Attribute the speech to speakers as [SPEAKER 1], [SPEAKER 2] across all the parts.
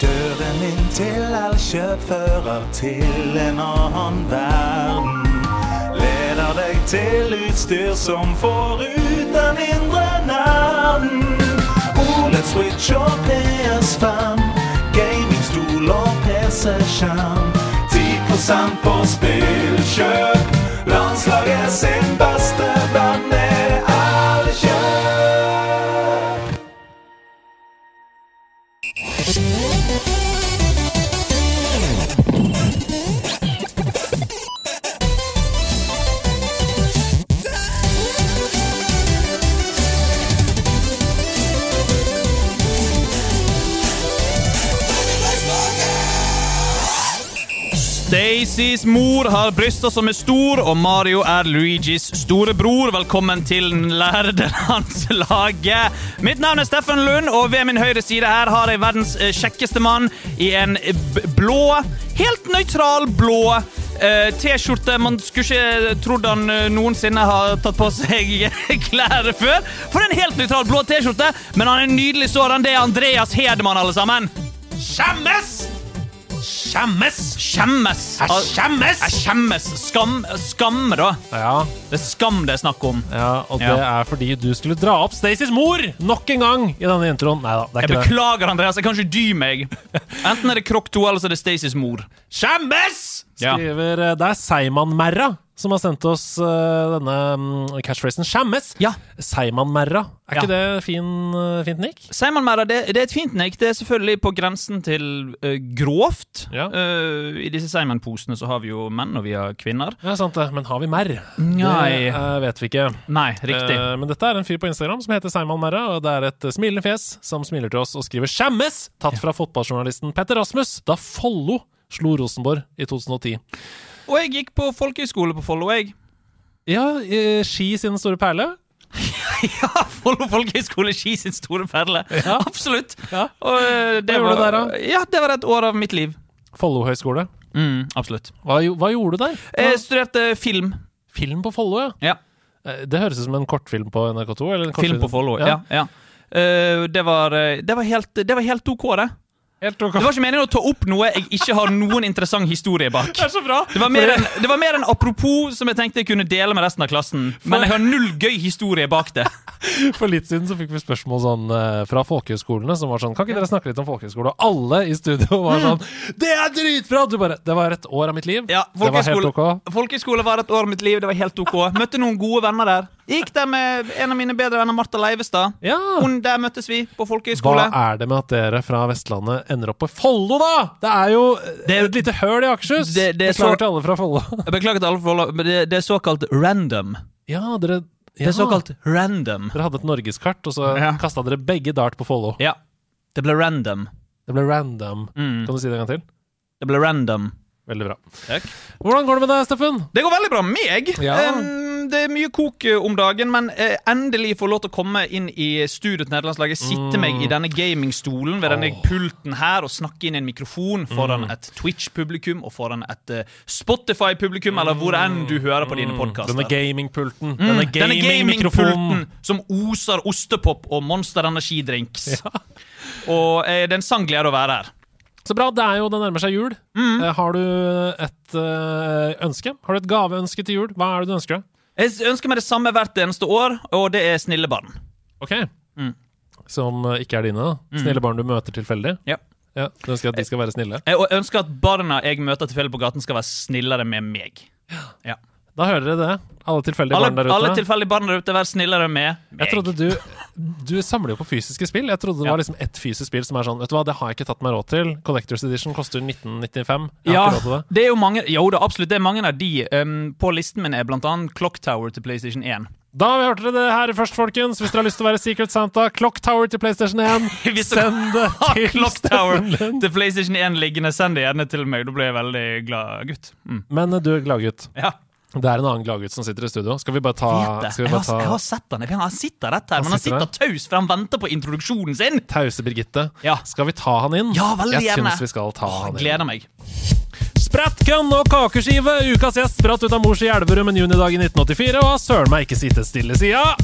[SPEAKER 1] Velkommen inn til elkjøpfører til en annen verden. Leder deg til utstyr som får ut den indre nerden. OLED Switch og PS5, gamingstol og PC-skjerm. 10 på spillkjøp. Landslaget sin beste venn er Elkjøp.
[SPEAKER 2] Stacys mor har bryster som er stor, og Mario er Luigis storebror. Velkommen til Lærdelandslaget. Mitt navn er Steffen Lund, og ved min høyre side her har jeg verdens eh, kjekkeste mann i en b- blå, helt nøytral blå eh, T-skjorte. Man skulle ikke trodd han eh, noensinne har tatt på seg klær før. For en helt nøytral blå T-skjorte, men han er nydelig sådan. Det er Andreas Hedemann, alle sammen.
[SPEAKER 3] Skjemmes! Skjemmes!
[SPEAKER 2] Skjemmes.
[SPEAKER 3] Jeg skjemmes!
[SPEAKER 2] Jeg skjemmes. Skam, skam, da.
[SPEAKER 3] Ja,
[SPEAKER 2] Det er skam det er snakk om.
[SPEAKER 3] ja, og det
[SPEAKER 2] Ja.
[SPEAKER 3] er fordi du skulle dra opp Stacys mor nok en gang i denne introen. Nei da, det er
[SPEAKER 2] Jeg
[SPEAKER 3] ikke det.
[SPEAKER 2] beklager, Andreas. Jeg kan ikke dy meg. Enten er det Krokk 2, eller så er det Stacys mor.
[SPEAKER 3] Skjemmes!
[SPEAKER 2] Ja.
[SPEAKER 3] Skriver eh, Det er Seiman-merra som har sendt oss eh, denne mm, catchphrasen. Skjemmes!
[SPEAKER 2] Ja.
[SPEAKER 3] Seiman-merra. Er
[SPEAKER 2] Ja.
[SPEAKER 3] ikke det fin, eh, fint nikk?
[SPEAKER 2] Simon Mæra, det, det er et fint nikk. Det er selvfølgelig på grensen til eh, grovt.
[SPEAKER 3] Ja.
[SPEAKER 2] Eh, I disse Simon-posene så har vi jo menn, og vi har kvinner.
[SPEAKER 3] Ja, sant det. Men har vi merr?
[SPEAKER 2] Nei.
[SPEAKER 3] Det eh, vet vi ikke.
[SPEAKER 2] Nei, riktig.
[SPEAKER 3] Eh, men dette er en fyr på Instagram som heter Seiman Merra, og det er et eh, smilende fjes som smiler til oss og skriver 'skjemmes', tatt fra fotballjournalisten Petter Rasmus da Follo slo Rosenborg i 2010.
[SPEAKER 2] Og jeg gikk på folkehøyskole på Follo, jeg.
[SPEAKER 3] Ja, eh, Ski sin store perle.
[SPEAKER 2] Ja, Follo folkehøgskole, Ski sin store perle.
[SPEAKER 3] Ja.
[SPEAKER 2] Absolutt.
[SPEAKER 3] Ja.
[SPEAKER 2] Og, eh, det
[SPEAKER 3] Hva gjorde
[SPEAKER 2] var,
[SPEAKER 3] du der, da?
[SPEAKER 2] Ja, det var et år av mitt liv.
[SPEAKER 3] Follo høgskole.
[SPEAKER 2] Mm, absolutt.
[SPEAKER 3] Hva, jo- hva gjorde du der? Hva-
[SPEAKER 2] Jeg studerte film.
[SPEAKER 3] film på Follo, ja.
[SPEAKER 2] Ja.
[SPEAKER 3] Eh, Det høres ut som en kortfilm på NRK2. Eller en
[SPEAKER 2] Film
[SPEAKER 3] kortfilm-
[SPEAKER 2] på Follo, ja. ja. Eh, det, var, eh, det, var helt, det var helt OK, det.
[SPEAKER 3] Helt
[SPEAKER 2] Det
[SPEAKER 3] ok.
[SPEAKER 2] var ikke meningen å ta opp noe jeg ikke har noen interessant historie bak.
[SPEAKER 3] Det er så bra!
[SPEAKER 2] Det var, mer en, det var mer en apropos som jeg tenkte jeg kunne dele med resten av klassen. Men jeg har null gøy historie bak det.
[SPEAKER 3] For litt siden så fikk vi spørsmål sånn eh, fra folkehøyskolene som var sånn Kan ikke dere snakke litt om folkehøyskole? Og alle i studio var sånn Det er dritbra! Du bare Det var et år av mitt liv.
[SPEAKER 2] Ja,
[SPEAKER 3] det var helt ok.
[SPEAKER 2] folkehøyskole- Folkehøyskole var et år av mitt liv. Det var helt OK. Møtte noen gode venner der. Gikk der med en av mine bedre venner, Marta Leivestad.
[SPEAKER 3] Ja.
[SPEAKER 2] Hun der møttes vi, på
[SPEAKER 3] Hva
[SPEAKER 2] folkehøyskole.
[SPEAKER 3] er det med at dere fra Vestlandet ender opp på Follo, da?! Det er jo
[SPEAKER 2] Det er-
[SPEAKER 3] et lite høl i Akershus!
[SPEAKER 2] Det- det er så-
[SPEAKER 3] Beklager til alle fra Follo.
[SPEAKER 2] Jeg Beklager til alle forhold, men det, det er såkalt random.
[SPEAKER 3] Ja, dere
[SPEAKER 2] Det
[SPEAKER 3] ja.
[SPEAKER 2] er såkalt random.
[SPEAKER 3] Dere hadde et norgeskart, og så
[SPEAKER 2] Ja.
[SPEAKER 3] kastet kasta dere begge dart på Follo.
[SPEAKER 2] Ja. Det ble random.
[SPEAKER 3] Det ble random.
[SPEAKER 2] Mm.
[SPEAKER 3] Kan du si det en gang til?
[SPEAKER 2] Det ble random.
[SPEAKER 3] Veldig bra.
[SPEAKER 2] Takk.
[SPEAKER 3] Hvordan går det med deg, Steffen?
[SPEAKER 2] Det går veldig bra med meg.
[SPEAKER 3] Ja.
[SPEAKER 2] Em, det er mye kok eh, om dagen, men eh, endelig få lov til å komme inn i studio til nederlandslaget. Sitte meg i denne gamingstolen ved denne pulten her og snakke inn i en mikrofon foran et Twitch-publikum og foran et eh, Spotify-publikum, eller hvor enn du hører på dine podkaster.
[SPEAKER 3] Denne gamingpulten.
[SPEAKER 2] Mm,
[SPEAKER 3] Denne
[SPEAKER 2] Denne
[SPEAKER 3] gamingmikrofonen.
[SPEAKER 2] gamingpulten som oser ostepop og Monster Energidrinks. Og eh, det er en sann glede å være her.
[SPEAKER 3] Så bra. Det er jo, det nærmer seg jul.
[SPEAKER 2] Mm.
[SPEAKER 3] Eh, Har du et eh, ønske? Har du et gaveønske til jul? Hva er det du ønsker deg?
[SPEAKER 2] Jeg s- ønsker meg det samme hvert eneste år, og det er snille barn.
[SPEAKER 3] Ok.
[SPEAKER 2] Mm.
[SPEAKER 3] Som eh, ikke er dine, da. Snille barn du møter tilfeldig.
[SPEAKER 2] Ja.
[SPEAKER 3] Ja, du ønsker at de skal være snille.
[SPEAKER 2] Jeg Eh, ønsker at barna jeg møter tilfeldig på gaten, skal være snillere med meg. Ja.
[SPEAKER 3] Da hører dere det. Alle tilfeldige
[SPEAKER 2] Alle,
[SPEAKER 3] barn der ute.
[SPEAKER 2] alle tilfeldige barn der ute, vær snillere med
[SPEAKER 3] jeg
[SPEAKER 2] meg.
[SPEAKER 3] trodde du Du samler jo på fysiske spill. Jeg trodde det
[SPEAKER 2] Ja.
[SPEAKER 3] var liksom ett fysisk spill som er sånn Vet du hva, det har jeg ikke tatt meg råd til. Collectors Edition koster 1995. Jeg
[SPEAKER 2] ja,
[SPEAKER 3] har ikke råd til det.
[SPEAKER 2] det er jo mange Jo da, absolutt. Det er mange av de. Um, på listen min er blant annet Clock Tower til PlayStation 1.
[SPEAKER 3] Da har vi hørt dere det her først, folkens. Hvis dere har lyst til å være Secret Santa, Clock Tower til PlayStation 1.
[SPEAKER 2] Hvis dere
[SPEAKER 3] Send det
[SPEAKER 2] har
[SPEAKER 3] til
[SPEAKER 2] Ah, Clock Tower
[SPEAKER 3] Steffen Lund.
[SPEAKER 2] til PlayStation 1 liggende, send det gjerne til meg. Da blir jeg veldig glad gutt. Mm.
[SPEAKER 3] Men eh, du, gladgutt.
[SPEAKER 2] Ja.
[SPEAKER 3] Det er en annen gladgutt som sitter i studio. Skal vi bare ta,
[SPEAKER 2] Vet det.
[SPEAKER 3] skal
[SPEAKER 2] Jeg
[SPEAKER 3] vi bare
[SPEAKER 2] har, jeg
[SPEAKER 3] ta
[SPEAKER 2] har sett han. Jeg- Han sitter rett her,
[SPEAKER 3] Han
[SPEAKER 2] men han
[SPEAKER 3] sitter
[SPEAKER 2] sitter taus, for han venter på introduksjonen sin.
[SPEAKER 3] Tause Birgitte?
[SPEAKER 2] Ja.
[SPEAKER 3] Skal vi ta han inn?
[SPEAKER 2] Ja, veldig
[SPEAKER 3] jeg
[SPEAKER 2] gjerne.
[SPEAKER 3] syns vi skal ta han inn.
[SPEAKER 2] Gleder meg.
[SPEAKER 3] Sprattkønn og kakeskive! Ukas gjest spratt ut av mors i Elverum en junidag i 1984 og har søren meg ikke sittet stille sida.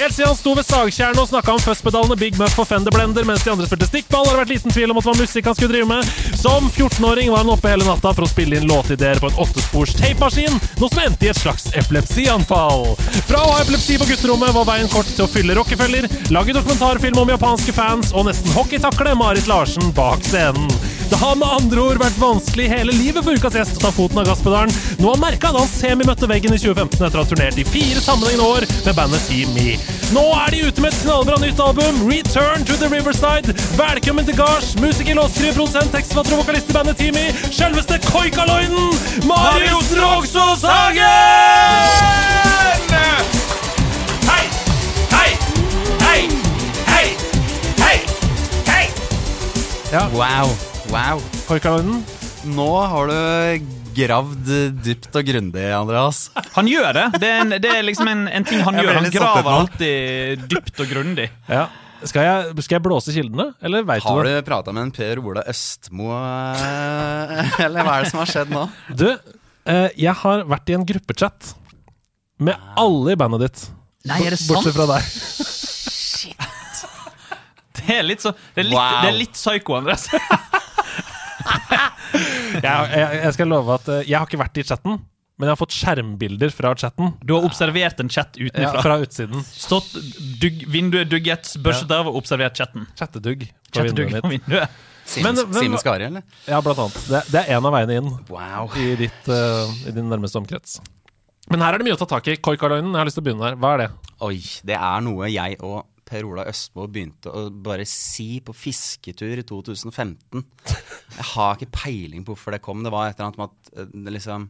[SPEAKER 3] Helt siden han sto ved sagtjernet og snakka om fuzzpedalene Big Muff og Fender Blender mens de andre spilte stikkball, har det vært liten tvil om at det var musikk han skulle drive med. Som 14-åring var han oppe hele natta for å spille inn låtideer på en åttespors tapemaskin, noe som endte i et slags epilepsianfall. Fra å ha epilepsi på gutterommet var veien kort til å fylle Rockefeller, lage dokumentarfilm om japanske fans og nesten hockeytakle Marit Larsen bak scenen. Det har med andre ord vært vanskelig hele livet for ukas gjest å ta foten av gasspedalen, noe han merka da han semi-møtte veggen i 2015 etter å ha turnert i fire sammenhengende år med bandet Team Me. Nå er de ute med et knallbra nytt album, Return to the Riverside. Velkommen til gards, musiker, låtskriver, produsent, tekstforfatter og vokalist i bandet Team Me, selveste Koikaloiden, Marius Rogsås Hagen!
[SPEAKER 2] Hei! Hei! Hei! Hei! Hei! Hei!
[SPEAKER 3] Ja.
[SPEAKER 4] Wow. Wow.
[SPEAKER 3] Koikaloiden,
[SPEAKER 4] Nå har du gravd dypt og grundig, Andreas.
[SPEAKER 2] Han gjør det. Det er, en, det er liksom en, en ting han
[SPEAKER 4] Jeg ble
[SPEAKER 2] gjør. Han
[SPEAKER 4] litt satt ut
[SPEAKER 2] graver
[SPEAKER 4] nå.
[SPEAKER 2] alltid dypt og grundig.
[SPEAKER 3] ja. skal, jeg, skal jeg blåse kildene, eller veit du
[SPEAKER 4] Har
[SPEAKER 3] det?
[SPEAKER 4] du prata med en Per Ola Østmo, eh, eller hva er det som har skjedd nå?
[SPEAKER 3] Du, eh, jeg har vært i en gruppechat med alle i bandet ditt.
[SPEAKER 2] Nei, er det
[SPEAKER 3] Bortsett fra deg.
[SPEAKER 2] Det er litt, så, det er litt,
[SPEAKER 4] Wow.
[SPEAKER 2] det er litt psyko, Andreas.
[SPEAKER 3] Jeg, jeg, jeg skal love at eh, jeg har ikke vært i chatten, men jeg har fått skjermbilder fra chatten.
[SPEAKER 2] Du har observert en chat
[SPEAKER 3] Ja,
[SPEAKER 2] utenfra.
[SPEAKER 3] fra utsiden.
[SPEAKER 2] Stått, dugg, vinduet dugget, børstet av og observert chatten.
[SPEAKER 3] Chattedugg. På
[SPEAKER 2] Chattedugg
[SPEAKER 3] vinduet
[SPEAKER 2] på
[SPEAKER 3] mitt.
[SPEAKER 2] vinduet.
[SPEAKER 4] Simen
[SPEAKER 3] Men- men-
[SPEAKER 4] Simen Skari, eller?
[SPEAKER 3] Ja, blant annet. Det, det er én av veiene inn
[SPEAKER 4] Wow.
[SPEAKER 3] i, ditt, eh, i din nærmeste omkrets. Men her er det mye å ta tak i. Koikarløgnen, jeg har lyst til å begynne der. Hva er det?
[SPEAKER 4] Oi, det er noe jeg og Per Ola Østmo begynte å bare si på fisketur i 2015. Jeg har ikke peiling på hvorfor det kom. Det var et eller annet med at eh, det liksom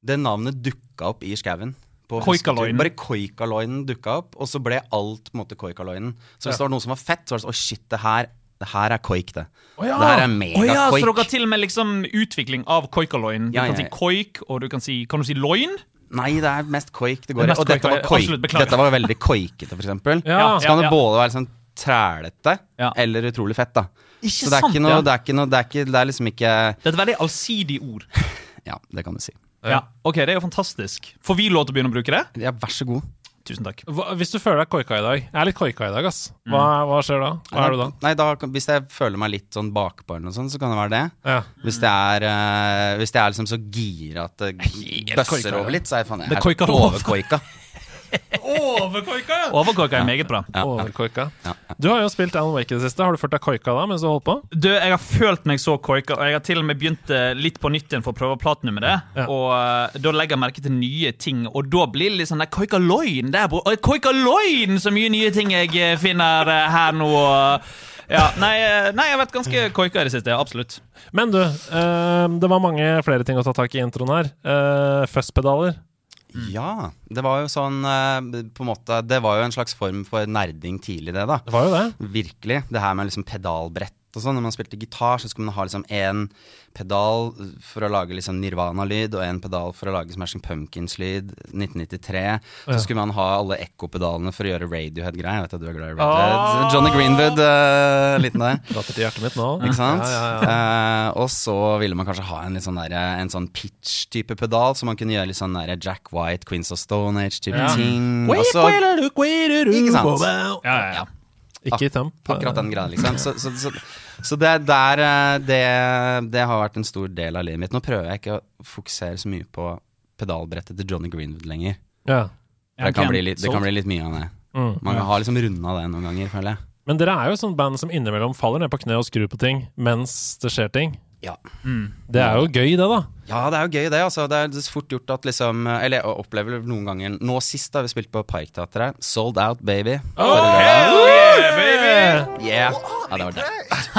[SPEAKER 4] Det navnet dukka opp i skauen. på fisketur.
[SPEAKER 2] Koikaloinen.
[SPEAKER 4] Bare Koikaloinen dukka opp, og så ble alt på en måte Koikaloinen. Så hvis det var noe som var fett, så var det sånn Å, shit, det her, det her er koik, det.
[SPEAKER 3] Å ja.
[SPEAKER 4] Det her
[SPEAKER 2] Å ja,
[SPEAKER 4] er
[SPEAKER 2] så dere
[SPEAKER 4] megakoik.
[SPEAKER 2] har til og med liksom utvikling av koikaloin. Du
[SPEAKER 4] Ja, ja,
[SPEAKER 2] kan si
[SPEAKER 4] ja.
[SPEAKER 2] koik, og du kan si Kan du si loin?
[SPEAKER 4] Nei, det er mest koik det
[SPEAKER 2] Det er
[SPEAKER 4] går i.
[SPEAKER 2] mest
[SPEAKER 4] Og dette
[SPEAKER 2] koik,
[SPEAKER 4] var,
[SPEAKER 2] ja,
[SPEAKER 4] koik.
[SPEAKER 2] absolutt, beklager.
[SPEAKER 4] dette var veldig koikete, for eksempel.
[SPEAKER 3] Ja.
[SPEAKER 4] Så kan
[SPEAKER 2] ja.
[SPEAKER 4] det både være sånn trælete
[SPEAKER 2] Ja.
[SPEAKER 4] eller utrolig fett, da.
[SPEAKER 2] Ikke
[SPEAKER 4] så det er
[SPEAKER 2] sant,
[SPEAKER 4] ikke noe,
[SPEAKER 2] ja.
[SPEAKER 4] det er ikke noe, det er, ikke, det er liksom ikke
[SPEAKER 2] Det er et veldig allsidig ord.
[SPEAKER 4] Ja, det kan du si.
[SPEAKER 2] Ja, ok, Det er jo fantastisk. Får vi lov til å begynne å bruke det?
[SPEAKER 4] Ja, vær så god.
[SPEAKER 2] Tusen takk.
[SPEAKER 3] Hva, hvis du føler deg koika i dag Jeg er litt koika i dag, ass. Hva, hva skjer da? Hva er du da?
[SPEAKER 4] Nei, da, kan- Hvis jeg føler meg litt sånn bakpå eller noe sånt, så kan det være det.
[SPEAKER 3] Ja.
[SPEAKER 4] Hvis det er, eh, hvis det er liksom så gira at det
[SPEAKER 2] koika,
[SPEAKER 4] bøsser
[SPEAKER 2] ja.
[SPEAKER 4] over litt, så er jeg faen
[SPEAKER 2] Det
[SPEAKER 4] jeg er
[SPEAKER 2] koiker over.
[SPEAKER 4] overkoika.
[SPEAKER 3] Overkoika, ja!
[SPEAKER 2] Overkoika er meget bra.
[SPEAKER 3] Overkoika. Du har jo spilt Alan Wake i det siste. Har du følt deg koika da mens du har holdt på?
[SPEAKER 2] Du, Jeg har følt meg så koika, og jeg har til og med begynt eh, litt på nytt igjen for å prøve platnummeret.
[SPEAKER 3] Ja.
[SPEAKER 2] Og eh, da legger jeg merke til nye ting, og da blir det litt sånn der koikaloin der, bro. Oi, Koikaloin! Så mye nye ting jeg eh, finner eh, her nå. og- Ja, nei, eh, nei, jeg har vært ganske koika i det siste. Absolutt.
[SPEAKER 3] Men du, eh, det var mange flere ting å ta tak i i introen her. Uh, Fuzzpedaler.
[SPEAKER 2] Mm.
[SPEAKER 4] Ja. Det var jo sånn eh, på en måte Det var jo en slags form for nerding tidlig, det, da.
[SPEAKER 3] Det var jo det.
[SPEAKER 4] Virkelig. Det her med liksom pedalbrett og sånn. Når man spilte gitar, så skulle man ha liksom én pedal for å lage liksom Nirvana-lyd, og én pedal for å lage Smashing Pumpkins-lyd. 1993. Så skulle man ha alle ekkopedalene for å gjøre Radiohead-greier. Jeg vet at du er glad i Radiohead. Johnny Greenwood, eh, liten der.
[SPEAKER 3] Prater til hjertet mitt nå.
[SPEAKER 4] Ikke sant?
[SPEAKER 3] Ja, ja,
[SPEAKER 4] Eh, og så ville man kanskje ha en, litt sånn der, en sånn pitch-type pedal, så man kunne gjøre litt sånn der Jack White, Queens of Stone Age-type
[SPEAKER 3] Ja.
[SPEAKER 4] ting. Og så Ikke sant?
[SPEAKER 2] Ja, ja, ja.
[SPEAKER 3] Ikke i temp.
[SPEAKER 4] akkurat den greia, liksom. Så, så, så, så det der eh, det, det har vært en stor del av livet mitt. Nå prøver jeg ikke å fokusere så mye på pedalbrettet til Johnny Greenwood lenger.
[SPEAKER 3] Ja.
[SPEAKER 4] Det kan
[SPEAKER 2] ok.
[SPEAKER 4] bli litt, det kan bli litt mye av det.
[SPEAKER 3] Mm.
[SPEAKER 4] Man kan ha liksom runda det noen ganger, føler jeg.
[SPEAKER 3] Men dere er jo et sånt band som innimellom faller ned på kne og skrur på ting mens det skjer ting.
[SPEAKER 4] Ja.
[SPEAKER 3] Det er jo gøy, det, da.
[SPEAKER 4] ja, det er jo gøy, det. Altså, det er så fort gjort at liksom Eller jeg opplever det noen ganger Nå sist, da vi spilte på Parkteatret, Sold Out Baby.
[SPEAKER 2] Hell yeah, baby!
[SPEAKER 4] Yeah. Ja, det var det.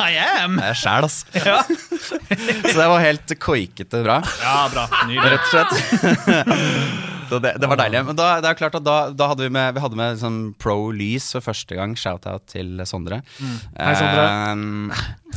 [SPEAKER 2] I am!
[SPEAKER 4] Det er sjæl, ass.
[SPEAKER 2] Ja,
[SPEAKER 4] Så det var helt koikete bra.
[SPEAKER 2] ja bra. Nydelig.
[SPEAKER 4] rett og slett. Så det, det var deilig. Men da, det er klart at da, da hadde vi med, vi hadde med sånn Pro Lys for første gang. Shout-out til Sondre.
[SPEAKER 3] Mm. Hei,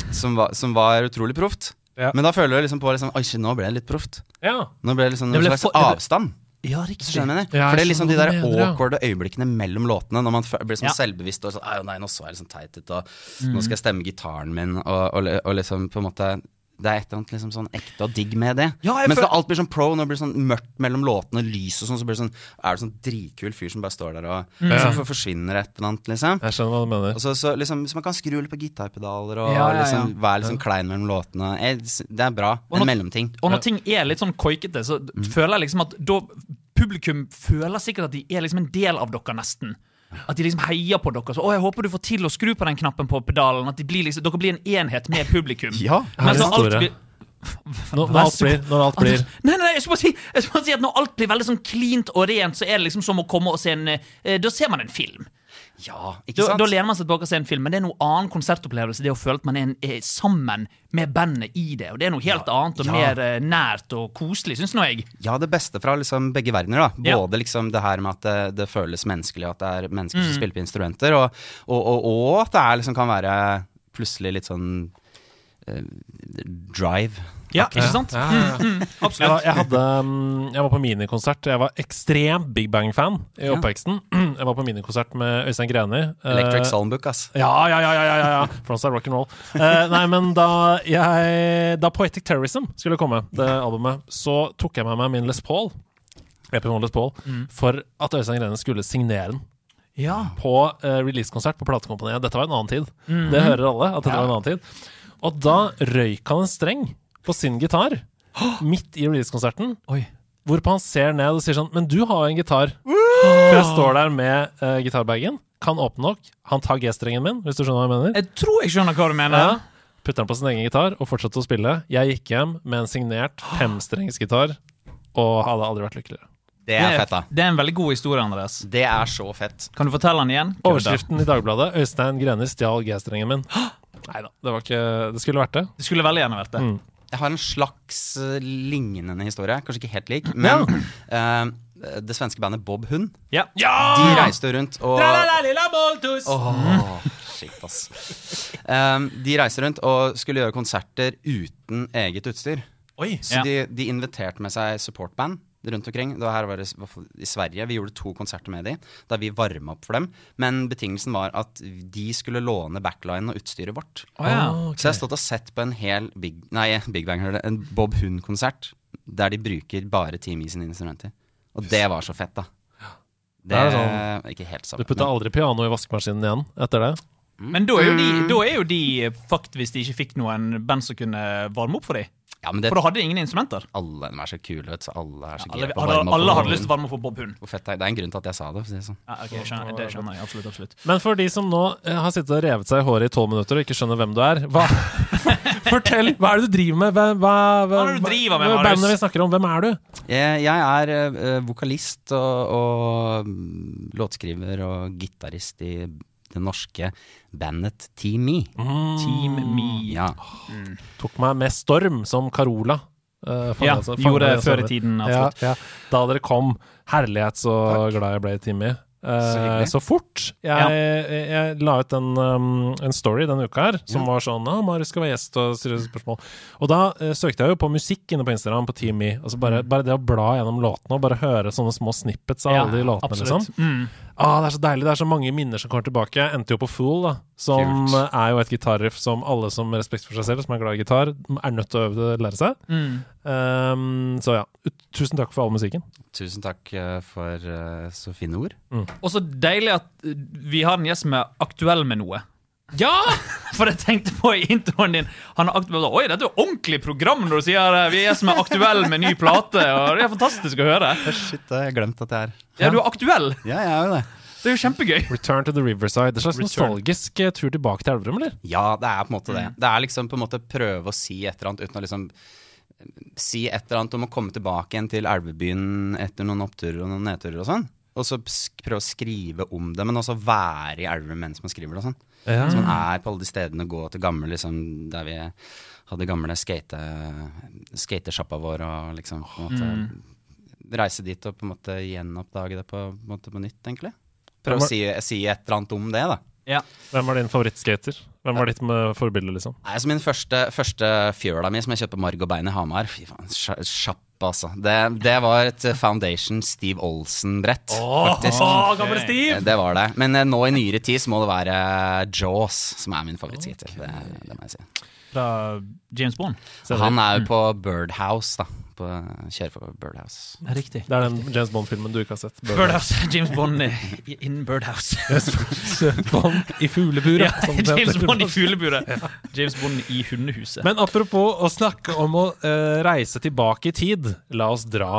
[SPEAKER 4] Eh, som, var, som var utrolig proft.
[SPEAKER 3] Ja.
[SPEAKER 4] Men da føler du liksom på liksom, Oi, shit, nå ble det litt proft.
[SPEAKER 3] Ja.
[SPEAKER 4] Nå ble det liksom
[SPEAKER 2] Det
[SPEAKER 4] en
[SPEAKER 2] ble
[SPEAKER 4] slags
[SPEAKER 2] for- det ble-
[SPEAKER 4] avstand.
[SPEAKER 2] Ja,
[SPEAKER 4] Hvis
[SPEAKER 2] riktig.
[SPEAKER 4] du skjønner hva jeg mener?
[SPEAKER 3] Ja, jeg
[SPEAKER 4] For det er liksom de
[SPEAKER 3] skjønner
[SPEAKER 4] der
[SPEAKER 3] hva du mener, ja.
[SPEAKER 4] awkwarde øyeblikkene mellom låtene, når man fø- blir sånn
[SPEAKER 2] Ja. Mm.
[SPEAKER 4] selvbevisst og sånn «Au, nei, nå så jeg liksom teit ut, og nå skal jeg stemme gitaren min, og, og, og liksom på en måte det er et eller annet liksom sånn ekte og digg med det.
[SPEAKER 2] Ja, jeg
[SPEAKER 4] Mens
[SPEAKER 2] føl-
[SPEAKER 4] når alt blir sånn pro, når det blir sånn mørkt mellom låtene, lys og sånn, så blir det sånn Er du sånn dritkul fyr som bare står der og
[SPEAKER 2] Mm.
[SPEAKER 4] så for- forsvinner et eller annet, liksom?
[SPEAKER 3] Jeg skjønner hva du mener.
[SPEAKER 4] Og så, så liksom, så man kan skru litt på gitarpedaler og
[SPEAKER 2] Ja, ja, ja.
[SPEAKER 4] Liksom, være litt sånn klein mellom låtene. Jeg, det er bra.
[SPEAKER 2] Og nå-
[SPEAKER 4] En mellomting.
[SPEAKER 2] Og når ting er litt sånn koikete, så d-
[SPEAKER 4] Mm.
[SPEAKER 2] føler jeg liksom at da Publikum føler sikkert at de er liksom en del av dere, nesten. At de liksom heier på dere. Så, å, jeg håper du får til å skru på den knappen på pedalen. At de blir liksom, dere blir en enhet med publikum.
[SPEAKER 4] Ja.
[SPEAKER 2] Men
[SPEAKER 3] Her er
[SPEAKER 2] når alt
[SPEAKER 3] historie.
[SPEAKER 2] blir Altså,
[SPEAKER 3] Når, når alt blir, når alt blir.
[SPEAKER 2] Nei, nei, nei, jeg skulle bare si, jeg skulle bare si at når alt blir veldig sånn cleant og rent, så er det liksom som å komme og se en eh, Da ser man en film.
[SPEAKER 4] Ja, ikke
[SPEAKER 2] Da,
[SPEAKER 4] sant?
[SPEAKER 2] da lener man seg tilbake og ser en film, men det er noe annen konsertopplevelse. Det å føle at man er, en, er sammen med bandet i det. Og det er noe helt annet og
[SPEAKER 4] ja.
[SPEAKER 2] mer eh, nært og koselig, syns nå jeg.
[SPEAKER 4] Ja, det beste fra liksom begge verdener. da
[SPEAKER 2] Ja.
[SPEAKER 4] Både liksom det her med at det, det føles menneskelig, at det er mennesker som spiller på instrumenter, og, og, og, og at det er liksom kan være plutselig litt sånn eh, drive.
[SPEAKER 2] Ja, ikke sant?
[SPEAKER 3] Ja, ja, ja. Jeg,
[SPEAKER 2] Absolutt.
[SPEAKER 3] var- jeg, hadde, mm, jeg var på minikonsert. Jeg var ekstrem Big Bang-fan i oppveksten. Jeg var på minikonsert med Øystein Greni. eh,
[SPEAKER 4] Electric Songbook, ass.
[SPEAKER 3] Ja, ja, ja, ja, ja, ja, ja. Frontside rock and roll. Eh, nei, men da, jeg, da Poetic Terrorism skulle komme, det albumet, så tok jeg med meg min Les Paul, Epinon Les Paul, for at Øystein Grene skulle signere den
[SPEAKER 2] Ja.
[SPEAKER 3] på eh, releasekonsert på platekompaniet. Dette var en annen tid. Det hører alle. at dette var en annen tid. Og da røyk han en streng på sin gitar midt i releasekonserten.
[SPEAKER 2] Oi.
[SPEAKER 3] Hvorpå han ser ned og sier sånn Men du har jo en gitar. For jeg står der med eh, gitarbagen, kan åpne nok. Han tar G-strengen min, hvis du skjønner hva jeg mener.
[SPEAKER 2] Jeg tror jeg skjønner hva du mener.
[SPEAKER 3] Ja. Putter den på sin egen gitar og fortsetter å spille. Jeg gikk hjem med en signert femstrengsgitar og hadde aldri vært lykkeligere.
[SPEAKER 4] Det er fett, da.
[SPEAKER 2] det er en veldig god historie, Andreas.
[SPEAKER 4] Det er så fett.
[SPEAKER 2] Kan du fortelle den igjen? Kødda.
[SPEAKER 3] Overskriften i Dagbladet 'Øystein Greni stjal G-strengen min'. Nei da, det, var ikke, det skulle vært det.
[SPEAKER 2] Det skulle veldig gjerne vært det.
[SPEAKER 3] Mm.
[SPEAKER 4] Jeg har en slags eh, lignende historie, kanskje ikke helt lik, men eh, det svenske bandet Bob Hund,
[SPEAKER 2] Ja.
[SPEAKER 4] de reiste rundt og
[SPEAKER 2] Ah! Tralala, lilla Baltus!
[SPEAKER 4] Åh, shit, ass. Um, de reiste rundt og skulle gjøre konserter uten eget utstyr.
[SPEAKER 3] Oi.
[SPEAKER 4] Så
[SPEAKER 2] Ja.
[SPEAKER 4] de, de inviterte med seg supportband rundt omkring. Da her var det s- hva for- i Sverige. Vi gjorde to konserter med de, da vi varma opp for dem. Men betingelsen var at de skulle låne backlinen og utstyret vårt.
[SPEAKER 2] Å, ja.
[SPEAKER 3] Ah,
[SPEAKER 4] Så jeg har stått og sett på en hel Big, nei, Big Bang, hører det, en Bob Hund-konsert der de bruker bare Team E sine instrumenter. Og det var så fett, da. Det,
[SPEAKER 3] er
[SPEAKER 4] er
[SPEAKER 3] sånn-
[SPEAKER 4] Ikke helt
[SPEAKER 3] Du
[SPEAKER 4] sammen.
[SPEAKER 3] putta aldri piano i vaskemaskinen igjen etter det?
[SPEAKER 2] Men da er jo de,
[SPEAKER 4] Mm.
[SPEAKER 2] da er jo de fucked hvis de ikke fikk noen band som kunne varme opp for dem.
[SPEAKER 4] men, ja, men det
[SPEAKER 2] For da hadde de ingen instrumenter.
[SPEAKER 4] Alle de er så kule, vet du. så Alle er så
[SPEAKER 2] Alle,
[SPEAKER 4] gira på å
[SPEAKER 2] alle,
[SPEAKER 4] varme opp
[SPEAKER 2] alle
[SPEAKER 4] på
[SPEAKER 2] hadde lyst
[SPEAKER 4] morgenen.
[SPEAKER 2] til å varme opp for Bob Hund.
[SPEAKER 4] Hvor fett det er. Det er en grunn til at jeg sa det. For å si det sånn.
[SPEAKER 2] Ja, ok, jeg skjønner, det skjønner jeg absolutt. absolutt.
[SPEAKER 3] Men for de som nå eh, har sittet og revet seg i håret i tolv minutter og ikke skjønner hvem du er, hva, fortell! Hva er det du driver med? Hva, hva, hva,
[SPEAKER 2] Hva er det du driver med,
[SPEAKER 3] hva-
[SPEAKER 2] Marius?
[SPEAKER 3] Bandet vi snakker om, hvem er du?
[SPEAKER 4] jeg, jeg er eh, vokalist og, og mm, låtskriver og gitarist i det norske bandet Team Me.
[SPEAKER 2] Mm. Team Me.
[SPEAKER 4] Mm. Ja.
[SPEAKER 3] Tok meg med storm, som Carola. eh, faen,
[SPEAKER 2] Ja,
[SPEAKER 3] altså, faen,
[SPEAKER 2] gjorde
[SPEAKER 3] jeg
[SPEAKER 2] det før i
[SPEAKER 3] stemmer.
[SPEAKER 2] tiden.
[SPEAKER 3] ja,
[SPEAKER 2] absolutt.
[SPEAKER 3] ja. Da dere kom, herlighet så glad jeg ble i Timmy. Eh,
[SPEAKER 4] hyggelig.
[SPEAKER 3] så fort. Jeg,
[SPEAKER 2] Ja.
[SPEAKER 3] jeg, jeg la ut en, um, en story denne uka her som var sånn ah, 'Marius skal være gjest og seriøse spørsmål'. Og da eh, søkte jeg jo på musikk inne på Instagram på Team E. Altså bare, bare det å bla gjennom låtene og bare høre sånne små snippets av
[SPEAKER 2] Ja,
[SPEAKER 3] alle de låtene.
[SPEAKER 2] absolutt. Mm,
[SPEAKER 3] Liksom. Ah, det er så deilig. Det er så mange minner som kommer tilbake. Jeg endte jo på Fool, da, som
[SPEAKER 4] Kult.
[SPEAKER 3] er jo et gitarriff som alle som har respekt for seg selv, som er glad i gitar, er nødt til å øve det lære seg.
[SPEAKER 2] mm.
[SPEAKER 3] Um, så ja, ut- tusen takk for all musikken.
[SPEAKER 4] Tusen takk eh, for eh, så fine ord.
[SPEAKER 2] Og så deilig at uh, vi har en gjest som er aktuell med noe. Ja! For jeg tenkte på i introen din Han er aktuell Oi, dette er jo ordentlig program når du sier eh, vi er som er aktuell med ny plate. Og det er fantastisk å høre.
[SPEAKER 4] Shit, jeg har glemt at jeg er
[SPEAKER 2] Ja, du er aktuell.
[SPEAKER 4] Ja, jeg er jo det.
[SPEAKER 2] Det er jo kjempegøy.
[SPEAKER 3] Return to the Riverside. Det er en slags
[SPEAKER 2] Return.
[SPEAKER 3] nostalgisk eh, tur tilbake til Elverum, eller?
[SPEAKER 4] Ja, det er på en måte det. Det er liksom på en måte prøve å si et eller annet uten å liksom Si et eller annet om å komme tilbake igjen til elvebyen etter noen oppturer og noen nedturer og sånn. Og så sk- prøve å skrive om det, men også være i elven mens man skriver det og sånn.
[SPEAKER 3] Ja.
[SPEAKER 4] Så man er på alle de stedene og går til gamle liksom der vi hadde gamle skate, skatesjappa vår og liksom på en måte reise dit og på en måte gjenoppdage det på, på, en måte på nytt, egentlig.
[SPEAKER 3] Hvem
[SPEAKER 4] Prøve
[SPEAKER 3] var-
[SPEAKER 4] å si, si et eller annet om det, da.
[SPEAKER 2] Ja.
[SPEAKER 3] Hvem var din favorittskater? Hvem var ditt med forbilde, liksom?
[SPEAKER 4] Nei, altså Min første, første fjøla mi som jeg kjøpte på Marg og Bein i Hamar Fy faen, sja- kjapp altså det, det var et eh, Foundation Steve Olsen-brett, faktisk.
[SPEAKER 2] gamle
[SPEAKER 4] Eh, Det var det. Men eh, nå i nyere tid så må det være Jaws som er min favorittskate. Det, det må jeg si.
[SPEAKER 5] fra James Bond.
[SPEAKER 3] Ser
[SPEAKER 4] Han
[SPEAKER 3] du?
[SPEAKER 4] er jo på Birdhouse, da. På, kjører for Birdhouse.
[SPEAKER 5] Det er riktig.
[SPEAKER 3] Det er den James Bond-filmen du ikke har sett.
[SPEAKER 5] Birdhouse. James Bond i- i- innen Birdhouse.
[SPEAKER 3] James Bond i fugleburet.
[SPEAKER 5] Ja,
[SPEAKER 3] som det
[SPEAKER 5] James
[SPEAKER 3] heter.
[SPEAKER 5] Bond i fugleburet. James Bond i hundehuset.
[SPEAKER 3] Men apropos å snakke om å eh, reise tilbake i tid. La oss dra.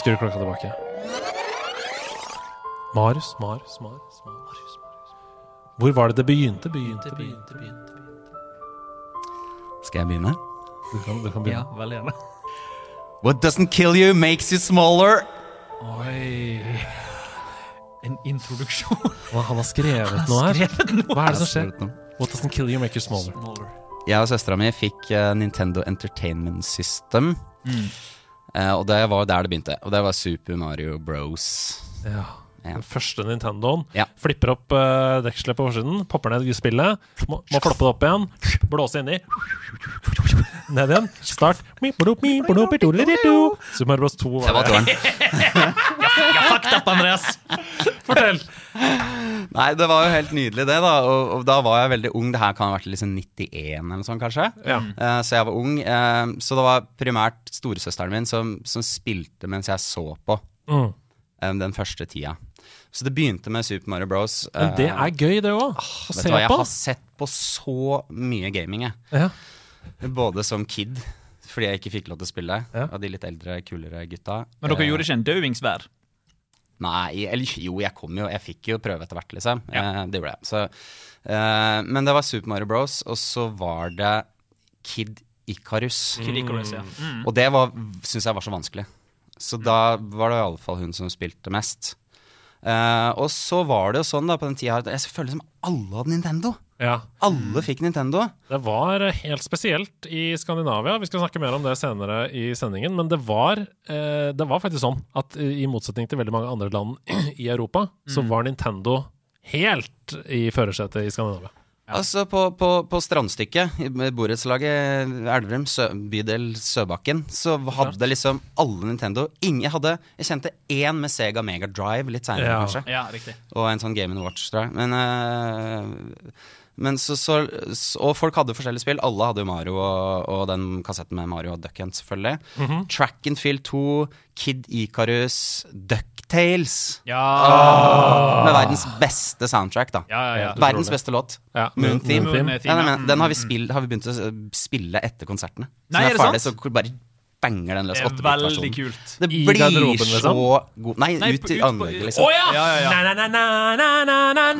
[SPEAKER 3] Skru klokka tilbake. Marius, Marius, Marius, Marius. Hvor var det det begynte? Begynte, begynte, begynte.
[SPEAKER 4] Skal jeg begynne?
[SPEAKER 3] Du kan, du kan
[SPEAKER 5] ja,
[SPEAKER 3] begynne.
[SPEAKER 5] veldig gjerne.
[SPEAKER 4] What doesn't kill you makes you smaller.
[SPEAKER 5] Oi En introduksjon.
[SPEAKER 3] Hva, han har skrevet noe her.
[SPEAKER 5] Skrevet noe.
[SPEAKER 3] Hva er det som skjer? What doesn't kill you, make you smaller.
[SPEAKER 4] Jeg og søstera mi fikk eh, Nintendo Entertainment System. Eh, og det var der det begynte. Og det var Super Mario Bros.
[SPEAKER 3] Ja.
[SPEAKER 4] Ja.
[SPEAKER 3] Den første Nintendoen.
[SPEAKER 4] Ja.
[SPEAKER 3] Flipper opp eh, dekselet på forsiden, popper ned spillet, må, må floppe det opp igjen, blåse inni. Ned igjen. Start. Mi, blop, mi, blop, i, do, li, di, do. Super Mario Bros. 2
[SPEAKER 4] Det
[SPEAKER 3] var
[SPEAKER 4] var
[SPEAKER 3] det.
[SPEAKER 4] toeren.
[SPEAKER 5] Fucked up, Andreas!
[SPEAKER 3] Fortell!
[SPEAKER 4] Nei, det var jo helt nydelig, det. da Og, og da var jeg veldig ung. Det her kan ha vært liksom 91 eller noe sånt, kanskje.
[SPEAKER 3] Ja.
[SPEAKER 4] Eh, så jeg var ung. eh, så det var primært storesøsteren min som, som spilte mens jeg så på
[SPEAKER 3] Mm.
[SPEAKER 4] eh, den første tida. Så det begynte med Super Mario Bros.
[SPEAKER 3] Men det
[SPEAKER 4] Eh,
[SPEAKER 3] er gøy, det òg. Å se
[SPEAKER 4] Vet du hva, jeg
[SPEAKER 3] på.
[SPEAKER 4] har sett på så mye gaming, jeg.
[SPEAKER 3] Ja.
[SPEAKER 4] Både som kid, fordi jeg ikke fikk lov til å spille,
[SPEAKER 3] Ja.
[SPEAKER 4] av de litt eldre, kulere gutta.
[SPEAKER 5] Men dere
[SPEAKER 4] Eh,
[SPEAKER 5] gjorde ikke en dauings hver?
[SPEAKER 4] Nei, eller jo, jeg kom jo, jeg fikk jo prøve etter hvert, liksom.
[SPEAKER 5] Ja.
[SPEAKER 4] Eh, det gjorde jeg. Så, eh, men det var Super Mario Bros, og så var det Kid Icarus.
[SPEAKER 5] Kid Icarus, ja. Mm.
[SPEAKER 4] Og det syns jeg var så vanskelig. Så da var det iallfall hun som spilte mest. Eh, og så var det jo sånn da på den tida her at jeg føler som alle hadde Nintendo.
[SPEAKER 5] Mm.
[SPEAKER 3] ja.
[SPEAKER 4] Alle fikk Nintendo.
[SPEAKER 3] Det var helt spesielt i Skandinavia. Vi skal snakke mer om det senere i sendingen. Men det var, eh, det var faktisk sånn at i motsetning til veldig mange andre land i Europa, så var Nintendo helt i førersetet i Skandinavia.
[SPEAKER 4] Altså på, på, på strandstykket, i borettslaget Elverum, sø, bydel Søbakken, så hadde liksom alle Nintendo. Ingen jeg hadde Jeg kjente én med Sega Mega Drive litt seinere,
[SPEAKER 3] Ja.
[SPEAKER 4] kanskje.
[SPEAKER 5] Mm, Ja, riktig.
[SPEAKER 4] Og en sånn Game Watch, tror jeg. Men, eh, men så, så, s- Og folk hadde forskjellige spill. Alle hadde jo Mario og, og den kassetten med Mario og Duck Hunt, selvfølgelig. Track and Field 2, Kid Icarus, Ducktales.
[SPEAKER 5] Ja,
[SPEAKER 4] Med
[SPEAKER 3] Ah.
[SPEAKER 4] verdens beste soundtrack, da.
[SPEAKER 5] ja, ja. ja.
[SPEAKER 4] Verdens beste låt.
[SPEAKER 3] Ja.
[SPEAKER 4] Moon Theme.
[SPEAKER 3] Moon Theme.
[SPEAKER 5] Moon
[SPEAKER 4] Ja, nei,
[SPEAKER 5] ja.
[SPEAKER 4] men, den har vi, spill, har vi begynt å s- spille etter konsertene. Så
[SPEAKER 5] Nei,
[SPEAKER 4] når
[SPEAKER 5] er
[SPEAKER 4] jeg
[SPEAKER 5] det
[SPEAKER 4] ferdig,
[SPEAKER 5] sant?
[SPEAKER 4] så bare banger den løs.
[SPEAKER 5] Det er veldig
[SPEAKER 4] åttebit-versjonen.
[SPEAKER 5] kult.
[SPEAKER 4] Det
[SPEAKER 3] I
[SPEAKER 4] blir
[SPEAKER 3] garderoben,
[SPEAKER 4] så
[SPEAKER 3] liksom?
[SPEAKER 4] god Nei,
[SPEAKER 5] Nei,
[SPEAKER 4] ut
[SPEAKER 5] på-
[SPEAKER 4] i
[SPEAKER 5] ut på-
[SPEAKER 4] anlegget, liksom.
[SPEAKER 5] Å, ja! Ja, ja, ja.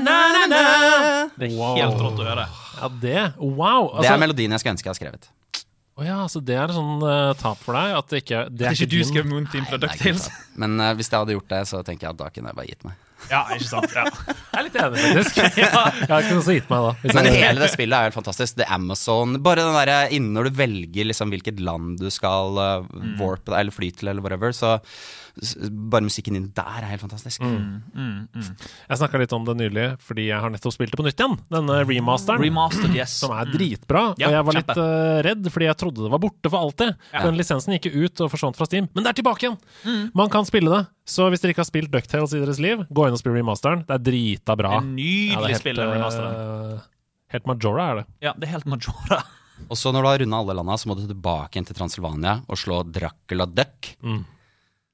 [SPEAKER 3] Det er
[SPEAKER 5] Helt rått å høre.
[SPEAKER 3] Ja, det. Wow.
[SPEAKER 4] Det
[SPEAKER 3] Altså,
[SPEAKER 4] er melodien jeg skulle ønske jeg hadde skrevet.
[SPEAKER 3] å ja, så det er sånn eh, tap for deg at det ikke Det
[SPEAKER 5] Det
[SPEAKER 3] er
[SPEAKER 5] er ikke du
[SPEAKER 3] din-
[SPEAKER 5] skrev Moon Team fra
[SPEAKER 4] Nei, ikke
[SPEAKER 5] Ducktales?
[SPEAKER 4] sant. Men eh, hvis jeg hadde gjort det, så tenker jeg at da kunne jeg bare gitt meg.
[SPEAKER 5] Ja, ikke sant? Ja.
[SPEAKER 3] Jeg er litt enig, faktisk. ja. Jeg har ikke noe som gitt meg da. Hvis
[SPEAKER 4] Men
[SPEAKER 3] jeg-
[SPEAKER 4] hele det spillet er helt fantastisk. Det er Amazon Bare den derre innen når du velger liksom hvilket land du skal eh,
[SPEAKER 3] Mm.
[SPEAKER 4] warpe deg eller fly til, eller whatever, så s- bare musikken din der er helt fantastisk.
[SPEAKER 3] Mm.
[SPEAKER 5] Mm,
[SPEAKER 3] Jeg snakka litt om det nylig, fordi jeg har nettopp spilt det på nytt igjen. Denne remasteren.
[SPEAKER 5] Mm. Remastered, yes.
[SPEAKER 3] som er dritbra.
[SPEAKER 5] Mm. Ja,
[SPEAKER 3] og jeg var litt
[SPEAKER 5] kjempe.
[SPEAKER 3] eh, redd, fordi jeg trodde det var borte for alltid.
[SPEAKER 5] Ja. Mm.
[SPEAKER 3] For Den lisensen gikk jo ut og forsvant fra Steam, men det er tilbake igjen! Man kan spille det. Så hvis dere ikke har spilt Ducktales i deres liv, gå inn og spill remasteren. Det er drita bra.
[SPEAKER 5] En nydelig spill, den remasteren.
[SPEAKER 3] eh, helt Majora er det.
[SPEAKER 5] Ja, det er helt Majora.
[SPEAKER 4] Og så når du har runda alle landa, så må du tilbake igjen til Transylvania og slå Dracula Duck.
[SPEAKER 3] Mm.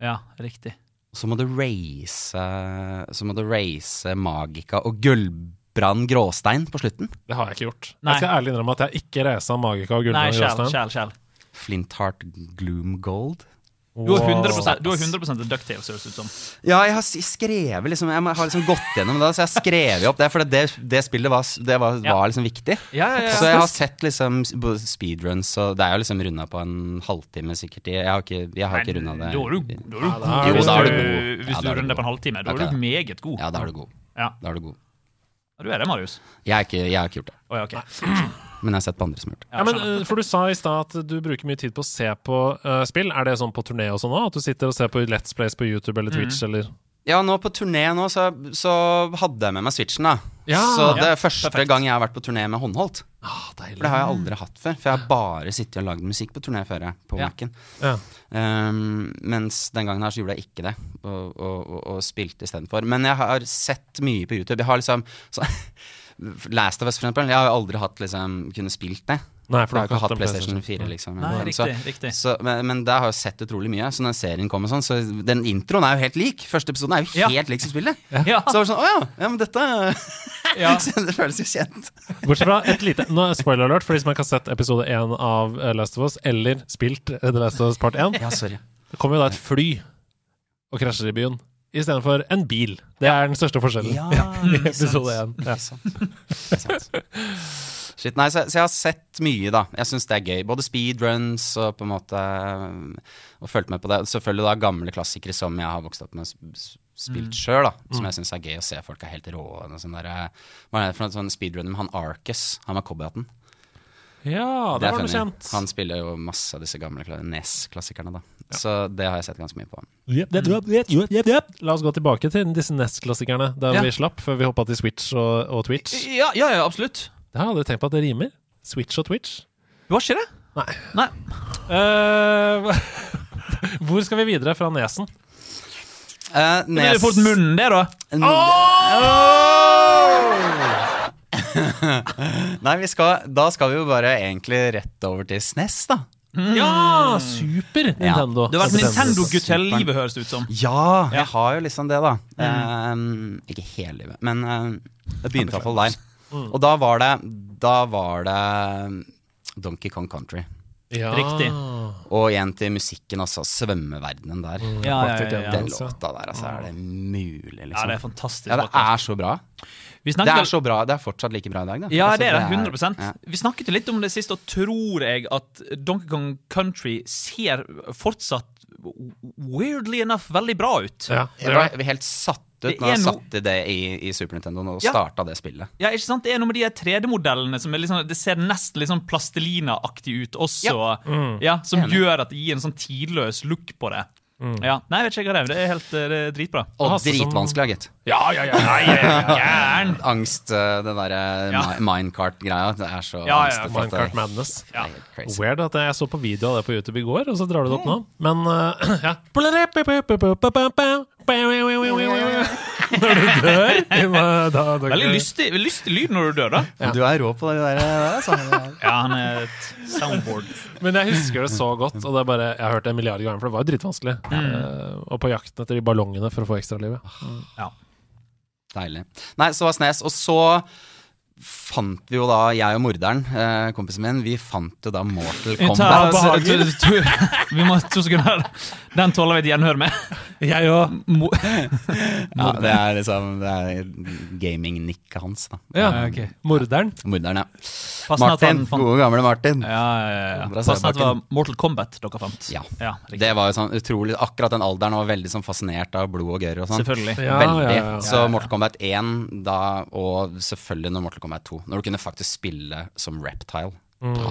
[SPEAKER 5] Ja, riktig.
[SPEAKER 4] Og så må du race eh, Så må du race Magica og Gullbrand Gråstein på slutten.
[SPEAKER 3] Det har jeg ikke gjort.
[SPEAKER 5] Nei.
[SPEAKER 3] Jeg skal ærlig innrømme at jeg ikke racet Magica og
[SPEAKER 5] Nei,
[SPEAKER 3] Gullbrand
[SPEAKER 5] kjæl,
[SPEAKER 3] Gråstein.
[SPEAKER 5] kjæl, kjæl.
[SPEAKER 4] Flintheart Gloom Gold.
[SPEAKER 5] Du har 100, du har 100 til Ducktales, høres det ut som.
[SPEAKER 4] Ja, jeg har s- skrevet liksom Jeg har liksom gått gjennom det, så jeg har skrevet opp det. For det, det spillet var, det var,
[SPEAKER 5] Ja.
[SPEAKER 4] var liksom viktig.
[SPEAKER 5] Ja, ja,
[SPEAKER 4] Så jeg har sett liksom s- både speedruns, og det er jo liksom runda på en halvtime sikkert. Jeg har ikke, jeg har ikke
[SPEAKER 5] Da
[SPEAKER 4] runda det.
[SPEAKER 5] er du, da er du
[SPEAKER 3] da
[SPEAKER 5] god.
[SPEAKER 3] er du
[SPEAKER 5] hvis
[SPEAKER 3] god.
[SPEAKER 5] du- Hvis
[SPEAKER 4] Ja,
[SPEAKER 5] du
[SPEAKER 4] da er du
[SPEAKER 5] runder på en
[SPEAKER 4] god.
[SPEAKER 5] halvtime, da
[SPEAKER 4] Ok,
[SPEAKER 5] er
[SPEAKER 4] da.
[SPEAKER 5] du meget god.
[SPEAKER 4] Ja, da er du god.
[SPEAKER 5] Ja.
[SPEAKER 4] Da er du god.
[SPEAKER 5] Du er det, Marius.
[SPEAKER 4] Jeg har ikke, jeg har ikke gjort det,
[SPEAKER 5] Å, ja, ok.
[SPEAKER 4] men jeg har sett på andre som har gjort det.
[SPEAKER 3] Ja, men eh, For du sa i stad at du bruker mye tid på å se på eh, spill. Er det sånn på turné og sånn òg? At du sitter og ser på Let's Plays på YouTube
[SPEAKER 5] Mm.
[SPEAKER 3] eller Twitch eller
[SPEAKER 4] Ja, nå på turné nå, så, så hadde jeg med meg switchen, da.
[SPEAKER 3] Ja,
[SPEAKER 4] så det
[SPEAKER 5] ja,
[SPEAKER 4] er første
[SPEAKER 5] perfekt. Mm.
[SPEAKER 4] gang jeg har vært på turné med håndholdt.
[SPEAKER 3] ah,
[SPEAKER 4] For det har jeg aldri hatt før. For jeg har bare sittet og lagd musikk på turné før, jeg, på
[SPEAKER 5] Ja.
[SPEAKER 4] Mac-en.
[SPEAKER 3] Ja.
[SPEAKER 4] Um, mens den gangen her så gjorde jeg ikke det, og, og, og, og spilte istedenfor. Men jeg har sett mye på YouTube. Jeg har liksom så, Last of Us, for eksempel. Jeg har jo aldri hatt, liksom, kunne spilt det.
[SPEAKER 3] Nei,
[SPEAKER 4] For du har ikke hatt PlayStation 4, liksom.
[SPEAKER 2] Nei,
[SPEAKER 4] Men
[SPEAKER 2] riktig,
[SPEAKER 4] så,
[SPEAKER 2] riktig.
[SPEAKER 4] Så, men, men der har jeg sett utrolig mye. Så når serien kommer sånn, så den introen er jo helt lik. Første episoden er jo
[SPEAKER 2] Ja.
[SPEAKER 4] helt lik som spillet.
[SPEAKER 2] Ja.
[SPEAKER 4] Så det var sånn, å ja, ja men dette
[SPEAKER 2] Ja.
[SPEAKER 4] så Det føles jo kjent.
[SPEAKER 3] Bortsett fra et lite nå, er spoiler alert for de som ikke har sett episode 1 av eh, Last of Us, eller spilt eh, The Last of Us part 1.
[SPEAKER 4] Ja, sorry.
[SPEAKER 3] Det kommer jo da et fly og krasjer i byen, istedenfor en bil. Det er den største forskjellen.
[SPEAKER 4] Ja,
[SPEAKER 3] i episode 1. Ja.
[SPEAKER 4] Ikke sant. Shit, nei, så, så jeg har sett mye, da. Jeg syns det er gøy. Både speedruns og på en måte um, Og fulgt med på det. Selvfølgelig da gamle klassikere som jeg har vokst opp med og sp- sp- spilt
[SPEAKER 3] Mm.
[SPEAKER 4] sjøl, da. Som jeg syns er gøy å se folk er helt rå. og noe sånn der, eh, Hva er det for noe sånn speedrunner med han Arcus? Han med cowboyhatten.
[SPEAKER 3] ja,
[SPEAKER 4] Det
[SPEAKER 3] der var
[SPEAKER 4] er
[SPEAKER 3] du
[SPEAKER 4] funny.
[SPEAKER 3] kjent.
[SPEAKER 4] Han spiller jo masse av disse gamle kla- NES-klassikerne, da. Så det har jeg sett ganske mye på.
[SPEAKER 3] Jep, jep, jep, jep, jep, jep, jep. La oss gå tilbake til disse NES-klassikerne, der
[SPEAKER 2] Ja.
[SPEAKER 3] vi slapp før vi hoppa til Switch og, og Twitch.
[SPEAKER 2] Ja, ja, ja, absolutt.
[SPEAKER 3] Jeg har aldri tenkt på at det rimer. Switch og Twitch.
[SPEAKER 2] Du har ikke det?
[SPEAKER 3] Nei.
[SPEAKER 2] Nei.
[SPEAKER 3] Eh, hvor skal vi videre fra nesen?
[SPEAKER 4] Eh,
[SPEAKER 2] Det blir fort munnen, det, da.
[SPEAKER 4] Nei, vi skal, da skal vi jo bare egentlig rett over til SNES, da.
[SPEAKER 3] Ja, super Nintendo.
[SPEAKER 2] Du har vært
[SPEAKER 3] Nintendo.
[SPEAKER 2] Nintendo-gutt hele livet, høres det ut som.
[SPEAKER 4] Ja, jeg har jo liksom det, da.
[SPEAKER 2] Mm.
[SPEAKER 4] Eh, ikke hele livet, men eh, jeg begynte i hvert fall der. Og da var det Da var det eh, Donkey Kong Country.
[SPEAKER 3] Ja.
[SPEAKER 2] Riktig.
[SPEAKER 4] Og igjen til musikken, altså. Svømmeverdenen der.
[SPEAKER 2] Ja, ja, ja, ja.
[SPEAKER 4] Den
[SPEAKER 3] altså.
[SPEAKER 4] låta der, altså. Er det mulig, liksom?
[SPEAKER 2] Mm. ja det er fantastisk. altså.
[SPEAKER 4] Ja, det
[SPEAKER 2] vakkert.
[SPEAKER 4] er så bra.
[SPEAKER 2] Vi
[SPEAKER 4] Det
[SPEAKER 2] snakket
[SPEAKER 4] er så bra, det er fortsatt like bra i dag, da.
[SPEAKER 2] Ja,
[SPEAKER 4] Altså,
[SPEAKER 2] det er det.
[SPEAKER 4] ja.
[SPEAKER 2] 100 Vi snakket jo litt om det sist, og tror jeg at Donkey Kong Country ser fortsatt weirdly enough veldig bra ut.
[SPEAKER 3] Ja, det
[SPEAKER 4] Jeg
[SPEAKER 3] gjør det.
[SPEAKER 4] ble helt satt
[SPEAKER 2] Det
[SPEAKER 4] ut når
[SPEAKER 2] er
[SPEAKER 4] jeg
[SPEAKER 2] no-
[SPEAKER 4] satte det i, i Super Nintendo og
[SPEAKER 2] Ja.
[SPEAKER 4] starta det spillet.
[SPEAKER 2] Ja, ikke sant? Det er noe med de her 3D-modellene som er liksom, det ser nesten litt sånn plastelina-aktig ut også. Ja. som
[SPEAKER 4] Enig.
[SPEAKER 2] gjør at det gir en sånn tidløs look på det. Ja. Nei, jeg vet ikke hva det er. Det er helt eh, det er dritbra.
[SPEAKER 4] Og
[SPEAKER 3] Altså, som-
[SPEAKER 4] dritvanskelig, da, gitt.
[SPEAKER 2] Ja, ja, ja, nei, jeg er gæren!
[SPEAKER 4] Angst, eh, det derre
[SPEAKER 2] Ja.
[SPEAKER 4] mi- minecart-greia. Det er så
[SPEAKER 2] Ja, ja,
[SPEAKER 4] angstete at det-
[SPEAKER 3] Minecart Madness.
[SPEAKER 4] det er helt crazy.
[SPEAKER 3] Weird at jeg så på video av det på YouTube i går, og så drar du
[SPEAKER 2] Mm.
[SPEAKER 3] det opp nå. Men eh, ja Når du dør i da- da- da-
[SPEAKER 2] Veldig lystig, lystig lyd når du dør, da.
[SPEAKER 4] Men Du er rå på det der. Altså.
[SPEAKER 2] Ja, han er et soundboard.
[SPEAKER 3] Men jeg husker det så godt, og det er bare, jeg har hørt det en milliard ganger, for det var jo dritvanskelig. Eh, og på jakten etter de ballongene for å få ekstralivet.
[SPEAKER 2] Ja.
[SPEAKER 4] Deilig. Nei, så var Snes. Og så fant vi jo da, jeg og morderen, eh, kompisen min, vi fant jo da Mortal
[SPEAKER 2] Vi
[SPEAKER 4] Kombat.
[SPEAKER 2] tar- to- to- Vi må to sekunder. Den tåler vi et gjenhør med.
[SPEAKER 3] Jeg òg.
[SPEAKER 2] Mo
[SPEAKER 4] Ja, det er liksom Det er gaming-nikket hans, da.
[SPEAKER 3] Ja.
[SPEAKER 4] Eh,
[SPEAKER 3] Morderen.
[SPEAKER 4] Morderen, ja.
[SPEAKER 2] passende at
[SPEAKER 4] Martin.
[SPEAKER 2] han fant-
[SPEAKER 4] Gode, gamle Martin.
[SPEAKER 2] Ja, ja, ja, ja.
[SPEAKER 4] Andre
[SPEAKER 2] Passende at det var
[SPEAKER 4] særbakken.
[SPEAKER 2] Mortal Kombat dere fant.
[SPEAKER 4] Ja.
[SPEAKER 2] riktig.
[SPEAKER 4] Det var jo sånn utrolig Akkurat den alderen var veldig sånn fascinert av blod og gørr og sånn.
[SPEAKER 2] Selvfølgelig.
[SPEAKER 3] Ja,
[SPEAKER 4] veldig.
[SPEAKER 3] ja, ja.
[SPEAKER 4] Så Mortal Kombat 1 da, og selvfølgelig når Mortal Kombat 2. Når du kunne faktisk spille som Reptile.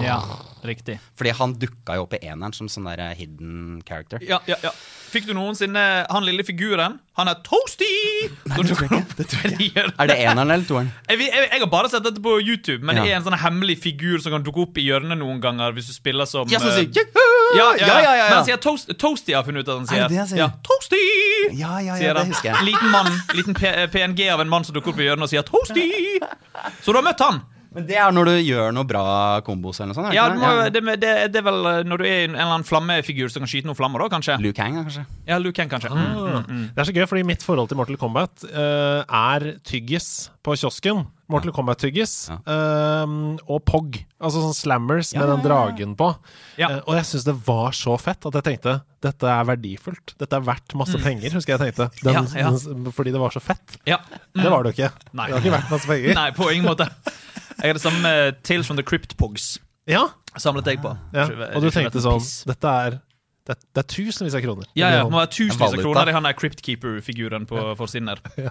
[SPEAKER 2] Ja, riktig.
[SPEAKER 4] Fordi han dukka jo opp i eneren som sånn der hidden character.
[SPEAKER 2] Ja, ja, ja. Fikk du noensinne han lille figuren? Han er toasty! Når du går opp til gjør-
[SPEAKER 4] Er det eneren eller toeren?
[SPEAKER 2] Jeg, vet- jeg, jeg har bare sett dette på YouTube, men
[SPEAKER 4] Ja.
[SPEAKER 2] det er en sånn hemmelig figur som kan dukke opp i hjørnet noen ganger hvis du spiller som
[SPEAKER 4] Ja, som
[SPEAKER 2] eh,
[SPEAKER 4] sier
[SPEAKER 2] ja, ja, ja,
[SPEAKER 4] ja.
[SPEAKER 2] Men han sier toast, Toasty har jeg funnet ut at han sier.
[SPEAKER 4] Er det det han sier?
[SPEAKER 2] Ja, toasty!
[SPEAKER 4] Ja, ja, ja,
[SPEAKER 2] sier
[SPEAKER 4] det
[SPEAKER 2] han.
[SPEAKER 4] husker jeg.
[SPEAKER 2] Liten mann, liten P PNG av en mann som dukker opp i hjørnet og sier toasty! Så du har møtt han?
[SPEAKER 4] Men det er når du gjør noe bra kombos eller noe sånt? er det
[SPEAKER 2] Ja,
[SPEAKER 4] ikke
[SPEAKER 2] det, må,
[SPEAKER 4] det?
[SPEAKER 2] det, det, det er vel eh, når du er en eller annen flammefigur som kan skyte noen flammer, da, kanskje?
[SPEAKER 4] Luke Hang, da, kanskje?
[SPEAKER 2] Ja, Luke Kang, kanskje. Mm.
[SPEAKER 3] Det er så gøy, fordi mitt forhold til Mortal Kombat eh, er tyggis på kiosken. Mortal Kombat-tyggis. eh, og POG. Altså sånn slammers med den dragen på.
[SPEAKER 2] Ja.
[SPEAKER 3] Eh, og jeg syns det var så fett at jeg tenkte dette er verdifullt. Dette er verdt masse penger, husker jeg tenkte. Den,
[SPEAKER 2] Mm. Ja, ja.
[SPEAKER 3] Den, fordi det var så fett.
[SPEAKER 2] Ja.
[SPEAKER 3] Det var det jo ikke.
[SPEAKER 2] Nei.
[SPEAKER 3] Det var ikke verdt masse penger.
[SPEAKER 2] Nei, på ingen måte. Jeg er det samme med Tales from the Crypt Pogs.
[SPEAKER 3] Ja,
[SPEAKER 2] Samlet jeg på.
[SPEAKER 3] ja.
[SPEAKER 2] Ikke-
[SPEAKER 3] Og du
[SPEAKER 2] ikke
[SPEAKER 3] tenkte
[SPEAKER 2] vet en
[SPEAKER 3] sånn
[SPEAKER 2] piss.
[SPEAKER 3] Dette er det, det er tusenvis av kroner.
[SPEAKER 2] Ja, ja, det må være tusenvis av
[SPEAKER 4] Valuta.
[SPEAKER 2] kroner i han der Crypt Keeper-figuren på forsiden der.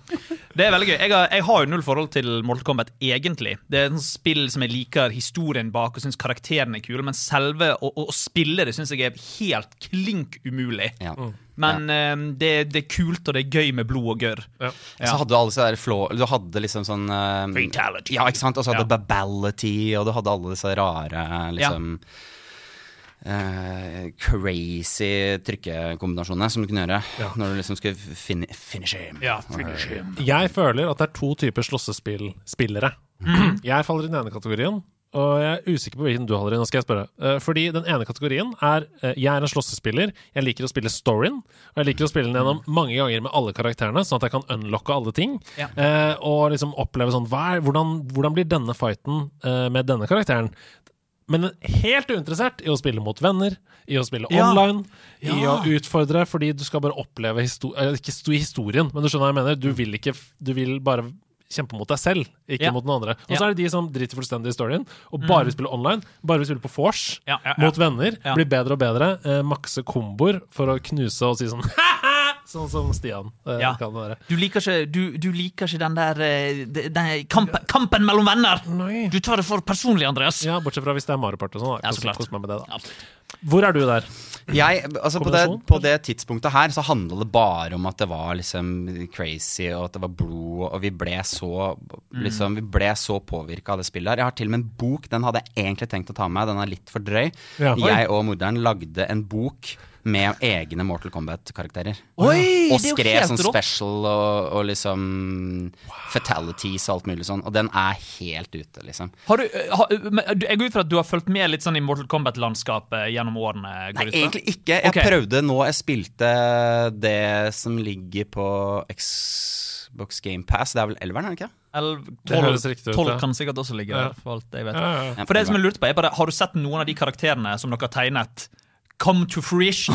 [SPEAKER 2] Det er veldig gøy. Jeg har, jeg har jo null forhold til Mortal Kombat, egentlig. Det er et sånt spill som jeg liker historien bak og syns karakterene er kule, men selve å, å, å spille det syns jeg er helt klink umulig.
[SPEAKER 4] Ja.
[SPEAKER 2] Men eh, det, det er kult, og det er gøy med blod og gørr.
[SPEAKER 3] Ja.
[SPEAKER 4] Så hadde du alle disse der flå... Du hadde liksom sånn eh,
[SPEAKER 2] Fatality.
[SPEAKER 4] Ja, ikke sant? Og så hadde du
[SPEAKER 2] Ja.
[SPEAKER 4] Babality, og du hadde alle disse rare liksom eh, crazy trykkekombinasjonene som du kunne gjøre når du liksom skulle fin finish him.
[SPEAKER 2] Ja, finish him. Mm.
[SPEAKER 3] Jeg føler at det er to typer slåssespillspillere. jeg faller i den ene kategorien, og jeg er usikker på hvilken du holder i. Nå skal jeg spørre. Eh, Fordi den ene kategorien er eh, Jeg er en slåssespiller. Jeg liker å spille storyen. Og jeg liker å spille den gjennom mange ganger med alle karakterene, sånn at jeg kan unlocke alle ting.
[SPEAKER 2] Ja.
[SPEAKER 3] Eh, Og liksom oppleve sånn hva er, hvordan, hvordan blir denne fighten eh, med denne karakteren? Men helt uinteressert i å spille mot venner, i å spille
[SPEAKER 2] Ja.
[SPEAKER 3] online, i å
[SPEAKER 2] Ja.
[SPEAKER 3] utfordre, fordi du skal bare oppleve histo eh, Ikke sto- historien, men du skjønner hva jeg mener. Du vil, ikke, f- du vil bare kjempe mot deg selv, ikke
[SPEAKER 2] Mm. Ja.
[SPEAKER 3] mot noen andre. Og så
[SPEAKER 2] Ja. Mm.
[SPEAKER 3] er det de som driter fullstendig i historien, og bare vil spille online, bare vil spille på vors,
[SPEAKER 2] Ja, ja, ja.
[SPEAKER 3] mot venner,
[SPEAKER 2] Ja.
[SPEAKER 3] bli bedre og bedre, eh, makse komboer for å knuse og si sånn «Haha!» Sånn som Stian eh,
[SPEAKER 2] Ja.
[SPEAKER 3] kan være.
[SPEAKER 2] Du liker ikke, du, du liker ikke den der eh, de- den kampen, kampen mellom venner!
[SPEAKER 3] Nei.
[SPEAKER 2] Du tar det for personlig, Andreas.
[SPEAKER 3] Ja, bortsett fra hvis det er Mario Party og sånn. da.
[SPEAKER 2] Ja, så klart.
[SPEAKER 3] Kos meg med det, da.
[SPEAKER 2] Absolutt.
[SPEAKER 3] Hvor er du der?
[SPEAKER 4] Jeg, altså på, det,
[SPEAKER 3] Kombinasjon,
[SPEAKER 4] på det tidspunktet her så handla det bare om at det var liksom crazy, og at det var blod, og vi ble så liksom, Vi ble så påvirka av det spillet her. Jeg har til og med en bok, den hadde jeg egentlig tenkt å ta med, den er litt for drøy.
[SPEAKER 3] Ja. Oi.
[SPEAKER 4] Jeg og morderen lagde en bok med egne Mortal Kombat-karakterer.
[SPEAKER 2] Oi,
[SPEAKER 4] Og
[SPEAKER 2] det er jo
[SPEAKER 4] skrev
[SPEAKER 2] helt
[SPEAKER 4] sånn
[SPEAKER 2] rått.
[SPEAKER 4] special og, og liksom fatalities og alt mulig sånn. Og den er helt ute, liksom.
[SPEAKER 2] Har du, eh, har, men du- jeg går ut fra at du har fulgt med litt sånn i Mortal Kombat-landskapet eh, gjennom årene? går
[SPEAKER 4] Nei,
[SPEAKER 2] jeg ut fra?
[SPEAKER 4] egentlig ikke. Jeg
[SPEAKER 2] Ok.
[SPEAKER 4] prøvde nå jeg spilte det som ligger på Xbox Game Pass. Det er vel elveren, er det ikke?
[SPEAKER 2] Elv-
[SPEAKER 3] Det
[SPEAKER 2] tolv-
[SPEAKER 3] høres riktig ut,
[SPEAKER 2] tolv
[SPEAKER 3] ja.
[SPEAKER 2] kan sikkert også ligge
[SPEAKER 3] Ja.
[SPEAKER 2] der. For alt jeg vet.
[SPEAKER 3] Ja, ja, ja.
[SPEAKER 4] Ja,
[SPEAKER 2] For det som jeg
[SPEAKER 4] elveren.
[SPEAKER 2] lurte på er bare, Har du sett noen av de karakterene som dere har tegnet, come to fruition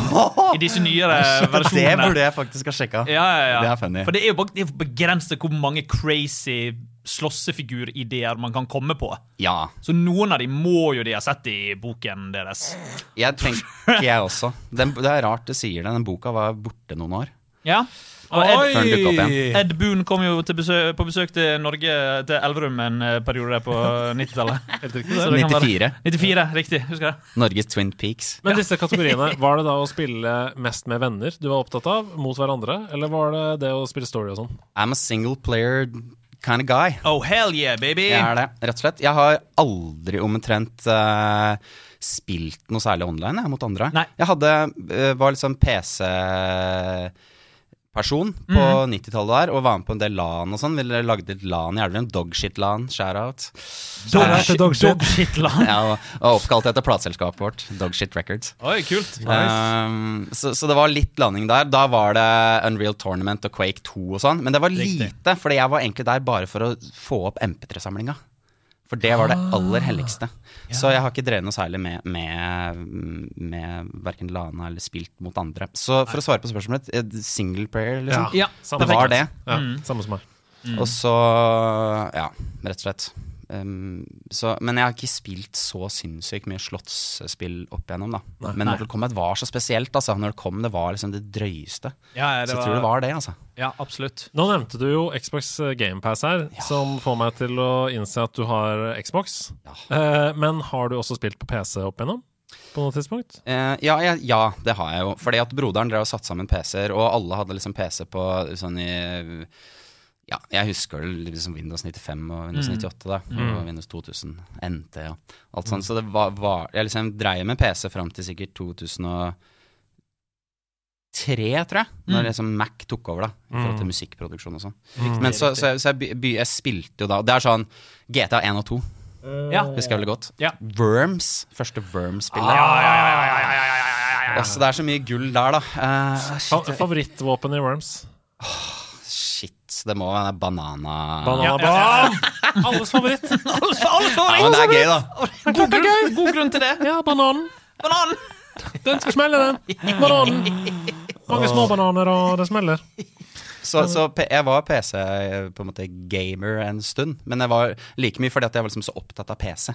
[SPEAKER 2] i disse nyere
[SPEAKER 4] Det
[SPEAKER 2] versjonene?
[SPEAKER 4] burde jeg faktisk ha sjekka.
[SPEAKER 2] Ja, ja, ja.
[SPEAKER 4] Det er funny.
[SPEAKER 2] For det er jo bare- det er jo begrenset hvor mange crazy slåssefigurideer man kan komme på.
[SPEAKER 4] Ja.
[SPEAKER 2] Så noen av de må jo de ha sett i boken deres.
[SPEAKER 4] Jeg tenker jeg også. Den, det er rart du sier det. Den boka var borte noen år.
[SPEAKER 2] Ja. Og Ed,
[SPEAKER 4] Før den dukket opp igjen.
[SPEAKER 2] Ed Boon kom jo til besøk, på besøk til Norge, til Elverum, en eh, periode der på 90-tallet.
[SPEAKER 3] Helt riktig, det.
[SPEAKER 2] Så det kan være-
[SPEAKER 4] 94.
[SPEAKER 2] 94, riktig. Husker jeg.
[SPEAKER 4] Norges Twin Peaks.
[SPEAKER 3] Men disse kategoriene, var det da å spille mest med venner du var opptatt av, mot hverandre, eller var det det å spille story og sånn?
[SPEAKER 4] I'm a single player kind of guy.
[SPEAKER 2] Oh, hell yeah, baby!
[SPEAKER 4] Jeg er det, rett og slett. Jeg har aldri omtrent eh, spilt noe særlig online jeg, mot andre.
[SPEAKER 2] Nei.
[SPEAKER 4] Jeg hadde, eh, var liksom PC-person på 90-tallet der, og var med på en del LAN og sånn. Vi lagde et LAN i Elverum. Dogshit-LAN, share-out.
[SPEAKER 3] Dog-
[SPEAKER 2] Dog-
[SPEAKER 3] dogshit.
[SPEAKER 2] Dogshitland.
[SPEAKER 4] Ja, og, og oppkalt etter plateselskapet vårt, Dogshit Records.
[SPEAKER 2] Oi, kult.
[SPEAKER 4] Um, så, så det var litt landing der. Da var det Unreal Tournament og Quake 2 og sånn. Men det var
[SPEAKER 2] Riktig.
[SPEAKER 4] lite, for jeg var egentlig der bare for å få opp MP3-samlinga. For det var det
[SPEAKER 2] Ah.
[SPEAKER 4] aller helligste. Så jeg har ikke drevet noe særlig med, med, med verken Lana eller spilt mot andre. Så for å svare på spørsmålet ditt, eh, single player, liksom.
[SPEAKER 2] Ja,
[SPEAKER 3] samme
[SPEAKER 4] det
[SPEAKER 2] perfekt.
[SPEAKER 4] var det.
[SPEAKER 3] Ja,
[SPEAKER 2] Mm.
[SPEAKER 3] Samme som meg.
[SPEAKER 4] Og så Ja, rett og slett. Um, så, men jeg har ikke spilt så sinnssykt mye slottsspill opp igjennom, da. men Mortal Kombat var så spesielt, altså. Når det kom, det var liksom det drøyeste.
[SPEAKER 2] Ja, ja,
[SPEAKER 4] så jeg tror det var det, altså.
[SPEAKER 2] Ja, absolutt.
[SPEAKER 3] Nå nevnte du jo Xbox GamePass her, som får meg til å innse at du har Xbox. Eh, men har du også spilt på PC opp igjennom? På noe tidspunkt?
[SPEAKER 4] Eh, ja, ja, ja, det har jeg jo. Fordi at broderen drev og satte sammen PC-er, og alle hadde liksom PC på sånn i Ja, jeg husker det liksom Windows 95 og Windows
[SPEAKER 2] Mm.
[SPEAKER 4] 98, da. Og Windows 2000, NT og alt sånt. Så det var, var Jeg liksom dreiv med PC fram til sikkert 2003, tror jeg.
[SPEAKER 2] Mm. Mm.
[SPEAKER 4] Når liksom Mac tok over, da. I forhold til musikkproduksjon og sånn.
[SPEAKER 3] Mm.
[SPEAKER 4] Men så, så, jeg, så jeg, by, by, jeg spilte jo da Det er sånn GTA 1 og 2,
[SPEAKER 2] Ja.
[SPEAKER 4] husker jeg veldig godt.
[SPEAKER 2] Ja. Ah,
[SPEAKER 4] Worms. Første Worms-spillet. Altså, det er så mye gull der, da. Eh,
[SPEAKER 3] Fa- Favorittvåpen i Worms?
[SPEAKER 4] shit, det må være den banana...
[SPEAKER 3] Banana
[SPEAKER 2] Ja, ja,
[SPEAKER 3] Bam! Alles favoritt.
[SPEAKER 2] Alle alle får
[SPEAKER 4] Ja, men det er gøy, da.
[SPEAKER 2] God grunn, god grunn til det.
[SPEAKER 3] Ja, bananen.
[SPEAKER 2] Banan!
[SPEAKER 3] Den skal smelle, den. Bananen. Mange små bananer, og det smeller.
[SPEAKER 4] Så, så P- jeg var PC, eh, på en måte gamer en stund. Men jeg var like mye fordi at jeg var liksom så opptatt av PC.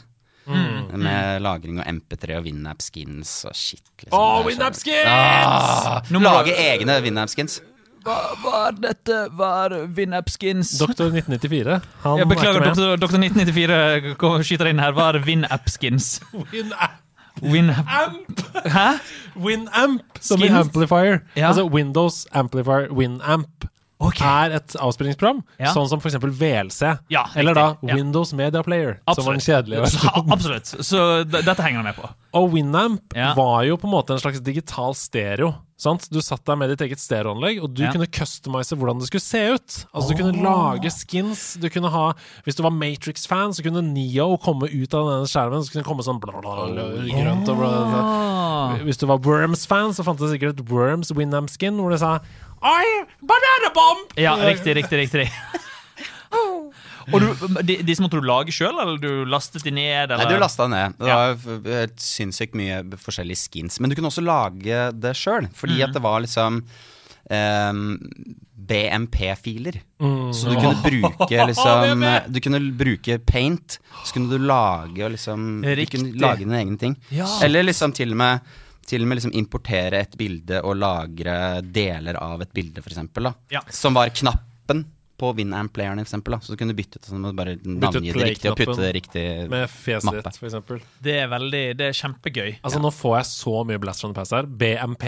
[SPEAKER 4] Med lagring og MP3 og Winamp-skins og shit.
[SPEAKER 3] Å,
[SPEAKER 4] Liksom. Det er så-
[SPEAKER 3] Winamp-skins!
[SPEAKER 4] Ah,
[SPEAKER 2] Nå må
[SPEAKER 4] lage
[SPEAKER 2] du-
[SPEAKER 4] egne Winamp-skins.
[SPEAKER 2] Hva var dette? Var Winapskins
[SPEAKER 3] Doktor 1994. Han
[SPEAKER 2] Jeg beklager,
[SPEAKER 3] er ikke med.
[SPEAKER 2] doktor, doktor 1994 kom- skyter inn her. Var Winapskins?
[SPEAKER 3] Winamp.
[SPEAKER 2] Winap... Hæ?
[SPEAKER 3] Winamp som i
[SPEAKER 2] Skins?
[SPEAKER 3] amplifier.
[SPEAKER 2] Ja.
[SPEAKER 3] Altså Windows Amplifier Winamp
[SPEAKER 2] Ok.
[SPEAKER 3] er et avspillingsprogram,
[SPEAKER 2] Ja.
[SPEAKER 3] sånn som f.eks. VLC.
[SPEAKER 2] Ja,
[SPEAKER 3] eller da
[SPEAKER 2] riktig. Ja.
[SPEAKER 3] Windows Media Player, som var den
[SPEAKER 2] Absolutt.
[SPEAKER 3] kjedelige versjonen.
[SPEAKER 2] Så- Absolutt. Så d- dette henger jeg med på.
[SPEAKER 3] Og Winamp
[SPEAKER 2] Ja.
[SPEAKER 3] var jo på en måte en slags digital stereo. Sant? Du satt der med ditt eget stereoanlegg, og du
[SPEAKER 5] Ja.
[SPEAKER 3] kunne customize hvordan det skulle se ut. Altså Du kunne lage skins. Du kunne ha, Hvis du var Matrix-fan, så kunne Neo komme ut av denne skjermen. Så kunne det komme sånn bla, bla, bla, grønt og bla, bla, bla. Hvis du var Worms-fan, så fantes det sikkert et Worms Winamp-skin hvor det sa Oi, bananabomb!
[SPEAKER 5] Ja, riktig, riktig, riktig. Og du, de, de som måtte du lage sjøl, eller du lastet de ned? Eller?
[SPEAKER 4] Nei, du lasta ned. Det
[SPEAKER 5] Ja.
[SPEAKER 4] var f- helt sinnssykt mye b- forskjellige skins. Men du kunne også lage det sjøl,
[SPEAKER 5] Mhm.
[SPEAKER 4] fordi at det var liksom ehm, BMP-filer.
[SPEAKER 5] Mm.
[SPEAKER 4] Så du kunne bruke liksom
[SPEAKER 5] BMP.
[SPEAKER 4] Du kunne bruke paint, så kunne du lage og liksom Du kunne
[SPEAKER 5] Riktig.
[SPEAKER 4] lage dine egne ting.
[SPEAKER 5] Ja.
[SPEAKER 4] Eller liksom til og med til og med liksom importere et bilde og lagre deler av et bilde, f.eks.
[SPEAKER 5] Ja.
[SPEAKER 4] Som var knappen på Winamp-playeren, f.eks. Så du kunne bytte ut sånn, med bare navngi det riktig og putte det riktig
[SPEAKER 3] Med fjeset
[SPEAKER 4] Mappe.
[SPEAKER 3] ditt, for eksempel.
[SPEAKER 5] Det er veldig, det er kjempegøy.
[SPEAKER 3] Altså, nå får jeg så mye Blaster on the Pass her. BMP.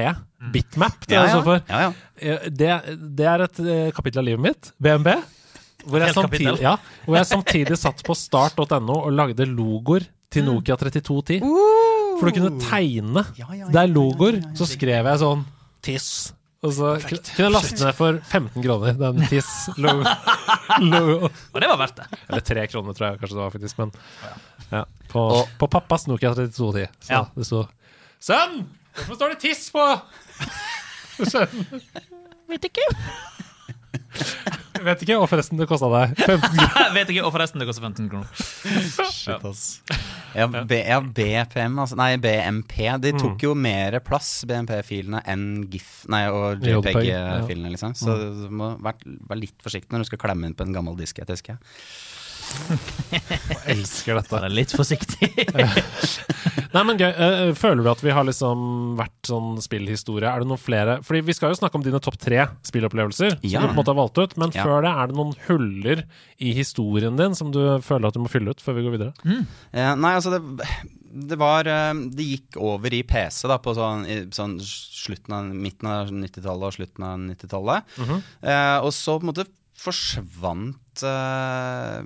[SPEAKER 3] Bitmap, det
[SPEAKER 4] Mm.
[SPEAKER 3] er
[SPEAKER 4] Ja,
[SPEAKER 3] jeg
[SPEAKER 4] ja.
[SPEAKER 3] så for.
[SPEAKER 4] Ja, ja.
[SPEAKER 3] Eh, Det, det er et eh, kapittel av livet mitt. BMP. Hvor jeg,
[SPEAKER 5] Helt kapittel.
[SPEAKER 3] samtidig, ja, hvor jeg samtidig satt på start.no og lagde logoer
[SPEAKER 5] Mm.
[SPEAKER 3] til Nokia 3210. For du kunne tegne. Det er logoer. Så skrev jeg sånn Tiss. Og så kunne jeg laste ned for 15 kroner den Tiss-logoen.
[SPEAKER 5] Og det var verdt det.
[SPEAKER 3] Eller tre kroner, tror jeg kanskje det var, faktisk. Men ja. På, på pappas Nokia 3210. Så
[SPEAKER 5] Ja.
[SPEAKER 3] det sto Sønn! Hvorfor står det tiss på Sønn. Vet ikke. Vet ikke, og forresten, det kosta deg 15 kroner.
[SPEAKER 5] Jeg vet ikke, Og forresten, det koster 15 kroner.
[SPEAKER 4] Shit, ass. Ja, B, ja BPM, altså. Nei, BMP. De tok jo mer plass, BMP-filene, enn GIF Nei, og
[SPEAKER 3] JPEG,
[SPEAKER 4] JPEG-filene, liksom. Så du må være, være litt forsiktig når du skal klemme inn på en gammel disk. Jeg husker jeg.
[SPEAKER 3] Jeg elsker dette.
[SPEAKER 5] Bare litt forsiktig.
[SPEAKER 3] Nei, men gøy. Eh, Føler du at vi har liksom vært sånn spillhistorie? Er det noen flere Fordi vi skal jo snakke om dine topp tre spillopplevelser, som
[SPEAKER 4] Ja.
[SPEAKER 3] du på en måte har valgt ut. Men
[SPEAKER 4] Ja.
[SPEAKER 3] før det, er det noen huller i historien din som du føler at du må fylle ut før vi går videre?
[SPEAKER 4] Eh, nei, altså det, det var eh, Det gikk over i PC da på sånn, i, sånn slutten av midten av 90-tallet og slutten av 90-tallet.
[SPEAKER 5] Mhm.
[SPEAKER 4] eh, og så på en måte forsvant eh,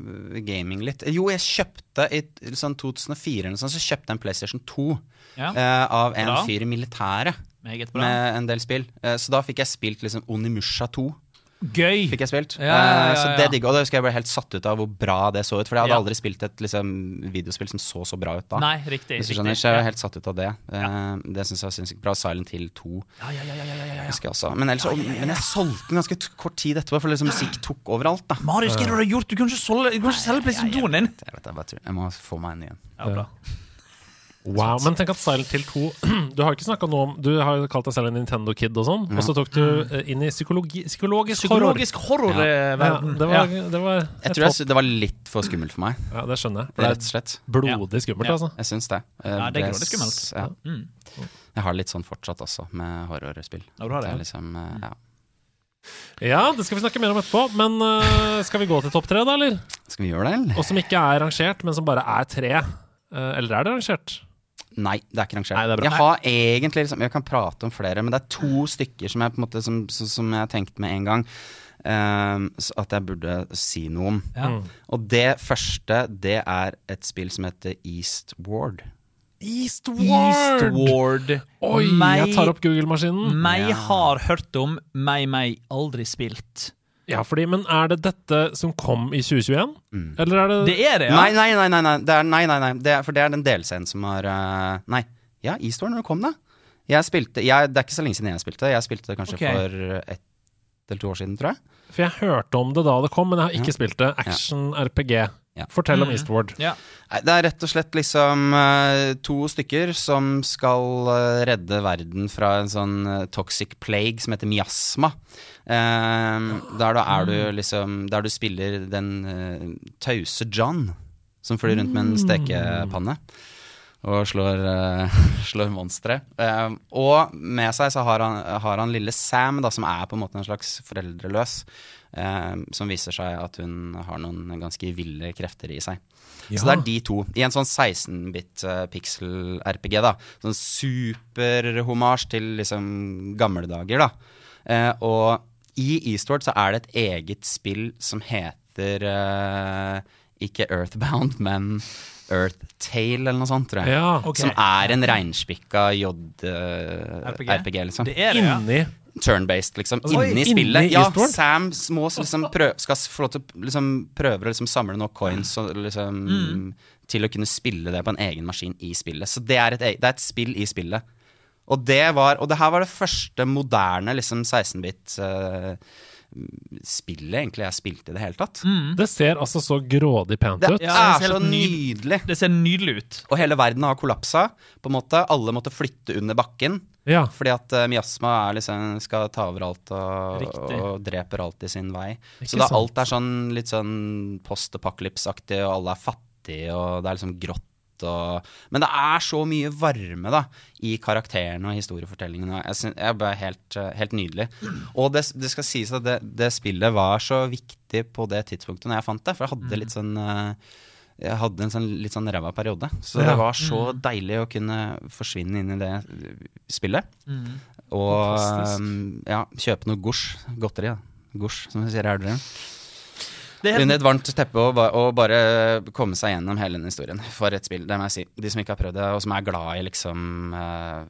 [SPEAKER 4] gaming litt. Jo, jeg kjøpte i t- sånn 2004 eller noe sånt, så kjøpte jeg en PlayStation 2
[SPEAKER 5] Ja.
[SPEAKER 4] eh, av en
[SPEAKER 5] Bra.
[SPEAKER 4] fyr i militæret
[SPEAKER 5] Meget bra.
[SPEAKER 4] med en del spill. Eh, så da fikk jeg spilt liksom Onimusha 2
[SPEAKER 5] Gøy.
[SPEAKER 4] fikk jeg spilt.
[SPEAKER 5] Ja, ja, ja,
[SPEAKER 4] Eh,
[SPEAKER 5] ja,
[SPEAKER 4] Så
[SPEAKER 5] ja.
[SPEAKER 4] det digger Og da husker jeg ble helt satt ut av hvor bra det så ut. For jeg hadde
[SPEAKER 5] Ja.
[SPEAKER 4] aldri spilt et liksom, videospill som så så bra ut da.
[SPEAKER 5] Nei, riktig.
[SPEAKER 4] Hvis du
[SPEAKER 5] riktig.
[SPEAKER 4] skjønner, så jeg var helt satt ut av det. Eh,
[SPEAKER 5] Ja.
[SPEAKER 4] Det syns jeg var sinnssykt bra. Silent Hill 2
[SPEAKER 5] Ja, ja, ja, ja, ja, ja, ja.
[SPEAKER 4] husker jeg også. Men, ellers, men jeg solgte den ganske t- kort tid etterpå, for liksom, musikk tok overalt. da
[SPEAKER 5] Marius, hva er det du har gjort? Du kan ikke solge- du kan ikke selge PlayStation 2-en din.
[SPEAKER 4] jeg, vet, jeg, bare tror- jeg må få meg en igjen.
[SPEAKER 5] Ja, bra.
[SPEAKER 3] Wow, men tenk at Silent Hill 2 Du har ikke snakket noe om Du har jo kalt deg selv en Nintendo Kid og sånn, og så tok du eh, inn i psykologi, psykologisk, horror.
[SPEAKER 5] Psykologisk horror.
[SPEAKER 4] Ja.
[SPEAKER 5] eh,
[SPEAKER 3] Ja,
[SPEAKER 5] verden.
[SPEAKER 3] det var, det var
[SPEAKER 4] Jeg
[SPEAKER 3] et
[SPEAKER 4] tror jeg,
[SPEAKER 3] hopp.
[SPEAKER 4] sy- Det var litt for skummelt for meg,
[SPEAKER 3] Ja, det skjønner jeg. For
[SPEAKER 4] rett og
[SPEAKER 3] det
[SPEAKER 4] slett.
[SPEAKER 3] er blodig skummelt,
[SPEAKER 5] Ja.
[SPEAKER 3] altså.
[SPEAKER 4] Jeg syns det. Eh,
[SPEAKER 5] Ja, det er grådig
[SPEAKER 4] s-
[SPEAKER 5] skummelt.
[SPEAKER 4] Ja.
[SPEAKER 5] Mm.
[SPEAKER 4] Jeg har det litt sånn fortsatt også, med horrorspill.
[SPEAKER 5] Ja, du har det,
[SPEAKER 4] er
[SPEAKER 5] ja.
[SPEAKER 4] liksom, eh, ja.
[SPEAKER 3] Ja, det skal vi snakke mer om etterpå, men eh, skal vi gå til topp tre, da, eller?
[SPEAKER 4] Skal vi gjøre det, eller?
[SPEAKER 3] Og som ikke er rangert, men som bare er tre. Eh, eller er det rangert?
[SPEAKER 4] Nei, det er ikke rangert.
[SPEAKER 3] Nei, det er bra.
[SPEAKER 4] jeg har egentlig liksom, Jeg kan prate om flere, men det er to stykker som jeg på en måte Som, som, som jeg tenkte med en gang ehm, s- at jeg burde si noe om.
[SPEAKER 5] Ja.
[SPEAKER 4] Og det første, det er et spill som heter Eastward.
[SPEAKER 3] Eastward!
[SPEAKER 5] Eastward.
[SPEAKER 3] Oi, jeg tar opp Google-maskinen.
[SPEAKER 5] Meg
[SPEAKER 4] Ja.
[SPEAKER 5] har hørt om, meg, meg aldri spilt.
[SPEAKER 3] Ja, fordi, men er det dette som kom i 2021? Eller er Mm. det,
[SPEAKER 5] Det er det, ja?
[SPEAKER 4] Nei, nei, nei, nei, nei, det er, nei, nei, nei. Det er, for det er den delscenen som har eh, Nei, ja, Eastward, når det kom, da. Jeg spilte, jeg, det er ikke så lenge siden jeg spilte. Jeg spilte det kanskje
[SPEAKER 5] Ok.
[SPEAKER 4] for ett eller to år siden, tror jeg.
[SPEAKER 3] For jeg hørte om det da det kom, men jeg har ikke spilt det. Action-RPG.
[SPEAKER 4] Ja.
[SPEAKER 3] Fortell om Eastward.
[SPEAKER 5] Ja.
[SPEAKER 4] Nei, Det er rett og slett liksom eh, to stykker som skal eh, redde verden fra en sånn eh, toxic plague som heter miasma. Eh, der da er du liksom Der du spiller den eh, tause John som flyr rundt med en stekepanne. Og slår, uh, slår monstre. Eh, og med seg så har han, har han lille Sam, da, som er på en måte en slags foreldreløs. eh, som viser seg at hun har noen ganske ville krefter i seg. Så det er de to. I en sånn 16-bit eh, pixel-RPG, da. Sånn superhomasj til liksom gamle dager, da. Eh, og i Eastward så er det et eget spill som heter eh, ikke Earthbound, men Earth Tale eller noe sånt, tror jeg.
[SPEAKER 3] Ja.
[SPEAKER 5] Ok.
[SPEAKER 4] Som er en reinspikka JRPG, RPG, liksom.
[SPEAKER 5] Det er det, ja.
[SPEAKER 3] Inni.
[SPEAKER 4] Turn-based, liksom.
[SPEAKER 3] Altså,
[SPEAKER 4] inni
[SPEAKER 3] inni
[SPEAKER 4] spillet. ja,
[SPEAKER 3] Eastward?
[SPEAKER 4] Sam må s- liksom prøv, skal s- få lov til å liksom, prøve å liksom, samle nok coins og, liksom,
[SPEAKER 5] Mm.
[SPEAKER 4] til å kunne spille det på en egen maskin i spillet. Så det er et, e- det er et spill i spillet. Og det var Og det her var det første moderne liksom, 16-bit eh, spillet egentlig jeg spilte i det hele tatt.
[SPEAKER 3] Det ser altså så grådig pent
[SPEAKER 4] Det
[SPEAKER 3] ut.
[SPEAKER 5] Mm. Ja, det
[SPEAKER 4] er
[SPEAKER 5] ser
[SPEAKER 4] så
[SPEAKER 5] helt ny-
[SPEAKER 4] nydelig.
[SPEAKER 5] Det ser nydelig ut.
[SPEAKER 4] Og hele verden har kollapsa. På en måte. Alle måtte flytte under bakken.
[SPEAKER 3] Ja.
[SPEAKER 4] Fordi at eh, miasma er liksom, skal ta over alt og,
[SPEAKER 5] Riktig.
[SPEAKER 4] og dreper alt i sin vei.
[SPEAKER 3] Ikke
[SPEAKER 4] Så da
[SPEAKER 3] sant.
[SPEAKER 4] alt er sånn litt sånn post-apocalypse-aktig, og alle er fattige, og det er liksom grått. Og, men det er så mye varme da i karakterene og historiefortellingen. og Jeg synes, jeg ble helt, eh, helt nydelig. Og det, det skal sies at det, det spillet var så viktig på det tidspunktet når jeg fant det. For jeg
[SPEAKER 3] Mm.
[SPEAKER 4] hadde litt sånn eh, jeg hadde en sånn, litt sånn ræva periode. Så
[SPEAKER 3] Ja. Mm.
[SPEAKER 4] det var så deilig å kunne forsvinne inn i det spillet.
[SPEAKER 5] Mm.
[SPEAKER 4] Og um, ja, kjøpe noe gosj. Godteri, da. Gosj, som vi sier i Elverum.
[SPEAKER 5] Det er helt
[SPEAKER 4] Under et varmt teppe og, ba- og bare komme seg gjennom hele den historien. For et spill, det må jeg si. De som ikke har prøvd det, og som er glad i liksom eh,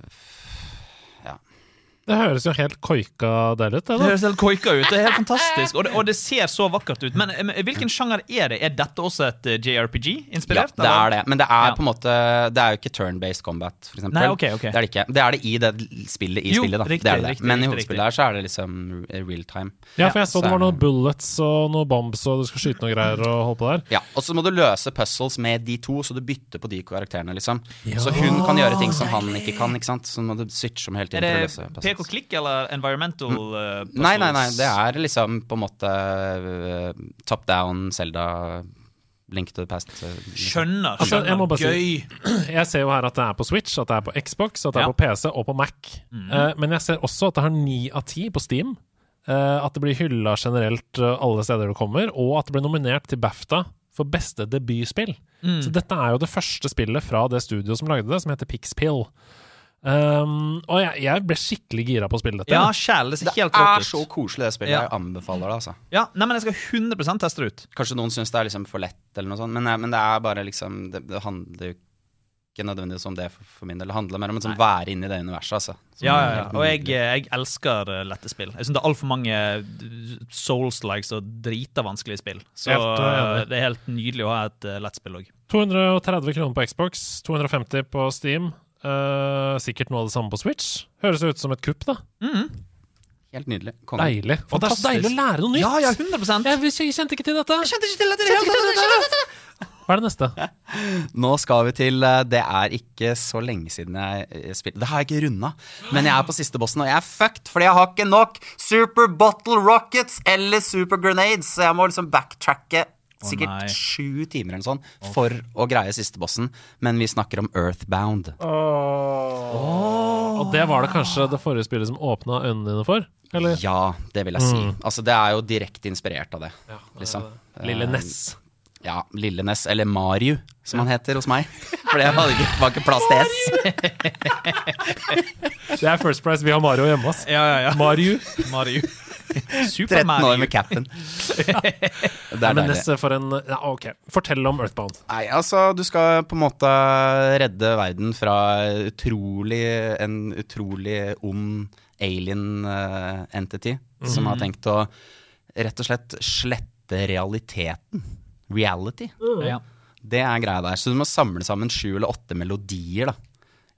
[SPEAKER 3] Det høres jo helt koika deilig ut,
[SPEAKER 5] Det
[SPEAKER 3] det da.
[SPEAKER 5] høres helt koika ut. Det er helt fantastisk. Og det, og det ser så vakkert ut. Men eh, hvilken sjanger er det? Er dette også et eh,
[SPEAKER 4] Ja,
[SPEAKER 5] JRPG-inspirert?
[SPEAKER 4] det er det. Men det er
[SPEAKER 5] Ja.
[SPEAKER 4] på en måte Det er jo ikke turn-based combat, for eksempel.
[SPEAKER 5] Nei, ok, ok.
[SPEAKER 4] Det er det ikke. Det er det i det spillet i
[SPEAKER 5] Jo,
[SPEAKER 4] spillet, da.
[SPEAKER 5] riktig,
[SPEAKER 4] det er det.
[SPEAKER 5] riktig,
[SPEAKER 4] Men
[SPEAKER 5] riktig,
[SPEAKER 4] i hovedspillet her så er det liksom real time.
[SPEAKER 3] Ja, for jeg så
[SPEAKER 4] så
[SPEAKER 3] det var
[SPEAKER 4] er
[SPEAKER 3] noen
[SPEAKER 4] det-
[SPEAKER 3] bullets og noe bombs, og du skal skyte noe greier og holde på der.
[SPEAKER 4] Ja, Og så må du løse puzzles med de to, så du bytter på de karakterene. liksom Så hun kan gjøre ting som han ikke kan, ikke sant? så må du switche om hele
[SPEAKER 5] Er det
[SPEAKER 4] tiden. til å løse puzzles.
[SPEAKER 5] pek og klikk eller environmental eh, puzzles?
[SPEAKER 4] eh, Mm. Nei, nei, nei, det er liksom på en måte øh, top down Selda Link to the past. øh, liksom.
[SPEAKER 5] Skjønner, skjønner.
[SPEAKER 3] Altså, jeg må bare si-
[SPEAKER 5] Gøy.
[SPEAKER 3] Jeg ser jo her at det er på Switch, at det er på Xbox, at det
[SPEAKER 5] Ja.
[SPEAKER 3] er
[SPEAKER 5] Mm.
[SPEAKER 3] på PC og på Mac. Eh, men jeg ser også at det har ni av ti på Steam. eh, at det blir hylla generelt eh, alle steder du kommer, og at det blir nominert til BAFTA for beste debutspill.
[SPEAKER 5] Mm.
[SPEAKER 3] Så dette er jo det første spillet fra det studioet som lagde det, som heter Pixpill. Um, og jeg, jeg ble skikkelig gira på å spille dette.
[SPEAKER 5] Ja, sjæl. Det ser
[SPEAKER 4] Det
[SPEAKER 5] helt
[SPEAKER 4] er
[SPEAKER 5] rått
[SPEAKER 4] så
[SPEAKER 5] ut.
[SPEAKER 4] koselig, det spillet.
[SPEAKER 5] Ja.
[SPEAKER 4] Jeg anbefaler det. altså
[SPEAKER 5] Ja, nei, men jeg skal 100 teste det ut.
[SPEAKER 4] Kanskje noen syns det er liksom for lett, eller noe sånt, men, eh, men det er bare liksom Det, det handler jo ikke nødvendigvis om det for, for min del. Det handler mer om å sånn, være inne i det universet, altså. Som
[SPEAKER 5] Ja,
[SPEAKER 4] er
[SPEAKER 5] ja, ja.
[SPEAKER 4] helt
[SPEAKER 5] Og jeg,
[SPEAKER 4] nydelig.
[SPEAKER 5] jeg elsker eh, lette spill. Jeg syns det er altfor mange eh, souls-likes og drita vanskelige spill. Så
[SPEAKER 3] Helt, eh,
[SPEAKER 5] eh, det er helt nydelig å ha et eh, lett spill òg.
[SPEAKER 3] 230 kroner på Xbox, 250 på Steam. eh, sikkert noe av det samme på Switch. Høres ut som et kupp, da.
[SPEAKER 4] Helt nydelig. Konge.
[SPEAKER 3] Deilig. Og det er
[SPEAKER 5] Fantastisk.
[SPEAKER 3] så deilig å lære noe nytt!
[SPEAKER 5] Ja, ja, 100
[SPEAKER 3] Jeg vis- jeg kjente ikke til dette.
[SPEAKER 5] kjente ikke til at det hele tatt!
[SPEAKER 3] Hva er det neste?
[SPEAKER 4] Nå skal vi til eh, Det er ikke så lenge siden jeg eh, spilte Det har jeg ikke runda, men jeg er på siste bossen, og jeg er fucked fordi jeg har ikke nok Super Bottle Rockets eller Super Grenades, så jeg må liksom backtracke
[SPEAKER 5] nei.
[SPEAKER 4] sikkert sju timer eller sånn for å greie siste bossen, men vi snakker om Earthbound.
[SPEAKER 3] Og det var det kanskje det forrige spillet som åpna øynene dine for? Eller?
[SPEAKER 4] Ja, det vil jeg si.
[SPEAKER 3] Mm.
[SPEAKER 4] Altså, det er jo direkte inspirert av det, liksom.
[SPEAKER 3] Lille
[SPEAKER 4] Eh,
[SPEAKER 3] Ness.
[SPEAKER 4] Ja, Lillenes, eller Mariu, som han heter hos meg. For det var ikke, var ikke plass til S.
[SPEAKER 3] Det er First Price. Vi har Mario hjemme, ass.
[SPEAKER 5] Ja, ja, ja.
[SPEAKER 3] Mario.
[SPEAKER 5] Mario.
[SPEAKER 4] 13 år
[SPEAKER 5] Super-Mario.
[SPEAKER 4] med capen. Det er
[SPEAKER 3] Men
[SPEAKER 4] deilig.
[SPEAKER 3] Ness for en ja, OK. Fortell om Earthbound.
[SPEAKER 4] Nei, altså du skal på en måte redde verden fra utrolig, en utrolig ond alien eh, entity som har tenkt å rett og slett slette realiteten. Reality.
[SPEAKER 5] Ja.
[SPEAKER 4] Det er greia der. Så du må samle sammen sju eller åtte melodier da,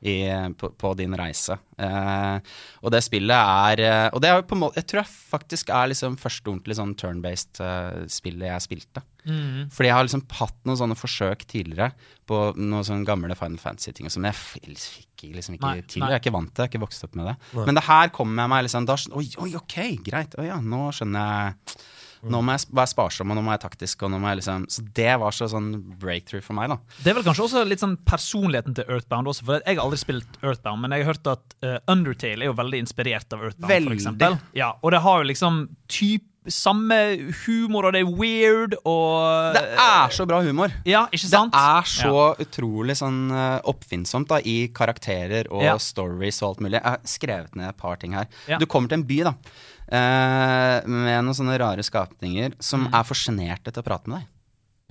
[SPEAKER 4] i, på, på din reise. Eh, og det spillet er eh, Og det er jo på en måte Jeg tror jeg faktisk er liksom første ordentlig sånn turn-based eh, spillet jeg spilte.
[SPEAKER 5] Mm.
[SPEAKER 4] Fordi jeg har liksom hatt noen sånne forsøk tidligere på noen sånne gamle Final Fantasy-ting. og sånn, Men jeg f- jeg fikk liksom ikke
[SPEAKER 5] Nei,
[SPEAKER 4] til.
[SPEAKER 5] nei.
[SPEAKER 4] Jeg er ikke vant til det. Jeg er ikke vokst opp med det. Men det her kom jeg meg liksom da, skjøn- Oi, oi, ok, greit. Å ja, nå skjønner jeg
[SPEAKER 5] Mm.
[SPEAKER 4] nå må jeg sp- være sparsom, og nå må jeg taktisk. Og nå må jeg liksom Så det var så sånn breakthrough for meg, da.
[SPEAKER 5] Det er vel kanskje også litt sånn personligheten til Earthbound også, for jeg har aldri spilt Earthbound, men jeg har hørt at eh, Undertale er jo veldig inspirert av Earthbound, for
[SPEAKER 4] Veldig.
[SPEAKER 5] eksempel. Ja, og det har jo liksom typ samme humor, og det er weird, og
[SPEAKER 4] Det er så bra humor.
[SPEAKER 5] Ja, ikke
[SPEAKER 4] Det
[SPEAKER 5] sant?
[SPEAKER 4] er så utrolig sånn eh, oppfinnsomt da i karakterer og
[SPEAKER 5] Ja.
[SPEAKER 4] stories og alt mulig. Jeg har skrevet ned et par ting her.
[SPEAKER 5] Ja.
[SPEAKER 4] Du kommer til en by da
[SPEAKER 5] Mm.
[SPEAKER 4] eh, med noen sånne rare skapninger som er for sjenerte til å prate med deg.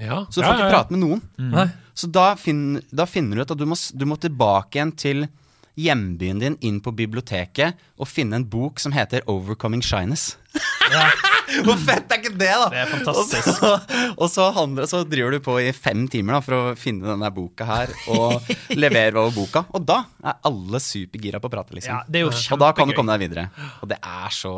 [SPEAKER 3] Ja.
[SPEAKER 4] Så du får
[SPEAKER 3] ja,
[SPEAKER 4] ikke prate med noen.
[SPEAKER 5] Mm.
[SPEAKER 3] Nei.
[SPEAKER 4] Så da, finn, da finner du ut at du må, s- du må tilbake igjen til hjembyen din, inn på biblioteket, og finne en bok som heter 'Overcoming Shyness'. Hvor fett er ikke det, da?
[SPEAKER 2] Det er fantastisk.
[SPEAKER 4] Og så, og så, handler, så driver du på i fem timer da, for å finne denne boka her, og leverer over boka. Og da er alle supergira på å prate, liksom.
[SPEAKER 2] Ja, det er jo
[SPEAKER 4] Og da kan du
[SPEAKER 2] kjempegøy.
[SPEAKER 4] komme deg videre. Og det er så,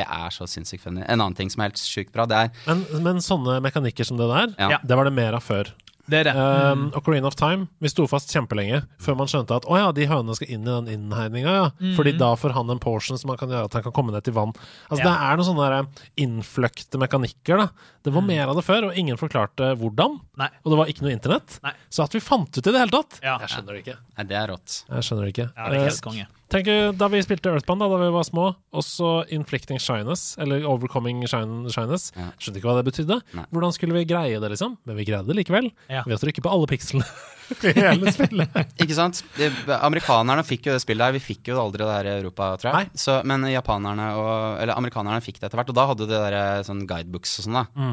[SPEAKER 4] det er så sinnssykt funny. En annen ting som er helt sjukt bra, det er
[SPEAKER 3] Men, men sånne mekanikker som det der,
[SPEAKER 4] Ja.
[SPEAKER 2] Ja.
[SPEAKER 3] det var det mer av før.
[SPEAKER 2] Det er det.
[SPEAKER 3] Um, Ocarina of Time, vi sto fast kjempelenge før man skjønte at å ja, de hønene skal inn i den innhegninga, ja.
[SPEAKER 2] Mm.
[SPEAKER 3] Fordi da får han en portion som han kan gjøre at han kan komme ned til vann. Altså
[SPEAKER 2] Ja.
[SPEAKER 3] Det er noen sånne der, eh, innfløkte mekanikker, da. Det
[SPEAKER 2] Mm.
[SPEAKER 3] var mer av det før, og ingen forklarte hvordan.
[SPEAKER 2] Nei.
[SPEAKER 3] Og det var ikke noe internett.
[SPEAKER 2] Nei.
[SPEAKER 3] Så at vi fant ut i det hele tatt
[SPEAKER 2] Ja.
[SPEAKER 3] Jeg skjønner det ikke.
[SPEAKER 4] Nei, det er rått.
[SPEAKER 3] Jeg skjønner det ikke.
[SPEAKER 2] Ja, det er
[SPEAKER 3] Eh,
[SPEAKER 2] helt konge.
[SPEAKER 3] Tenk eh, da vi spilte Earthband da, da vi var små, også Inflicting Shyness, eller Overcoming shyn Shyness.
[SPEAKER 4] Ja.
[SPEAKER 3] Skjønte ikke hva det betydde.
[SPEAKER 4] Nei.
[SPEAKER 3] Hvordan skulle vi greie det, liksom? Men vi greide det likevel.
[SPEAKER 2] Ja.
[SPEAKER 3] Ved å trykke på alle pikslene i hele spillet.
[SPEAKER 4] Ikke sant? De, amerikanerne fikk jo det spillet her. Vi fikk jo aldri det her i Europa, tror jeg.
[SPEAKER 3] Nei.
[SPEAKER 4] Så, men japanerne og, eller amerikanerne fikk det etter hvert. Og da hadde de der eh, sånn guidebooks og sånn, da.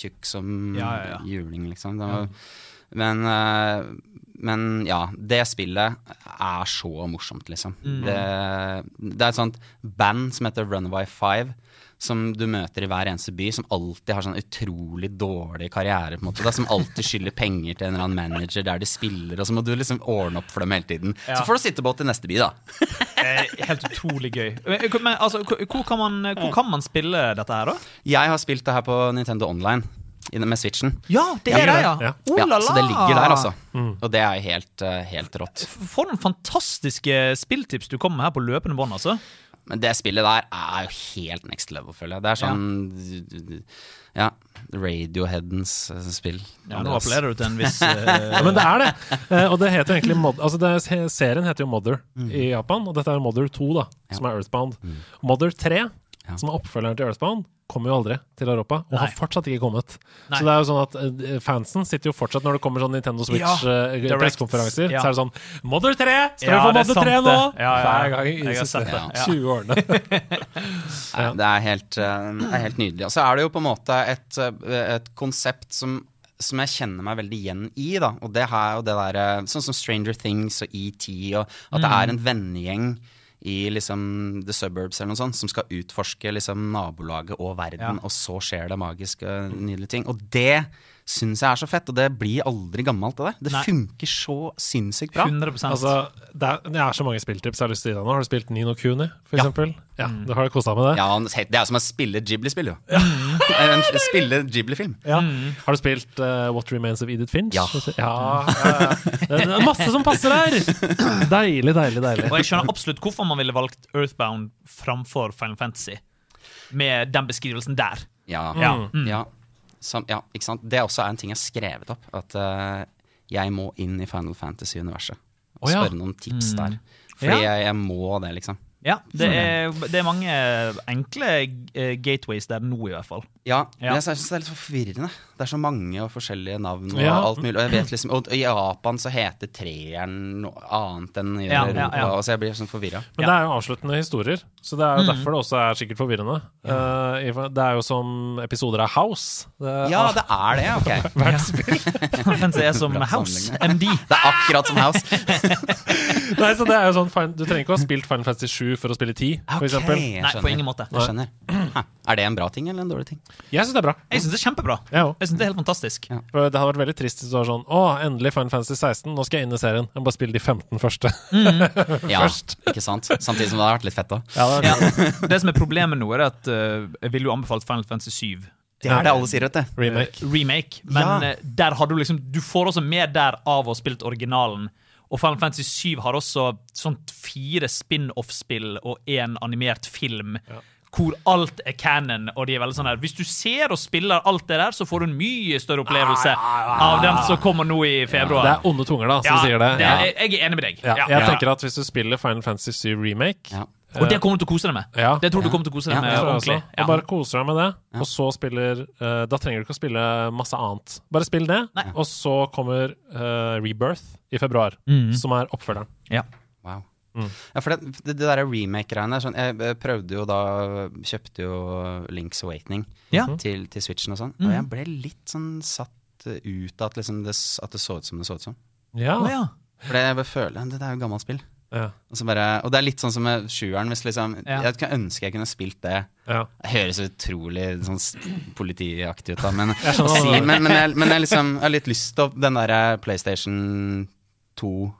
[SPEAKER 4] Tjukk som
[SPEAKER 2] Mm. Ja, ja, ja.
[SPEAKER 4] juling, liksom. Det var, men, eh, men ja, det spillet er så morsomt, liksom.
[SPEAKER 2] Mm.
[SPEAKER 4] Det, det er et sånt band som heter Runaway Five. Som du møter i hver eneste by, som alltid har sånn utrolig dårlig karriere. på en måte, da, Som alltid skylder penger til en eller annen manager der de spiller, og så må du liksom ordne opp for dem hele tiden.
[SPEAKER 2] Ja.
[SPEAKER 4] Så får du sittebåt til neste by, da.
[SPEAKER 2] Eh, Helt utrolig gøy. Men, men altså, hvor- hvor kan, man,
[SPEAKER 4] Mm.
[SPEAKER 2] hvor kan man spille dette her, da?
[SPEAKER 4] Jeg har spilt det her på Nintendo Online i den- med Switchen.
[SPEAKER 2] Ja, det er
[SPEAKER 3] Ja.
[SPEAKER 2] det, ja!
[SPEAKER 3] Ja.
[SPEAKER 2] Oh la la!
[SPEAKER 4] så det ligger der, altså. Og det er jo helt, eh, helt rått.
[SPEAKER 2] For noen fantastiske spilltips du kommer med her på løpende bånd, altså.
[SPEAKER 4] Men det spillet der er jo helt next level, føler jeg. Det er sånn Ja, Radioheadens eh, spill.
[SPEAKER 2] Ja, nå appellerer du til en viss
[SPEAKER 3] Ja,
[SPEAKER 2] eh,
[SPEAKER 3] men det er det. Eh, Og det heter jo egentlig Mod altså det, er- serien heter jo Mother i Japan, og dette er Mother 2, da, som er Earthbound. Mother 3,
[SPEAKER 4] Ja.
[SPEAKER 3] som er oppfølgeren til Earthbound, kommer jo aldri til Europa, og har
[SPEAKER 2] Nei.
[SPEAKER 3] fortsatt ikke kommet.
[SPEAKER 2] Nei.
[SPEAKER 3] Så det er jo sånn at eh, fansen sitter jo fortsatt når det kommer sånn Nintendo
[SPEAKER 2] Ja, Direct.
[SPEAKER 3] Switch-pressekonferanser,
[SPEAKER 2] Ja.
[SPEAKER 3] så er det sånn Mother 3!
[SPEAKER 2] Ja,
[SPEAKER 3] Skal vi få
[SPEAKER 2] det er
[SPEAKER 3] Mother 3
[SPEAKER 2] sant
[SPEAKER 3] nå?
[SPEAKER 2] det. Ja, ja, ja.
[SPEAKER 3] Hver gang i
[SPEAKER 2] Jeg
[SPEAKER 3] de
[SPEAKER 2] har
[SPEAKER 3] siste
[SPEAKER 2] sett det, ja.
[SPEAKER 3] 20 årene.
[SPEAKER 4] Nei, det er helt, eh, det er helt nydelig. Og så er det jo på en måte et, eh, et konsept som som jeg kjenner meg veldig igjen i. da Og det her og det der, eh, Sånn som Stranger Things og ET. Og at det er en vennegjeng i liksom The Suburbs eller noe sånt som skal utforske liksom nabolaget og verden, og så skjer det magiske, nydelige ting. Og det syns jeg er så fett, og det blir aldri gammelt. Det der Det
[SPEAKER 2] Nei.
[SPEAKER 4] funker så sinnssykt bra.
[SPEAKER 2] 100
[SPEAKER 3] Altså, det er, det er så mange spilltips jeg har lyst til å gi deg nå. Har du spilt Nino Kuni, for eksempel? Ja, du har kosa deg med det?
[SPEAKER 4] Ja, Det er jo som å spille Ghibli-spill, jo. En- Spille Ghibli-film.
[SPEAKER 3] Ja. Mm. Har du spilt eh, What Remains of Edith Finch?
[SPEAKER 4] Ja.
[SPEAKER 3] ja, ja, ja. Det er masse som passer der! Deilig, deilig, deilig.
[SPEAKER 2] Og jeg skjønner absolutt hvorfor man ville valgt Earthbound framfor Final Fantasy. Med den beskrivelsen der.
[SPEAKER 4] Ja.
[SPEAKER 2] Ja.
[SPEAKER 4] Ja. Sam, ja, ikke sant? Det er også en ting jeg har skrevet opp. At eh, jeg må inn i Final Fantasy-universet. Og
[SPEAKER 3] Å, ja.
[SPEAKER 4] spørre noen tips der. Fordi
[SPEAKER 2] Ja.
[SPEAKER 4] jeg, jeg må det, liksom.
[SPEAKER 2] Ja, det er, det er mange enkle eh, gateways der nå, i hvert fall.
[SPEAKER 4] Ja,
[SPEAKER 2] Ja.
[SPEAKER 4] men jeg synes det er litt forvirrende. Det er så mange og forskjellige navn og
[SPEAKER 3] Ja.
[SPEAKER 4] alt mulig. Og jeg vet liksom, og i Japan så heter treeren noe annet enn i
[SPEAKER 2] Ja, ja,
[SPEAKER 4] Europa.
[SPEAKER 2] ja.
[SPEAKER 4] Og så jeg blir sånn forvirra.
[SPEAKER 3] Men det er jo avsluttende historier, så det er jo derfor det også er sikkert forvirrende. Eh, i- det er jo som episoder av House. Det er
[SPEAKER 4] Ja, det er det, ok.
[SPEAKER 3] hvert spill.
[SPEAKER 2] Final Fantasy er som
[SPEAKER 4] Bra
[SPEAKER 2] House
[SPEAKER 4] sammenligning.
[SPEAKER 2] MD.
[SPEAKER 4] Det er akkurat som House.
[SPEAKER 3] Nei, så det er jo sånn, fin- Du trenger ikke å ha spilt Final Fantasy 7 for å spille 10, for
[SPEAKER 4] Ok,
[SPEAKER 3] eksempel.
[SPEAKER 4] jeg
[SPEAKER 2] Nei, på
[SPEAKER 4] skjønner.
[SPEAKER 2] ingen måte.
[SPEAKER 4] Jeg skjønner. Hæ, Er det en bra ting eller en dårlig ting?
[SPEAKER 3] Jeg syns det er bra.
[SPEAKER 2] Jeg syns det er kjempebra.
[SPEAKER 3] Jeg òg.
[SPEAKER 2] Jeg synes det er helt fantastisk.
[SPEAKER 4] Ja.
[SPEAKER 3] For Det hadde vært veldig trist hvis du var sånn Å, endelig Final Fantasy 16, nå skal jeg inn i serien. Jeg må bare spille de 15 første.
[SPEAKER 4] Ja, ikke sant? Samtidig som det har vært litt fett òg.
[SPEAKER 3] Ja, det
[SPEAKER 2] Ja. Det som er problemet nå, er at eh, jeg ville jo anbefalt Final Fantasy 7.
[SPEAKER 4] Det er det alle sier, vet du.
[SPEAKER 3] Remake.
[SPEAKER 2] remake, men
[SPEAKER 4] Ja.
[SPEAKER 2] eh, der har du liksom Du får også med der av å ha spilt originalen. Og Final Fantasy 7 har også sånt fire spin-off-spill og én animert film. Hvor alt er canon, og de er veldig sånn her Hvis du ser og spiller alt det der, så får du en mye større
[SPEAKER 3] Ah,
[SPEAKER 2] opplevelse av den som kommer nå i februar.
[SPEAKER 3] Det er onde tunger, da, som
[SPEAKER 2] Ja,
[SPEAKER 3] sier det.
[SPEAKER 2] det
[SPEAKER 3] Ja.
[SPEAKER 2] er- jeg- jeg er enig med deg.
[SPEAKER 3] Ja,
[SPEAKER 2] Ja.
[SPEAKER 3] jeg
[SPEAKER 2] Ja.
[SPEAKER 3] tenker at hvis du spiller Final Fantasy 7 Remake
[SPEAKER 4] Ja.
[SPEAKER 2] Og det kommer du til å kose deg med.
[SPEAKER 3] Ja.
[SPEAKER 2] Det tror du kommer til å kose deg
[SPEAKER 4] Ja,
[SPEAKER 2] med
[SPEAKER 4] det
[SPEAKER 3] tror jeg også,
[SPEAKER 2] ordentlig. Ja.
[SPEAKER 3] Og sånn, bare koser deg med det, og så spiller eh, Da trenger du ikke å spille masse annet. Bare spill det,
[SPEAKER 2] Nei. Mm.
[SPEAKER 3] og så kommer eh, Rebirth i februar, som er oppfølgeren.
[SPEAKER 2] Ja.
[SPEAKER 4] Wow.
[SPEAKER 5] Mm.
[SPEAKER 4] Ja, for det, det, det der remake-greiene sånn, Jeg eh, prøvde jo da Kjøpte jo Link's Awakening
[SPEAKER 5] Ja. Mm.
[SPEAKER 4] til, til Switchen og sånn. Og jeg ble litt sånn satt eh, ut av at, liksom det, s- at det så ut som det så ut som.
[SPEAKER 3] Ja.
[SPEAKER 5] Å ja.
[SPEAKER 4] For det- jeg bare føler Det, det er jo gammelt spill.
[SPEAKER 3] Ja.
[SPEAKER 4] Og, så bare, og det er litt sånn som med sjueren. Hvis liksom,
[SPEAKER 5] Ja.
[SPEAKER 4] Jeg kunne ønske jeg kunne spilt det.
[SPEAKER 3] ja.
[SPEAKER 4] Det høres utrolig sånn s- politiaktig ut, da, men,
[SPEAKER 3] skjønner hva
[SPEAKER 4] å
[SPEAKER 3] du
[SPEAKER 4] si,
[SPEAKER 3] mener.
[SPEAKER 4] men, men, jeg, men jeg, liksom, jeg har litt lyst til å- den der eh, PlayStation 2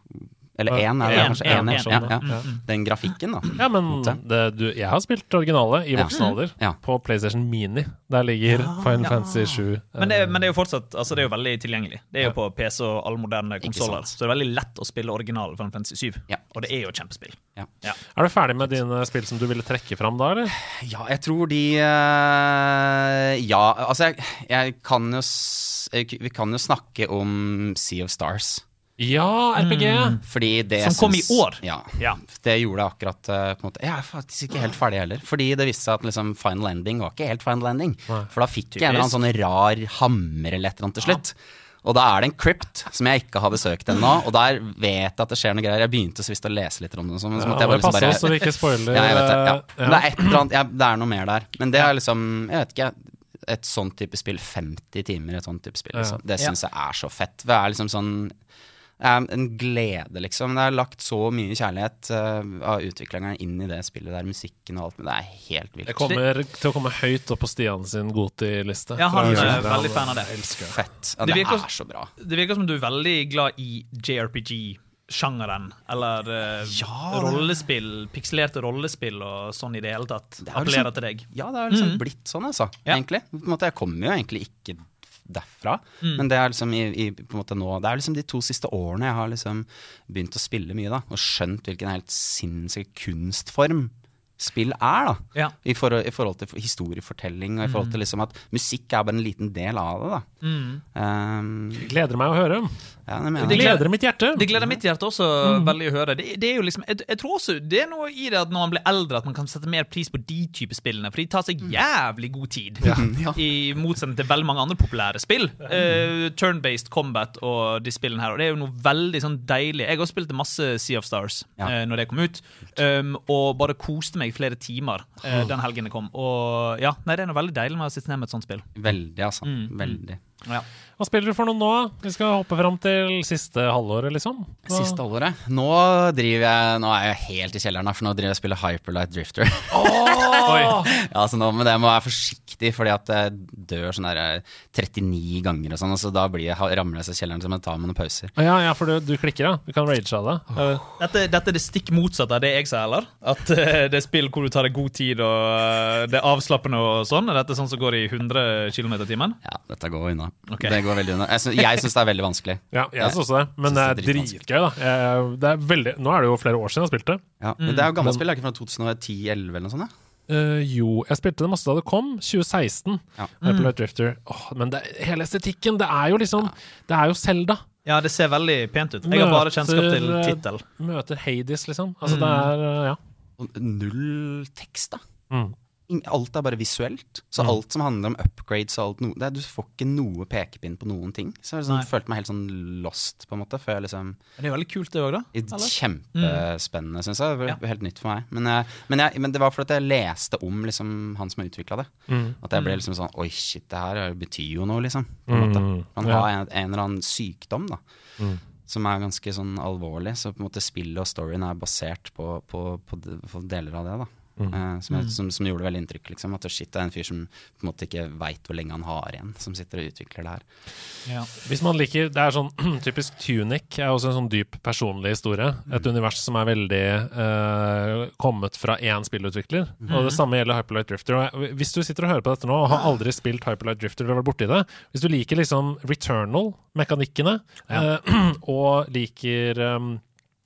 [SPEAKER 4] Eller
[SPEAKER 3] Ja.
[SPEAKER 4] 1, er det
[SPEAKER 5] En,
[SPEAKER 4] kanskje?
[SPEAKER 5] en,
[SPEAKER 4] En,
[SPEAKER 5] en,
[SPEAKER 4] ja, ja,
[SPEAKER 3] sånn,
[SPEAKER 2] Mm,
[SPEAKER 3] ja.
[SPEAKER 4] ja. Den grafikken, da.
[SPEAKER 3] Ja, men det, du, jeg har spilt originale i
[SPEAKER 4] Ja.
[SPEAKER 3] voksen alder.
[SPEAKER 4] Ja.
[SPEAKER 3] På PlayStation Mini. Der ligger Final Fantasy 7.
[SPEAKER 2] Men
[SPEAKER 4] Eh,
[SPEAKER 2] det, men det er jo fortsatt altså det er jo veldig tilgjengelig. Det er jo på PC og alle moderne konsoller.
[SPEAKER 4] sant.
[SPEAKER 2] Så det er veldig lett å spille originalen fra 57.
[SPEAKER 4] Ja.
[SPEAKER 2] Og det er jo et kjempespill.
[SPEAKER 3] eh. Er du ferdig med dine spill som du ville trekke fram da, eller?
[SPEAKER 2] Mm.
[SPEAKER 4] Ja, jeg tror de eh, Ja, altså jeg, jeg kan jo s- jeg, Vi kan jo snakke om Sea of Stars.
[SPEAKER 3] Ja, RPG!
[SPEAKER 4] Fordi det
[SPEAKER 2] Som kom i
[SPEAKER 4] syns-
[SPEAKER 2] år.
[SPEAKER 4] Ja,
[SPEAKER 2] Ja.
[SPEAKER 4] Det gjorde det akkurat eh, på en måte. Jeg er faktisk ikke helt ferdig heller. Fordi det viste seg at liksom, final ending var ikke helt final ending. For da fikk jeg en eller annen sånn rar hammer eller et eller annet til slutt. Og da er det en crypt som jeg ikke har besøkt ennå. Og der vet jeg at det skjer noe greier. Jeg begynte så visst å lese litt om det. og sånn, Men så
[SPEAKER 3] Ja,
[SPEAKER 4] måtte
[SPEAKER 3] det
[SPEAKER 4] jeg bare liksom
[SPEAKER 3] passer
[SPEAKER 4] bare
[SPEAKER 3] oss så vi ikke spoiler.
[SPEAKER 4] ja, jeg vet det. Ja.
[SPEAKER 3] eh,
[SPEAKER 4] Men det er et eller annet ja, Det er noe mer der. Men det er liksom Jeg vet ikke. Et sånt type spill. 50 timer i et sånt type spill. Liksom. Det syns jeg er så fett. Det er liksom sånn det er en glede, liksom. Det er lagt så mye kjærlighet eh, av utviklerne inn i det spillet der, musikken og alt, men det er helt vilt.
[SPEAKER 3] Det kommer til å komme høyt opp på Stian sin Goti-liste.
[SPEAKER 2] Ja, han
[SPEAKER 3] Tror jeg.
[SPEAKER 2] er veldig fan av det.
[SPEAKER 4] fett. Ja,
[SPEAKER 2] Det
[SPEAKER 4] det,
[SPEAKER 2] virker også-
[SPEAKER 4] er så bra.
[SPEAKER 2] Det virker som du er veldig glad i JRPG-sjangeren. Eller eh,
[SPEAKER 4] Ja, det-
[SPEAKER 2] rollespill, pikselerte rollespill og sånn i det hele tatt.
[SPEAKER 4] er jo
[SPEAKER 2] Appellerer
[SPEAKER 4] liksom-
[SPEAKER 2] til deg.
[SPEAKER 4] Ja, det er liksom blitt sånn, altså.
[SPEAKER 2] Mm. Ja.
[SPEAKER 4] Egentlig. På en måte, jeg kommer jo egentlig ikke derfra,
[SPEAKER 2] Mm.
[SPEAKER 4] men det er liksom i, i, på en måte nå Det er liksom de to siste årene jeg har liksom begynt å spille mye, da. Og skjønt hvilken helt sinnssyk kunstform spill er, da.
[SPEAKER 2] Ja. Mm.
[SPEAKER 4] I, forhold, I forhold til historiefortelling, og i forhold til liksom at musikk er bare en liten del av det, da. Um,
[SPEAKER 3] Gleder meg å høre.
[SPEAKER 4] ja, det mener
[SPEAKER 2] Det
[SPEAKER 4] jeg.
[SPEAKER 2] gleder-
[SPEAKER 3] Gleder mitt hjerte.
[SPEAKER 2] Det gleder mitt hjerte også
[SPEAKER 4] Mm.
[SPEAKER 2] veldig å høre. Det, det er jo liksom, jeg, jeg tror også det er noe i det at når man blir eldre, at man kan sette mer pris på de type spillene, for de tar seg jævlig god tid.
[SPEAKER 4] Mm. Ja.
[SPEAKER 2] I motsetning til veldig mange andre populære spill. Eh, Turn-based combat og de spillene her. Og det er jo noe veldig sånn deilig. Jeg har også spilt masse Sea of Stars
[SPEAKER 4] Ja.
[SPEAKER 2] eh, når det kom ut, um, og bare koste meg i flere timer eh, den helgen det kom. Og ja, nei, det er noe veldig deilig med å sitte ned med et sånt spill.
[SPEAKER 4] Veldig, altså. Veldig.
[SPEAKER 2] Ja.
[SPEAKER 3] Hva spiller du for noe nå? Vi skal hoppe fram til siste halvåret, liksom. Hva-
[SPEAKER 4] Siste halvåret. Nå driver jeg Nå er jeg helt i kjelleren, da, for nå driver jeg og spiller Hyperlight Drifter.
[SPEAKER 3] Oi.
[SPEAKER 4] Ja, så nå, men det må være forsiktig, fordi at jeg dør sånn der eh, 39 ganger og sånn, og så da blir jeg, ha- ramler jeg så i kjelleren, så må jeg ta meg noen pauser.
[SPEAKER 3] Ja, ja, for du, du klikker, ja. Du kan rage av det. Eh,
[SPEAKER 2] Dette, dette er det stikk motsatte av det jeg sa, eller? At eh, det er spill hvor du tar deg god tid, og eh, det er avslappende og sånn. Er dette sånn som går i 100 km i timen?
[SPEAKER 4] Ja, dette går unna.
[SPEAKER 2] Ok.
[SPEAKER 4] Det går veldig unna. Jeg, sy- jeg syns det er veldig vanskelig.
[SPEAKER 3] Ja, jeg synes også det. Men det
[SPEAKER 4] Synes
[SPEAKER 3] er
[SPEAKER 4] det er dritvanskelig.
[SPEAKER 3] dritgøy, da. Eh, Det er veldig, nå er det jo flere år siden jeg spilte.
[SPEAKER 4] Ja. Men det er jo gammelt spill, er det ikke fra 2010-2011 eller noe sånt? da?
[SPEAKER 3] Eh, jo, jeg spilte det masse da det kom, 2016.
[SPEAKER 4] Ja.
[SPEAKER 3] Hyperlight Drifter. Åh, men det, hele estetikken, det er jo liksom Det er jo Selda.
[SPEAKER 2] Ja, det ser veldig pent ut. Jeg har bare kjennskap til tittel.
[SPEAKER 3] Møter Hades, liksom. Altså,
[SPEAKER 4] Mm.
[SPEAKER 3] det er eh, Ja.
[SPEAKER 4] Og null tekst, da.
[SPEAKER 3] Mm.
[SPEAKER 4] Ing- Alt er bare visuelt. Så alt som handler om upgrades og alt no, det er, Du får ikke noe pekepinn på noen ting. Så jeg liksom, følte meg helt sånn lost, på en måte, før jeg liksom
[SPEAKER 2] Det er veldig kult, det òg, da.
[SPEAKER 4] I- Kjempespennende, syns jeg. Det var
[SPEAKER 2] Ja.
[SPEAKER 4] Helt nytt for meg. Men, jeg, men, jeg, men det var fordi jeg leste om liksom, han som har utvikla det.
[SPEAKER 3] Mm.
[SPEAKER 4] At jeg ble liksom sånn Oi, shit, det her betyr jo noe, liksom. På en måte.
[SPEAKER 3] Mm,
[SPEAKER 4] Han
[SPEAKER 3] ja. Mm.
[SPEAKER 4] har en, en eller annen sykdom, da. Som er ganske sånn alvorlig. Så på en måte spillet og storyen er basert på, på, på, d- på deler av det. da
[SPEAKER 3] Mm.
[SPEAKER 4] Eh, som, jeg, som, som gjorde veldig inntrykk. Liksom, at shit, det er en fyr som på en måte ikke veit hvor lenge han har igjen, som sitter og utvikler det her.
[SPEAKER 2] Ja.
[SPEAKER 3] Hvis man liker Det er sånn typisk Tunic er også en sånn dyp personlig historie. Et univers som er veldig eh, kommet fra én spillutvikler. Og det samme gjelder Hyperlight Drifter. Og jeg- hvis du sitter og hører på dette nå og har aldri spilt Hyperlight Drifter eller vært borti det, hvis du liker liksom Returnal-mekanikkene eh, og liker um,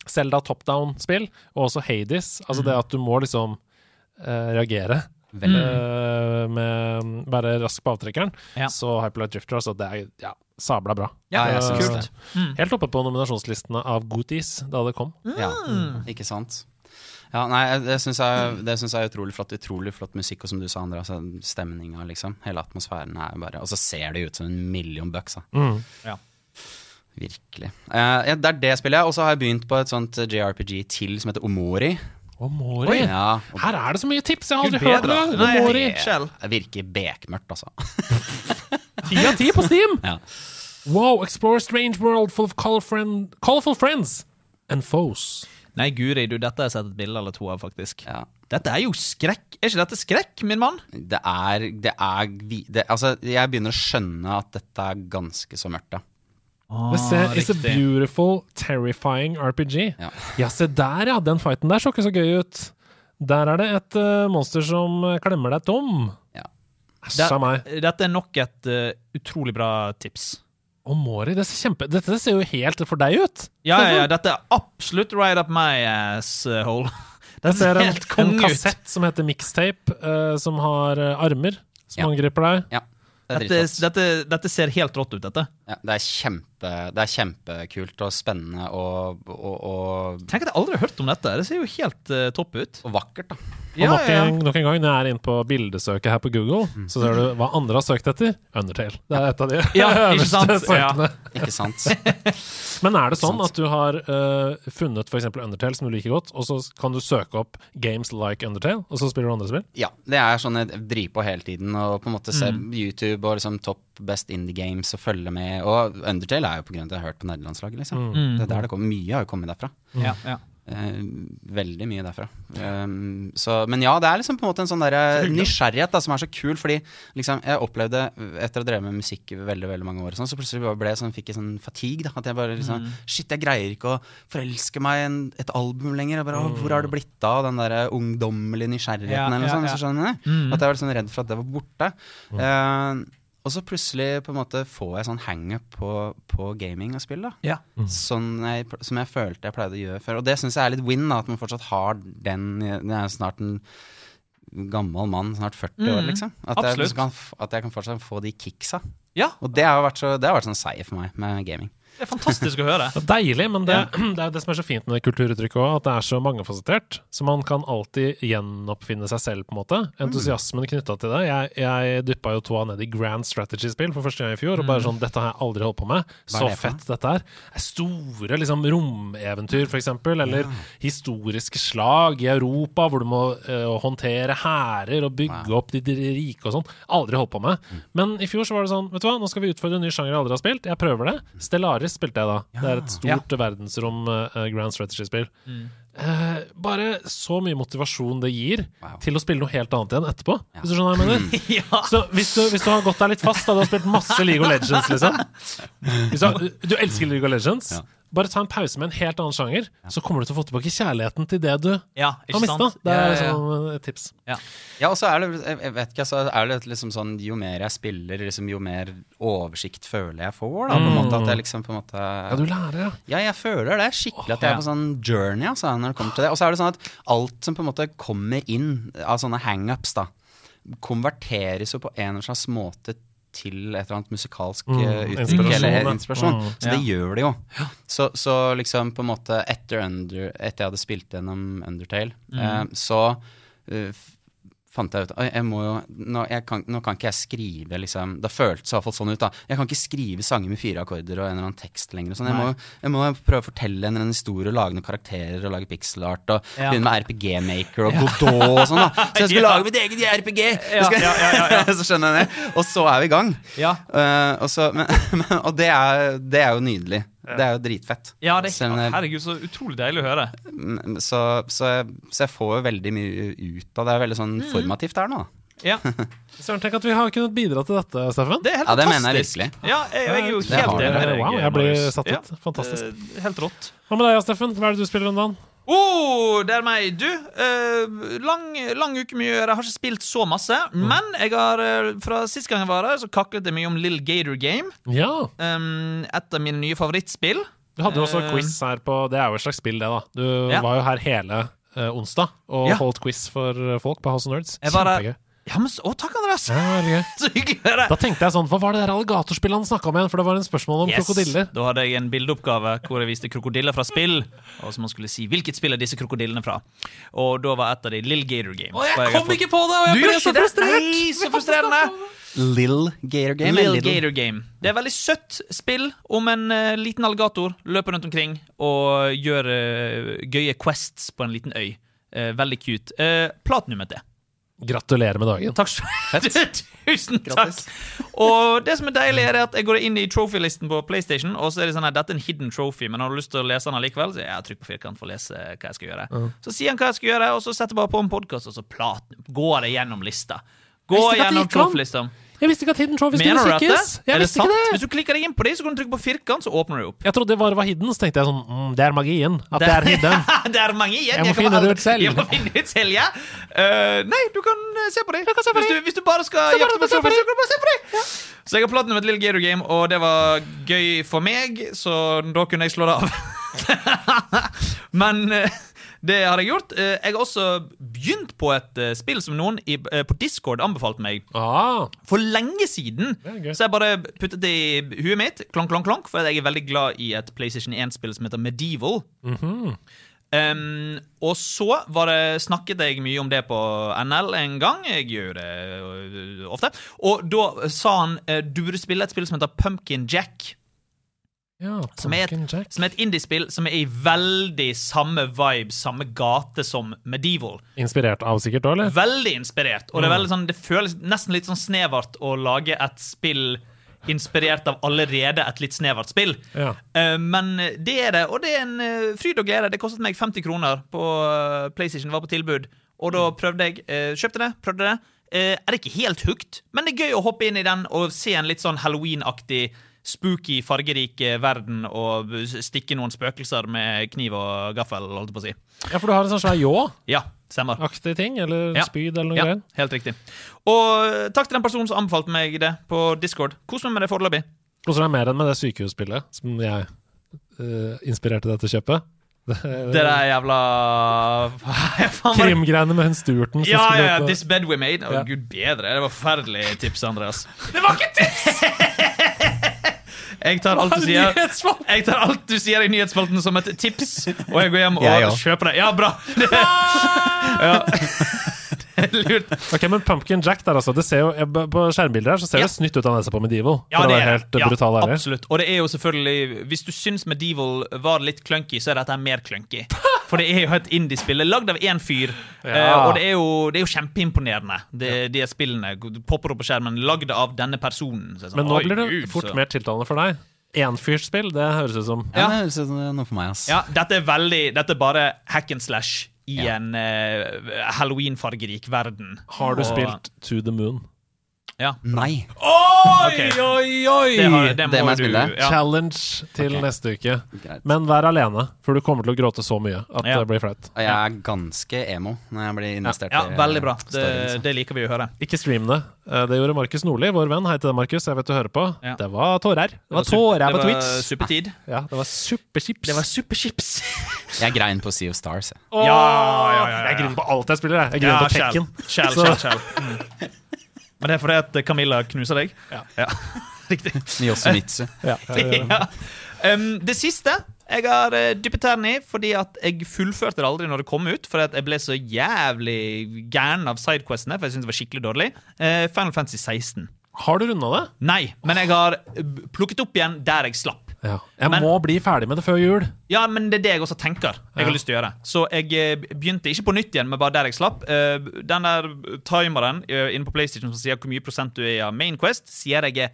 [SPEAKER 3] Zelda top down-spill, og også Hades, altså det at du må liksom eh, reagere
[SPEAKER 4] Veldig
[SPEAKER 3] eh, med være rask på avtrekkeren,
[SPEAKER 2] Mm. Ja.
[SPEAKER 3] så Hyperlight Drifter altså det er ja, sabla bra.
[SPEAKER 2] Ja,
[SPEAKER 4] jeg
[SPEAKER 3] Eh,
[SPEAKER 4] syns det.
[SPEAKER 2] Mm.
[SPEAKER 3] Helt oppe på nominasjonslistene av Goodies da det kom.
[SPEAKER 4] Ja, ikke sant. Ja, nei, jeg- det syns jeg, det synes jeg er utrolig flott. Utrolig flott musikk, og som du sa, André, altså,
[SPEAKER 3] Mm.
[SPEAKER 4] stemninga, liksom. Hele atmosfæren er bare Og så ser det jo ut som en million bucks, da.
[SPEAKER 2] Ja.
[SPEAKER 4] Virkelig. Eh, ja, det er det spillet jeg. Og så har jeg begynt på et sånt eh, JRPG til som heter Omori.
[SPEAKER 3] Omori.
[SPEAKER 4] Ja, og
[SPEAKER 3] Her er det så mye tips! Jeg har
[SPEAKER 2] Gud
[SPEAKER 3] aldri hørt
[SPEAKER 2] bedre.
[SPEAKER 3] om det.
[SPEAKER 2] Nei,
[SPEAKER 3] Omori.
[SPEAKER 2] jeg- Skjell.
[SPEAKER 4] Det virker bekmørkt, altså.
[SPEAKER 3] Ti av ti på Steam!
[SPEAKER 4] Ja.
[SPEAKER 3] Wow, explore a strange world full of color friend, colorful friends and foes.
[SPEAKER 2] Nei, guri du, dette har jeg sett et bilde eller to av, faktisk.
[SPEAKER 4] Ja.
[SPEAKER 2] Dette er jo skrekk. Er ikke dette skrekk, min mann?
[SPEAKER 4] Det er, det er vi- det, Altså, jeg begynner å skjønne at dette er ganske så mørkt, ja.
[SPEAKER 3] Ah, Det ser, it's a
[SPEAKER 2] Ah, riktig.
[SPEAKER 3] beautiful, terrifying RPG.
[SPEAKER 4] Ja.
[SPEAKER 3] Ja, se der, ja! Den fighten der så ikke så gøy ut. Der er det et eh, monster som eh, klemmer deg tom.
[SPEAKER 4] Ja.
[SPEAKER 3] Æsj a meg.
[SPEAKER 2] Dette er nok et eh, utrolig bra tips.
[SPEAKER 3] Omori, det ser kjempe... Dette ser jo helt for deg ut.
[SPEAKER 2] Ja, ja, ja, dette er absolutt right up my asshole.
[SPEAKER 3] Jeg ser en,
[SPEAKER 2] Helt konge
[SPEAKER 3] en
[SPEAKER 2] ut.
[SPEAKER 3] kassett som heter Mixtape, eh, som har eh, armer som
[SPEAKER 4] Ja.
[SPEAKER 3] angriper deg.
[SPEAKER 4] ja. Det er
[SPEAKER 2] Dette,
[SPEAKER 4] dritfett.
[SPEAKER 2] dette, dette ser helt rått ut, dette.
[SPEAKER 4] Ja, det, er kjempe, det er kjempekult og spennende og, og, og,
[SPEAKER 2] Tenk at jeg aldri har hørt om dette. Det ser jo helt eh, topp ut.
[SPEAKER 4] og vakkert, da.
[SPEAKER 3] Og nok, En, nok en gang, når jeg er inne på bildesøket her på Google,
[SPEAKER 2] Mhm.
[SPEAKER 3] så ser du hva andre har søkt etter. Undertale. Det er et av de
[SPEAKER 2] Ja, ikke sant?
[SPEAKER 3] øverste søkene.
[SPEAKER 4] Ikke sant?
[SPEAKER 3] Men er det sånn
[SPEAKER 4] Sant.
[SPEAKER 3] at du har eh, funnet f.eks. Undertale, som du liker godt, og så kan du søke opp games like Undertale, og så spiller du andre spill?
[SPEAKER 4] Ja. Det er sånn jeg driver på hele tiden og på en måte ser YouTube og liksom topp best indie games og følger med. Og Undertale er jo på grunn av at jeg har hørt på nederlandslaget, liksom. Det er der det kommer. Mye har jo kommet derfra.
[SPEAKER 2] Ja, ja.
[SPEAKER 4] Eh, veldig mye derfra. Um, så, men ja, det er liksom på en måte en sånn der nysgjerrighet da, som er så kul, fordi liksom, jeg opplevde, etter å ha drevet med musikk i veldig veldig mange år, og sånn, så plutselig bare ble jeg sånn, fikk jeg sånn fatigue. Da, at jeg bare liksom
[SPEAKER 2] Mm.
[SPEAKER 4] Shit, jeg greier ikke å forelske meg i en, et album lenger. Jeg bare, «Å, Hvor har det blitt av den der ungdommelige
[SPEAKER 2] Mm.
[SPEAKER 4] nysgjerrigheten?
[SPEAKER 2] Ja,
[SPEAKER 4] eller noe
[SPEAKER 2] ja,
[SPEAKER 4] sånt,
[SPEAKER 2] ja.
[SPEAKER 4] så skjønner jeg.
[SPEAKER 2] Mm.
[SPEAKER 4] At jeg var litt sånn redd for at det var borte. Eh, og så plutselig på en måte får jeg sånn hangup på, på gaming og spill. da
[SPEAKER 2] ja.
[SPEAKER 4] sånn jeg, som jeg følte jeg pleide å gjøre før. Og det syns jeg er litt win, da, at man fortsatt har den Jeg er snart en gammel mann, snart 40 år,
[SPEAKER 2] Mm,
[SPEAKER 4] liksom. At jeg,
[SPEAKER 2] absolutt.
[SPEAKER 4] kan, f- at jeg kan fortsatt få de kicksa.
[SPEAKER 2] Ja,
[SPEAKER 4] Og det har vært, så, det har vært sånn seier for meg med gaming.
[SPEAKER 2] det er fantastisk å høre.
[SPEAKER 3] Det er deilig, men det, det er jo det som er så fint med det kulturuttrykket òg, at det er så mangefasettert. Så man kan alltid gjenoppfinne seg selv, på en måte. Entusiasmen knytta til det. Jeg, jeg dyppa jo tåa ned i Grand Strategy-spill for første gang i fjor, og bare sånn Dette har jeg aldri holdt på med. Så
[SPEAKER 4] det for noe?
[SPEAKER 3] fett dette er. Det er Store liksom romeventyr, for eksempel, eller historiske slag i Europa, hvor du må eh, håndtere hærer og bygge opp de de rike og sånn. Aldri holdt på med.
[SPEAKER 4] Mm.
[SPEAKER 3] Men i fjor så var det sånn, vet du hva, nå skal vi utfordre en ny sjanger jeg aldri har spilt. Jeg prøver
[SPEAKER 4] Mm.
[SPEAKER 3] det. Stellaris spilte jeg da. Det er et stort verdensrom eh, grand strategy-spill. Eh, bare så mye motivasjon det gir
[SPEAKER 4] Wow.
[SPEAKER 3] til å spille noe helt annet igjen etterpå. Hvis du skjønner hva jeg mener?
[SPEAKER 2] Ja.
[SPEAKER 3] Så hvis du, hvis du har gått deg litt fast, da du har spilt masse League of Legends, liksom hvis du, har- du elsker League of Legends.
[SPEAKER 4] Ja.
[SPEAKER 3] Bare ta en pause med en helt annen sjanger, så kommer du til å få tilbake kjærligheten til det du
[SPEAKER 2] Ja,
[SPEAKER 3] har
[SPEAKER 2] ikke
[SPEAKER 3] mista.
[SPEAKER 2] sant?
[SPEAKER 3] Det er
[SPEAKER 2] Ja, ja, ja.
[SPEAKER 3] sånn eh, tips.
[SPEAKER 4] Ja, og så er det jeg- jeg vet ikke, så er det liksom sånn Jo mer jeg spiller, liksom, jo mer oversikt føler jeg får, da. På
[SPEAKER 2] Mm.
[SPEAKER 4] en måte, at jeg liksom på en måte
[SPEAKER 3] Ja, du lærer, ja.
[SPEAKER 4] Ja, jeg føler det skikkelig at jeg er på sånn journey altså, når det kommer til det. Og så er det sånn at alt som på en måte kommer inn av sånne hangups, da, konverteres jo på en eller slags måte til et eller annet musikalsk
[SPEAKER 3] Mm,
[SPEAKER 4] eh, uttrykk
[SPEAKER 3] inspirasjon,
[SPEAKER 4] eller
[SPEAKER 3] ja.
[SPEAKER 4] inspirasjon.
[SPEAKER 3] Mm,
[SPEAKER 4] så det gjør det jo. Så, så liksom på en måte etter, under, etter jeg hadde spilt gjennom Undertale,
[SPEAKER 3] Mm.
[SPEAKER 4] eh, så eh, f- fant jeg ut «Oi, jeg må jo, nå, jeg kan, nå kan ikke jeg skrive liksom, Det føltes i hvert fall sånn ut. da Jeg kan ikke skrive sanger med fire akkorder og en eller annen tekst lenger. Og sånn. jeg, må, jeg må prøve å fortelle en eller annen historie og lage noen karakterer og lage pixel art. Og
[SPEAKER 2] Ja.
[SPEAKER 4] begynne med RPG-maker og Godot og sånn. da Så jeg skulle
[SPEAKER 2] Ja.
[SPEAKER 4] lage mitt eget RPG!
[SPEAKER 2] Ja,
[SPEAKER 4] Jeg skal-
[SPEAKER 2] ja, ja,
[SPEAKER 4] så skjønner jeg det. Og så er vi i gang.
[SPEAKER 2] Ja.
[SPEAKER 4] Eh, og så, men, men, og det er, det er jo nydelig. Det er jo dritfett.
[SPEAKER 2] Ja, det
[SPEAKER 4] Selv
[SPEAKER 2] er,
[SPEAKER 4] om jeg-
[SPEAKER 2] herregud, så utrolig deilig å høre.
[SPEAKER 4] Mm, så, så, jeg, så jeg får jo veldig mye ut av det. Det er veldig sånn
[SPEAKER 2] Mm.
[SPEAKER 4] formativt her nå. da.
[SPEAKER 2] Ja,
[SPEAKER 3] Søren, tenk at vi har kunnet bidra til dette, Steffen.
[SPEAKER 2] Det er helt
[SPEAKER 4] Ja, det
[SPEAKER 2] fantastisk.
[SPEAKER 4] mener jeg virkelig.
[SPEAKER 2] Ja, jeg, jeg er jo
[SPEAKER 4] Det
[SPEAKER 2] helt
[SPEAKER 4] har
[SPEAKER 2] enig.
[SPEAKER 4] dere.
[SPEAKER 2] med deg,
[SPEAKER 3] Wow, jeg blir
[SPEAKER 2] Marius.
[SPEAKER 3] satt ut.
[SPEAKER 2] Ja,
[SPEAKER 3] Fantastisk.
[SPEAKER 2] eh, Helt rått.
[SPEAKER 3] Hva med deg, Steffen? Hva er det du spiller om dagen?
[SPEAKER 2] Oh, det er meg. Du, eh, lang, lang uke mye å gjøre. Jeg har ikke spilt så masse.
[SPEAKER 4] Mm.
[SPEAKER 2] Men jeg har, eh, fra sist gang jeg var her, så kaklet jeg mye om Little Gator Game.
[SPEAKER 3] Ja,
[SPEAKER 2] Um, et av mine nye favorittspill.
[SPEAKER 3] Du hadde jo også
[SPEAKER 2] Eh,
[SPEAKER 3] quiz her på Det er jo et slags spill, det, da. Du
[SPEAKER 2] Ja.
[SPEAKER 3] var jo her hele eh, onsdag og
[SPEAKER 2] Ja.
[SPEAKER 3] holdt quiz for eh, folk på House of Nerds.
[SPEAKER 2] Jeg var der
[SPEAKER 3] Kjempegøy.
[SPEAKER 2] Ja, men, s- å, takk, Andreas!
[SPEAKER 3] Ja, veldig gøy.
[SPEAKER 2] Så hyggelig å høre.
[SPEAKER 3] Da tenkte jeg sånn, hva var det der alligatorspillet han snakka om igjen? For det var en spørsmål om
[SPEAKER 2] Yes.
[SPEAKER 3] krokodiller.
[SPEAKER 2] Da hadde jeg en bildeoppgave hvor jeg viste krokodiller fra spill. Og så man skulle si hvilket spill er disse krokodillene fra. Og da var et av de Lill Gator Games.
[SPEAKER 3] Og
[SPEAKER 2] For
[SPEAKER 3] jeg
[SPEAKER 2] har
[SPEAKER 3] kom
[SPEAKER 2] fått-
[SPEAKER 3] ikke på det! Og jeg
[SPEAKER 2] Du
[SPEAKER 3] ble
[SPEAKER 2] gjør ikke
[SPEAKER 3] så
[SPEAKER 2] det?
[SPEAKER 3] frustrert!
[SPEAKER 2] Nei, så frustrerende!
[SPEAKER 4] Lill Gator Game.
[SPEAKER 2] Lill
[SPEAKER 4] eller Little?
[SPEAKER 2] Gator Game. Det er et veldig søtt spill om en eh, liten alligator løper rundt omkring og gjør eh, gøye quests på en liten øy. Eh, veldig cute. Uh, Platinum het det.
[SPEAKER 3] Gratulerer med dagen.
[SPEAKER 2] Takk skal du ha. Tusen takk.
[SPEAKER 4] Grattis.
[SPEAKER 2] Og det som er deilig, er at jeg går inn i trophy-listen på PlayStation, og så er det sånn her, dette er en hidden trophy, men har du lyst til å lese den allikevel, så jeg har trykk på firkant for å lese hva jeg skal gjøre. Så sier han hva jeg skal gjøre, og så setter jeg bare på en podkast, og så platen, går jeg gjennom lista. Gå
[SPEAKER 3] Visste ikke at det
[SPEAKER 2] gjennom
[SPEAKER 3] gikk an.
[SPEAKER 2] trophy-lista.
[SPEAKER 3] Jeg visste ikke at Hidden Trophy skulle
[SPEAKER 2] Mener du at det?
[SPEAKER 3] musikkes! Jeg
[SPEAKER 2] Er det
[SPEAKER 3] visste
[SPEAKER 2] sant?
[SPEAKER 3] ikke det!
[SPEAKER 2] Hvis du klikker deg inn på det, så kan du trykke på firkant, så åpner det opp.
[SPEAKER 3] Jeg trodde det bare var hidden, så tenkte jeg sånn mm, Det er magien. At det er hidden.
[SPEAKER 2] det er mange igjen.
[SPEAKER 3] Jeg må
[SPEAKER 2] kan
[SPEAKER 3] finne det
[SPEAKER 2] aldri-
[SPEAKER 3] ut selv.
[SPEAKER 2] Jeg må finne det ut selv, ja. Eh, nei, du kan eh, se på det. hvis, du, hvis du bare skal
[SPEAKER 3] Se bare
[SPEAKER 2] jakte på
[SPEAKER 3] på- se på
[SPEAKER 2] trofeer,
[SPEAKER 3] det.
[SPEAKER 2] så kan du bare se på det. Så jeg har platinum et lille Gator Game, og det var gøy for meg, så da kunne jeg slå det av. Men eh, det har jeg gjort. Eh, jeg har også begynt på et eh, spill som noen i, eh, på Discord anbefalte meg
[SPEAKER 3] Ah,
[SPEAKER 2] for lenge siden.
[SPEAKER 3] Det er gøy.
[SPEAKER 2] Så jeg bare puttet det i huet mitt, klonk, klonk, klonk, for jeg er veldig glad i et PlayStation 1-spill som heter Medieval.
[SPEAKER 3] Mhm.
[SPEAKER 2] um, og så var det, snakket jeg mye om det på NL en gang. Jeg gjør det ø, ofte. Og da sa han eh, du burde spille et spill som heter Pumpkin Jack.
[SPEAKER 3] ja,
[SPEAKER 2] Som er
[SPEAKER 3] Pumpkin Jack.
[SPEAKER 2] et, som er et indiespill som er i veldig samme vibe, samme gate som Medieval.
[SPEAKER 3] Inspirert av sikkert, da, eller?
[SPEAKER 2] Veldig inspirert. Og det, er veldig sånn, det føles nesten litt sånn snevert å lage et spill inspirert av allerede et litt snevert spill.
[SPEAKER 3] Ja.
[SPEAKER 2] Eh, men det er det, og det er en eh, fryd og glede. Det kostet meg 50 kroner på eh, PlayStation, var på tilbud. Og da prøvde jeg. eh, kjøpte det, prøvde det. Eh, er det ikke helt hooked, men det er gøy å hoppe inn i den og se en litt sånn Halloween-aktig, spooky, fargerik eh, verden og stikke noen spøkelser med kniv og gaffel, holdt jeg på å si.
[SPEAKER 3] Ja, for du har en sånn svær ljå-aktig
[SPEAKER 2] Ja, stemmer.
[SPEAKER 3] ting? Eller
[SPEAKER 2] Ja.
[SPEAKER 3] spyd, eller noe
[SPEAKER 2] Ja,
[SPEAKER 3] greier?
[SPEAKER 2] helt riktig. Og eh, takk til den personen som anbefalte meg det på Discord. Kos meg med det foreløpig.
[SPEAKER 3] Koser deg mer enn med det sykehusspillet som jeg eh, inspirerte deg til å kjøpe? Det,
[SPEAKER 2] Det der jævla Faen, var det-
[SPEAKER 3] Krimgreiene med hun Sturten som
[SPEAKER 2] Ja, ja, ja.
[SPEAKER 3] skulle-
[SPEAKER 2] This bed we made. Å,
[SPEAKER 3] Ja.
[SPEAKER 2] gud bedre. Det var forferdelig tips, Andreas. Det var ikke tips! Jeg tar, alt du sier,
[SPEAKER 3] Nyhetsvalg!
[SPEAKER 2] jeg tar alt du sier i nyhetsspalten som et tips, og jeg går hjem og
[SPEAKER 4] Jeg også.
[SPEAKER 2] kjøper det. Ja, bra! Det, ja. det er lurt.
[SPEAKER 3] Ok, men Pumpkin Jack der, altså. Det ser jo, jeg- på skjermbilder her så ser
[SPEAKER 2] Ja.
[SPEAKER 3] det snytt ut av nesa på Medieval.
[SPEAKER 2] Ja,
[SPEAKER 3] for å
[SPEAKER 2] det
[SPEAKER 3] være
[SPEAKER 2] er
[SPEAKER 3] helt
[SPEAKER 2] det.
[SPEAKER 3] eh, brutal ærlig.
[SPEAKER 2] absolutt. Og det er jo selvfølgelig Hvis du syns Medieval var litt clunky, så er dette mer clunky. For det er jo et indiespill. Det er Lagd av én fyr. eh, Og det er jo, det er jo kjempeimponerende, det, de spillene. Du popper opp på skjermen, lagd av denne personen. Så jeg er sånn,
[SPEAKER 3] Men nå
[SPEAKER 2] oi,
[SPEAKER 3] blir det
[SPEAKER 2] Gud,
[SPEAKER 3] fort
[SPEAKER 2] så-
[SPEAKER 3] mer tiltalende for deg. Enfyrsspill, det høres ut som
[SPEAKER 4] Ja, det høres ut som det er noe for meg, ass.
[SPEAKER 2] Ja, dette er veldig Dette er bare hack and slash i en eh, halloween-fargerik verden.
[SPEAKER 3] Har du
[SPEAKER 2] Og-
[SPEAKER 3] spilt To the Moon?
[SPEAKER 2] Ja.
[SPEAKER 4] Nei.
[SPEAKER 3] Oi,
[SPEAKER 2] Ok.
[SPEAKER 3] oi, oi!
[SPEAKER 2] Det, har, det må,
[SPEAKER 4] Det må jeg
[SPEAKER 2] du
[SPEAKER 4] spille.
[SPEAKER 2] ja.
[SPEAKER 3] Challenge til
[SPEAKER 4] Ok.
[SPEAKER 3] neste uke.
[SPEAKER 4] Greit.
[SPEAKER 3] Men vær alene, for du kommer til å gråte så mye at
[SPEAKER 2] Ja.
[SPEAKER 3] det blir flaut.
[SPEAKER 4] Og jeg er ganske emo når jeg blir investert
[SPEAKER 2] ja,
[SPEAKER 4] i liksom.
[SPEAKER 2] veldig bra.
[SPEAKER 4] storyen, så.
[SPEAKER 2] Det, det liker vi å høre.
[SPEAKER 3] Ikke stream det. Eh, Det gjorde Markus Nordli, vår venn. Hei til deg, Markus. Jeg vet du hører på.
[SPEAKER 2] Ja.
[SPEAKER 3] Det var tårer. Det var
[SPEAKER 2] Det var
[SPEAKER 3] tårer på Twitch.
[SPEAKER 2] Supertid.
[SPEAKER 3] Ja, det var superchips.
[SPEAKER 2] Det var superchips.
[SPEAKER 4] Jeg grein på Sea of Stars. jeg.
[SPEAKER 2] Ja,
[SPEAKER 3] Åh,
[SPEAKER 2] ja, ja, ja.
[SPEAKER 3] Jeg griner på alt jeg spiller, jeg. Jeg griner på Tekken.
[SPEAKER 2] Kjell,
[SPEAKER 3] Så-
[SPEAKER 2] kjell, kjell. Mm. Men det er fordi at Camilla knuser deg?
[SPEAKER 3] Ja.
[SPEAKER 2] Riktig.
[SPEAKER 4] Yosemitsu.
[SPEAKER 3] Ja, ja, ja.
[SPEAKER 2] Ja. Um, det siste jeg har eh, dyppet tærne i, fordi at jeg fullførte det aldri når det kom ut. Fordi at jeg ble så jævlig gæren av sidequestene, for jeg syntes det var skikkelig dårlig. Eh, Final Fantasy 16.
[SPEAKER 3] Har du runda det?
[SPEAKER 2] Nei, men jeg har eh, plukket opp igjen der jeg slapp.
[SPEAKER 3] Ja. Jeg
[SPEAKER 2] Men-
[SPEAKER 3] må bli ferdig med det før jul.
[SPEAKER 2] Ja, men det er det jeg også tenker. Jeg
[SPEAKER 3] Ja.
[SPEAKER 2] har lyst til å gjøre Så jeg eh, begynte ikke på nytt igjen, men bare der jeg slapp. Eh, Den der timeren eh, inne på PlayStation som sier hvor mye prosent du er av Main Quest, sier jeg er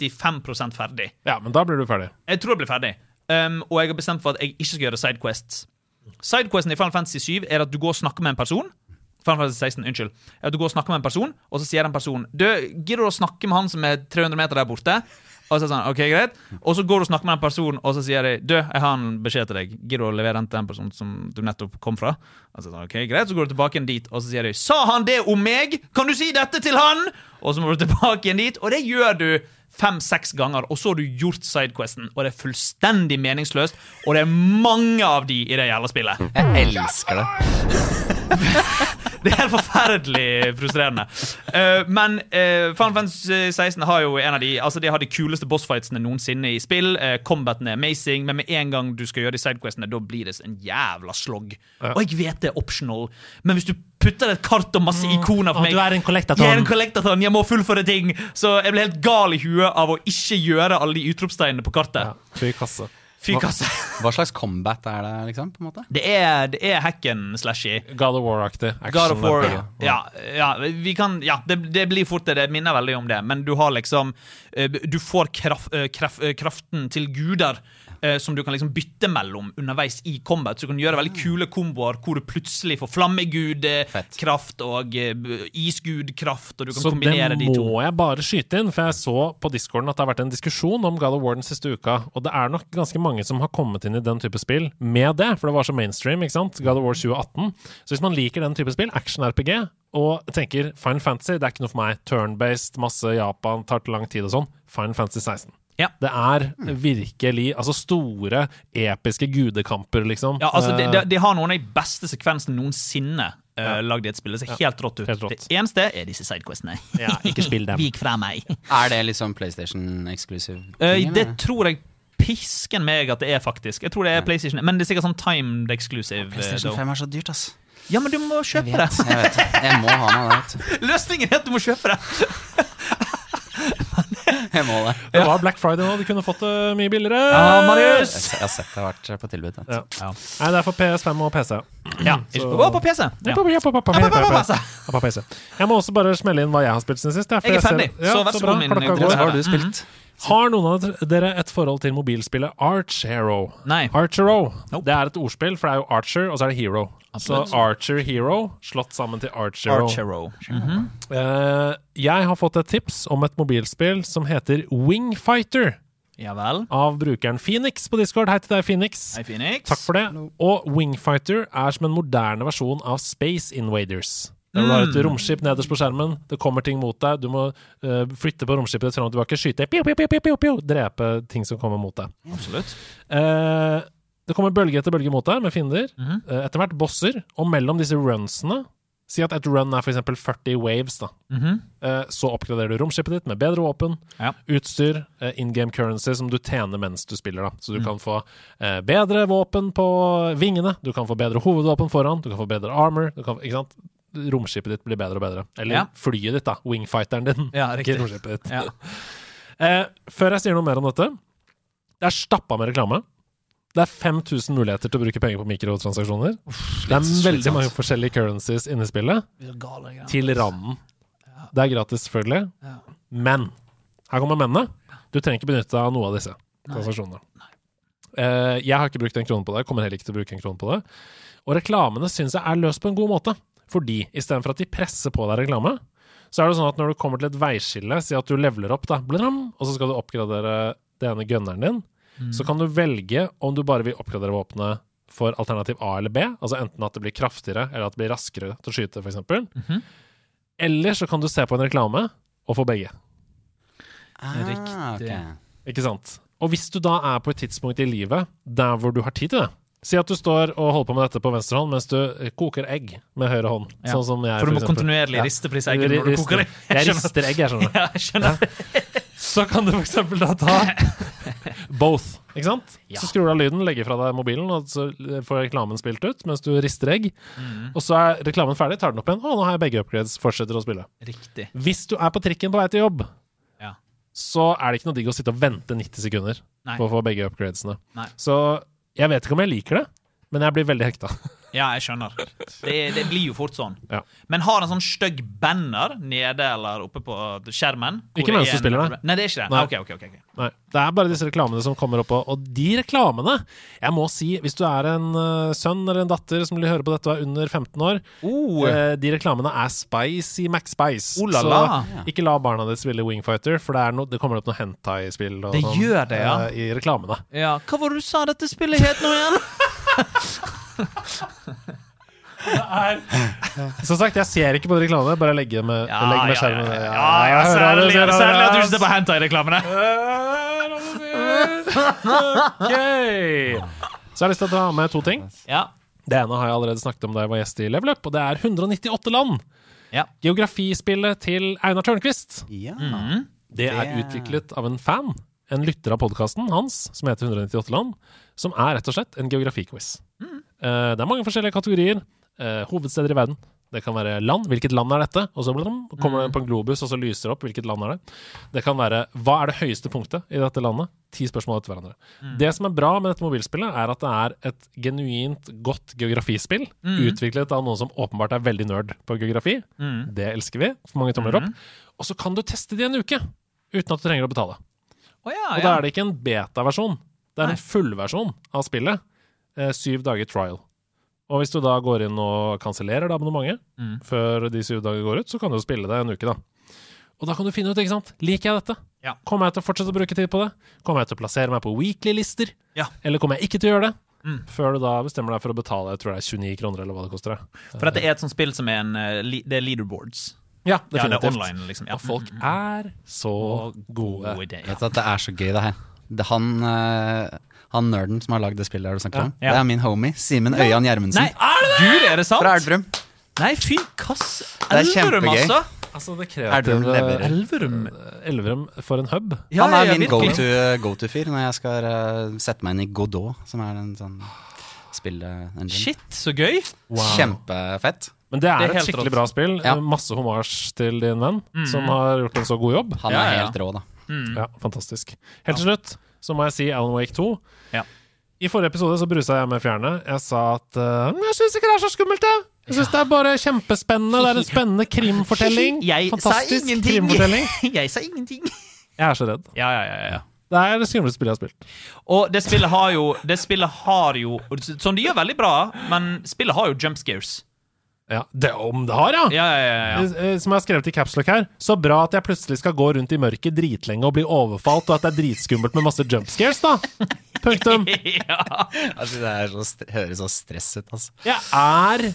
[SPEAKER 2] 75 ferdig.
[SPEAKER 3] Ja, men da blir du ferdig.
[SPEAKER 2] Jeg tror jeg blir ferdig. Um, og jeg har bestemt for at jeg ikke skal gjøre sidequests. Sidequesten i Final Fantasy 7 er at du går og snakker med en person. Final Fantasy 16, unnskyld. Er At du går og snakker med en person, og så sier den personen Du, gidder du å snakke med han som er 300 meter der borte? Og så er det sånn, ok, greit Og så går du og snakker med den personen, og så sier de Du, jeg har en beskjed til deg. Gidder du å levere den til den personen som du nettopp kom fra? Og så er det sånn, ok, greit Så går du tilbake igjen dit, og så sier de Sa han det om meg? Kan du si dette til han? Og så må du tilbake igjen dit, og det gjør du fem-seks ganger, og så har du gjort sidequesten, og det er fullstendig meningsløst, og det er mange av de i det jævla spillet.
[SPEAKER 4] Jeg elsker det.
[SPEAKER 2] Det er helt forferdelig frustrerende. Eh, men uh, Final Fantasy 16 har jo en av de Altså de har de kuleste bossfightsene noensinne i spill. Eh, combaten er amazing, men med en gang du skal gjøre de sidequestene, da blir det en jævla slogg. Og jeg vet det er optional, men hvis du putter et kart og masse ikoner for
[SPEAKER 3] Og
[SPEAKER 2] meg
[SPEAKER 3] Mm. du
[SPEAKER 2] jeg
[SPEAKER 3] er en
[SPEAKER 2] er en
[SPEAKER 3] kollektaton.
[SPEAKER 2] kollektaton, jeg må fullføre ting! Så jeg ble helt gal i huet av å ikke gjøre alle de utropsteinene på
[SPEAKER 3] Ja,
[SPEAKER 2] kartet.
[SPEAKER 3] fy kasse.
[SPEAKER 2] Fy kasse.
[SPEAKER 4] Hva slags combat er det, liksom? på en måte?
[SPEAKER 2] Det er, det er hacken slashy.
[SPEAKER 3] God of War-aktig. action
[SPEAKER 2] God of War.
[SPEAKER 3] RPG.
[SPEAKER 2] Ja, ja, vi kan, ja det, det blir fort det. Det minner veldig om det. Men du har liksom eh, Du får kraft, eh, kraf- eh, kraften til guder. eh, Som du kan liksom bytte mellom underveis i combat. Så du kan gjøre veldig kule komboer hvor du plutselig får
[SPEAKER 4] Fett.
[SPEAKER 2] flammegud-kraft og eh, b- isgud-kraft, og du kan
[SPEAKER 3] Så det
[SPEAKER 2] kombinere de to.
[SPEAKER 3] må jeg bare skyte inn, for jeg så på discorden at det har vært en diskusjon om God of War den siste uka, og det er nok ganske mange som har kommet inn i den type spill med det, for det var så mainstream, ikke sant? God of War 2018. Så hvis man liker den type spill, action-RPG, og tenker Final Fantasy, det er ikke noe for meg, turn-based, masse Japan, tar til lang tid og sånn, Final Fantasy 16.
[SPEAKER 2] Ja.
[SPEAKER 3] Det er virkelig altså store, episke gudekamper, liksom.
[SPEAKER 2] Ja, altså, de,
[SPEAKER 3] Eh,
[SPEAKER 2] de, de har noen av de beste sekvensene noensinne uh, lagd i et spill. Det ser helt rått ut.
[SPEAKER 3] helt rått.
[SPEAKER 2] Det eneste er disse sidequestene.
[SPEAKER 3] Ja, ikke spill dem.
[SPEAKER 2] Vik fra meg.
[SPEAKER 4] Er det liksom PlayStation exclusive?
[SPEAKER 2] Eh, det tror jeg pisken meg at det er, faktisk. Jeg tror det er PlayStation, Men det er sikkert sånn timed exclusive. eh,
[SPEAKER 4] PlayStation
[SPEAKER 2] though.
[SPEAKER 4] 5 er så dyrt, ass.
[SPEAKER 2] ja, men du må
[SPEAKER 4] Jeg
[SPEAKER 2] kjøpe det!
[SPEAKER 4] vet, jeg vet. Jeg må ha noe av det. vet
[SPEAKER 2] Løsningen er at du må kjøpe det!
[SPEAKER 4] du. Jeg må det.
[SPEAKER 3] Eh, Det var Black Friday nå, de kunne fått det mye billigere.
[SPEAKER 2] Ja,
[SPEAKER 4] Jeg
[SPEAKER 2] Marius!
[SPEAKER 4] har sett det har vært på tilbud. vet du.
[SPEAKER 3] Ja. Nei, det er for PS5 og PC.
[SPEAKER 2] Ja, ikke på, å, på PC! Ja.
[SPEAKER 3] Jeg må også bare smelle inn hva jeg har spilt siden sist.
[SPEAKER 2] Jeg er ferdig, så vær så god, min
[SPEAKER 3] Klokka
[SPEAKER 2] gode
[SPEAKER 3] går.
[SPEAKER 2] herre.
[SPEAKER 4] Hva har du spilt?
[SPEAKER 3] Har noen av dere et forhold til mobilspillet Archero?
[SPEAKER 2] Nei.
[SPEAKER 3] Archero.
[SPEAKER 2] Nope.
[SPEAKER 3] Det er et ordspill, for det er jo Archer, og så er det Hero.
[SPEAKER 2] Absolutt.
[SPEAKER 3] Så Archer Hero slått sammen til Archero.
[SPEAKER 2] Archero.
[SPEAKER 3] Eh, jeg har fått et tips om et mobilspill som heter Wingfighter,
[SPEAKER 2] Ja vel.
[SPEAKER 3] av brukeren Phoenix på Discord. Hei til deg, Phoenix.
[SPEAKER 2] Hei, Phoenix.
[SPEAKER 3] Takk for det. Og Wingfighter er som en moderne versjon av Space Invaders. Der du har et romskip nederst på skjermen, det kommer ting mot deg, du må eh, flytte på romskipet ditt fram og tilbake, skyte, piu, piu, piu, piu, piu, piu, drepe ting som kommer mot deg.
[SPEAKER 2] Absolutt.
[SPEAKER 3] Eh, det kommer bølge etter bølge mot deg med fiender,
[SPEAKER 2] Mhm,
[SPEAKER 3] eh, etter hvert bosser, og mellom disse runsene Si at et run er for eksempel 40 waves, da.
[SPEAKER 2] mhm.
[SPEAKER 3] Eh, så oppgraderer du romskipet ditt med bedre våpen,
[SPEAKER 2] Ja.
[SPEAKER 3] utstyr, in game currency som du tjener mens du spiller, da. Så
[SPEAKER 2] Mm.
[SPEAKER 3] du kan få eh, bedre våpen på vingene, du kan få bedre hovedvåpen foran, du kan få bedre armor, du kan, få- ikke sant. Romskipet ditt blir bedre og bedre. Eller
[SPEAKER 2] Ja.
[SPEAKER 3] flyet ditt, da. Wingfighteren din.
[SPEAKER 2] Ja,
[SPEAKER 3] ikke
[SPEAKER 2] riktig.
[SPEAKER 3] romskipet ditt.
[SPEAKER 2] Ja.
[SPEAKER 3] Eh, før jeg sier noe mer om dette Det er stappa med reklame. Det er 5000 muligheter til å bruke penger på mikrotransaksjoner. det er
[SPEAKER 4] slitsomt.
[SPEAKER 3] veldig mange forskjellige currencies inne i spillet. Til randen. Det er gratis, selvfølgelig. Men her kommer mennene. Du trenger ikke benytte deg av noe av disse transaksjonene. Eh, jeg har ikke brukt en krone på det. Kommer heller ikke til å bruke en krone på det. Og reklamene syns jeg er løst på en god måte. Fordi istedenfor at de presser på deg reklame, så er det sånn at når du kommer til et veiskille, si at du leveler opp, da, bladram, og så skal du oppgradere det ene gunneren din, så kan du velge om du bare vil oppgradere våpenet for alternativ A eller B, altså enten at det blir kraftigere eller at det blir raskere til å skyte, f.eks.
[SPEAKER 2] Mhm.
[SPEAKER 3] Eller så kan du se på en reklame og få begge.
[SPEAKER 4] Ah,
[SPEAKER 2] Riktig.
[SPEAKER 4] ok.
[SPEAKER 3] Ikke sant? Og hvis du da er på et tidspunkt i livet der hvor du har tid til det Si at du står og holder på med dette på venstre hånd mens du eh, koker egg med høyre hånd.
[SPEAKER 2] Ja.
[SPEAKER 3] Sånn som jeg,
[SPEAKER 2] For du må
[SPEAKER 3] eksempel.
[SPEAKER 2] kontinuerlig
[SPEAKER 3] Ja.
[SPEAKER 2] riste på disse eggene når du koker dem.
[SPEAKER 3] Jeg
[SPEAKER 2] Jeg skjønner.
[SPEAKER 3] rister egg, jeg skjønner.
[SPEAKER 2] Ja, jeg skjønner.
[SPEAKER 3] Så kan du for eksempel da ta both, ikke sant?
[SPEAKER 2] Ja.
[SPEAKER 3] Så skrur du av lyden, legger fra deg mobilen, og så får reklamen spilt ut mens du rister egg.
[SPEAKER 2] Mm.
[SPEAKER 3] Og så er reklamen ferdig, tar den opp igjen, og nå har jeg begge upgrades, fortsetter å spille.
[SPEAKER 2] Riktig.
[SPEAKER 3] Hvis du er på trikken på vei til jobb,
[SPEAKER 2] Ja.
[SPEAKER 3] så er det ikke noe digg å sitte og vente 90 sekunder
[SPEAKER 2] Nei.
[SPEAKER 3] på å få begge upgradesene.
[SPEAKER 2] Nei.
[SPEAKER 3] Så jeg vet ikke om jeg liker det, men jeg blir veldig hekta.
[SPEAKER 2] Ja, jeg skjønner. Det, det blir jo fort sånn.
[SPEAKER 3] Ja.
[SPEAKER 2] Men har en sånn stygg banner nede eller oppe på skjermen? hvor
[SPEAKER 3] Ikke
[SPEAKER 2] det
[SPEAKER 3] mens du
[SPEAKER 2] er en-
[SPEAKER 3] spiller det.
[SPEAKER 2] Nei, det er ikke det.
[SPEAKER 3] Nei.
[SPEAKER 2] Ok, ok, ok, ok.
[SPEAKER 3] Nei, Det er bare disse reklamene som kommer opp, og- og de reklamene Jeg må si, hvis du er en eh, sønn eller en datter som vil høre på dette og er under 15 år,
[SPEAKER 2] Oh,
[SPEAKER 3] Eh, de reklamene er spicy McSpice.
[SPEAKER 2] Oh la
[SPEAKER 3] så
[SPEAKER 2] la.
[SPEAKER 3] ikke la barna ditt spille Wingfighter, for det, er no, det kommer opp noe hentai-spill og
[SPEAKER 2] Det
[SPEAKER 3] sånn,
[SPEAKER 2] gjør det, ja.
[SPEAKER 3] eh, i reklamene.
[SPEAKER 2] ja. Hva var det du sa dette spillet het nå igjen?
[SPEAKER 3] Som sagt, jeg ser ikke på de reklamene, bare legger med, legger med skjermen.
[SPEAKER 2] ja, ja, ja,
[SPEAKER 3] jeg hører det,
[SPEAKER 2] særlig,
[SPEAKER 3] jeg hører det.
[SPEAKER 2] særlig at du ikke ser på hentai-reklamene.
[SPEAKER 3] Ok. Så jeg har lyst til å ta med to ting.
[SPEAKER 2] Ja.
[SPEAKER 3] Det ene har jeg allerede snakket om da jeg var gjest i Level Up, og det er 198 land.
[SPEAKER 2] Ja.
[SPEAKER 3] Geografispillet til Einar Tørnquist.
[SPEAKER 4] Ja.
[SPEAKER 3] Det er
[SPEAKER 4] Det-
[SPEAKER 3] utviklet av en fan, en lytter av podkasten hans, som heter 198 land, som er rett og slett en geografiquiz. Eh, det er mange forskjellige kategorier. Eh, hovedsteder i verden. Det kan være land. Hvilket land er dette? Og så blam, kommer det på en globus, og så lyser det opp. Hvilket land er det? Det kan være hva er det høyeste punktet i dette landet? Ti spørsmål etter hverandre. Det som er bra med dette mobilspillet, er at det er et genuint godt geografispill, utviklet av noen som åpenbart er veldig nerd på geografi. Det elsker vi. For mange tomler opp. Og så kan du teste det i en uke, uten at du trenger å betale.
[SPEAKER 2] Å ja,
[SPEAKER 3] Og
[SPEAKER 2] Ah, ja.
[SPEAKER 3] da er det ikke en beta-versjon. Det er en fullversjon av spillet. Eh, syv dager trial. Og hvis du da går inn og kansellerer det abonnementet
[SPEAKER 2] Mm.
[SPEAKER 3] før de syv dager går ut, så kan du jo spille det en uke, da. Og da kan du finne ut, ikke sant. Liker jeg dette?
[SPEAKER 2] Ja.
[SPEAKER 3] Kommer jeg til å fortsette å bruke tid på det? Kommer jeg til å plassere meg på weekly-lister?
[SPEAKER 2] Ja.
[SPEAKER 3] Eller kommer jeg ikke til å gjøre det?
[SPEAKER 2] Mm.
[SPEAKER 3] Før du da bestemmer deg for å betale jeg tror det er 29 kroner, eller hva det koster deg.
[SPEAKER 2] For dette er et sånt spill som er en eh, li- Det er leaderboards.
[SPEAKER 3] Ja,
[SPEAKER 2] Ja, det er
[SPEAKER 3] definitivt.
[SPEAKER 2] online, liksom. Ja.
[SPEAKER 3] Og folk er så gode.
[SPEAKER 2] God idé, ja.
[SPEAKER 4] Vet du at det er så gøy, det her. Det, han, eh, han nerden som har lagd det spillet, har du snakket om?
[SPEAKER 2] Ja.
[SPEAKER 4] Det er min homie, Simen Øyan Gjermundsen
[SPEAKER 2] Nei, er det Gud, er det sant?
[SPEAKER 4] fra Elverum.
[SPEAKER 2] Nei, fy kass.
[SPEAKER 4] er
[SPEAKER 2] Elverum,
[SPEAKER 4] kjempegøy.
[SPEAKER 2] altså.
[SPEAKER 3] Altså, det kreative
[SPEAKER 4] Elverum leverer.
[SPEAKER 2] Elverum.
[SPEAKER 3] Elverum for en hub.
[SPEAKER 2] Ja,
[SPEAKER 4] han
[SPEAKER 2] ja,
[SPEAKER 4] er
[SPEAKER 2] ja,
[SPEAKER 4] min
[SPEAKER 2] virkelig.
[SPEAKER 4] go-to- go-to-fyr når jeg skal eh, sette meg inn i Godot, som er en sånn spille-engine.
[SPEAKER 2] Shit, så gøy.
[SPEAKER 4] Kjempefett.
[SPEAKER 3] Men det
[SPEAKER 2] Det
[SPEAKER 3] er,
[SPEAKER 2] er
[SPEAKER 3] et
[SPEAKER 2] helt
[SPEAKER 3] skikkelig
[SPEAKER 2] rått.
[SPEAKER 3] bra spill. Eh,
[SPEAKER 4] Ja.
[SPEAKER 3] Masse hommage til din venn, som har gjort en så god jobb.
[SPEAKER 4] Han
[SPEAKER 2] Ja,
[SPEAKER 4] er
[SPEAKER 2] ja, ja.
[SPEAKER 4] helt rå, da.
[SPEAKER 3] Ja, fantastisk. Helt til slutt så må jeg si Alan Wake 2.
[SPEAKER 2] Ja.
[SPEAKER 3] I forrige episode så brusa jeg med fjerne. Jeg sa at eh, «Men jeg syns ikke det er så skummelt, jeg. Jeg syns det er bare kjempespennende. Det er en spennende krimfortelling.
[SPEAKER 2] Jeg sa
[SPEAKER 3] Fantastisk
[SPEAKER 2] ingenting.
[SPEAKER 3] krimfortelling.
[SPEAKER 2] Jeg sa ingenting.
[SPEAKER 3] Jeg er så redd.
[SPEAKER 2] Ja, ja, ja, ja.
[SPEAKER 3] Det er det skumleste spillet jeg har spilt.
[SPEAKER 2] Og det spillet har jo Det spillet har jo Som de gjør veldig bra, men spillet har jo jump scares.
[SPEAKER 3] Ja, det om det har, ja!
[SPEAKER 2] Ja, ja, ja, ja.
[SPEAKER 3] Eh, Som jeg har skrevet i capslock her. Så bra at jeg plutselig skal gå rundt i mørket dritlenge og bli overfalt, og at det er dritskummelt med masse jump scares, da. Punktum.
[SPEAKER 4] Altså, det er så st høres så stress ut, altså.
[SPEAKER 3] Jeg er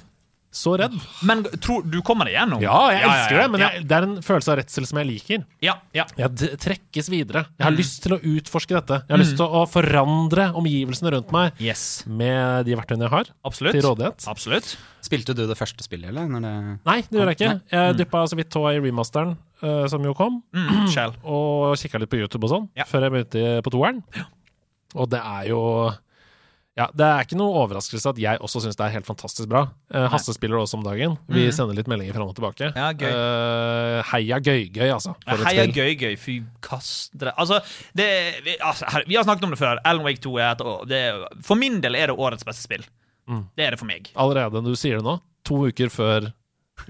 [SPEAKER 3] så redd.
[SPEAKER 2] Men tror, du kommer deg gjennom?
[SPEAKER 3] Ja, jeg elsker det, men
[SPEAKER 2] ja,
[SPEAKER 3] jeg, det er en følelse av redsel som jeg liker.
[SPEAKER 2] ja, ja.
[SPEAKER 3] Jeg d- trekkes videre. Jeg har lyst til å utforske dette. Jeg har lyst til å forandre omgivelsene rundt meg
[SPEAKER 2] Yes.
[SPEAKER 3] med de verktøyene jeg har
[SPEAKER 2] Absolutt.
[SPEAKER 3] til rådighet.
[SPEAKER 2] Absolutt.
[SPEAKER 4] Spilte du det første spillet, eller? Når det
[SPEAKER 3] Nei, Mm. det gjør jeg ikke. Jeg dyppa så vidt tåa i remasteren, eh, som jo kom,
[SPEAKER 2] Mm, Shell.
[SPEAKER 3] og kikka litt på YouTube og sånn,
[SPEAKER 2] Ja.
[SPEAKER 3] før jeg begynte på toeren. Og det er jo ja, Det er ikke noe overraskelse at jeg også syns det er helt fantastisk bra. Eh, Hasse spiller det også om dagen. Vi sender litt meldinger fram og tilbake.
[SPEAKER 2] Mhm. Ja, gøy.
[SPEAKER 3] Eh, heia gøy-gøy, altså. For et
[SPEAKER 2] Heia
[SPEAKER 3] spill.
[SPEAKER 2] gøy, gøy, fy kast dere Altså, det vi, altså, her, vi har snakket om det før. Alan Wake 2 er et å, det, For min del er det årets beste spill.
[SPEAKER 3] Mm.
[SPEAKER 2] Det er det for meg.
[SPEAKER 3] Allerede når du sier det nå, to uker før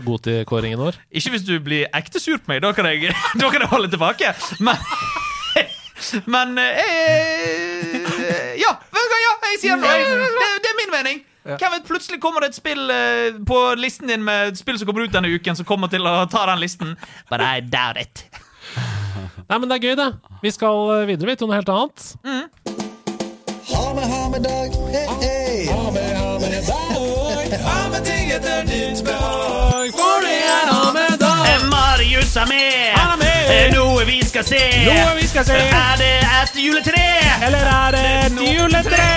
[SPEAKER 3] Goti-kåringen vår.
[SPEAKER 2] Ikke hvis du blir ekte sur på meg, da kan jeg, da kan jeg holde tilbake. Men Men eh, Ja, vet du hva, ja, jeg sier det. Det, det er min mening. Hvem vet, Plutselig kommer det et spill eh, på listen din med et spill som kommer ut denne uken, som kommer til å ta den listen. But I doubt it.
[SPEAKER 3] Nei, men det er gøy, det. Vi skal eh, videre, vi, til noe helt annet.
[SPEAKER 6] Ha med, ha med dag. Hei, hei. Ha med, ha med dag. Ha med ting etter ditt behag. For det er ha med dag.
[SPEAKER 2] Eh, Marius er med.
[SPEAKER 3] Han er med.
[SPEAKER 2] Eh, Noe vi skal se. Eh,
[SPEAKER 3] Noe vi skal se.
[SPEAKER 2] Er det et juletre?
[SPEAKER 3] Eller er det et juletre?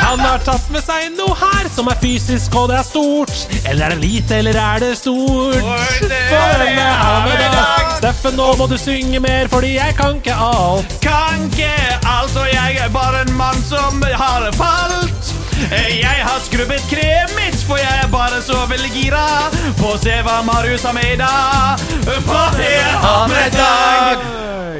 [SPEAKER 3] Han har tatt med seg noe her som er fysisk, og det er stort. Eller er det lite, eller er det stort? For denne har vi dag. Steffen, nå må du synge mer, fordi jeg kan ikke alt.
[SPEAKER 2] Kan ikke alt, og jeg er bare en mann som har falt. Eh, Jeg har skrubbet kremet mitt, for jeg er bare så veldig gira på å se hva Marius har med i dag. For det er han med dag.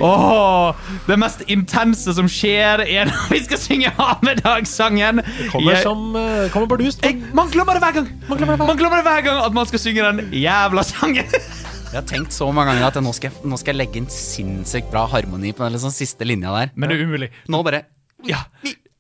[SPEAKER 2] Åh, det mest intense som skjer, er når vi skal synge Hamedag-sangen.
[SPEAKER 3] Kommer som eh, Kommer bardust.
[SPEAKER 2] jeg, man glemmer det hver gang Man glemmer det hver, det hver gang at man skal synge den jævla sangen.
[SPEAKER 4] Jeg har tenkt så mange ganger at jeg, nå, skal jeg, nå skal jeg legge inn sinnssykt bra harmoni på den liksom, siste linja der.
[SPEAKER 2] Men det er umulig.
[SPEAKER 4] Nå bare
[SPEAKER 2] Ja.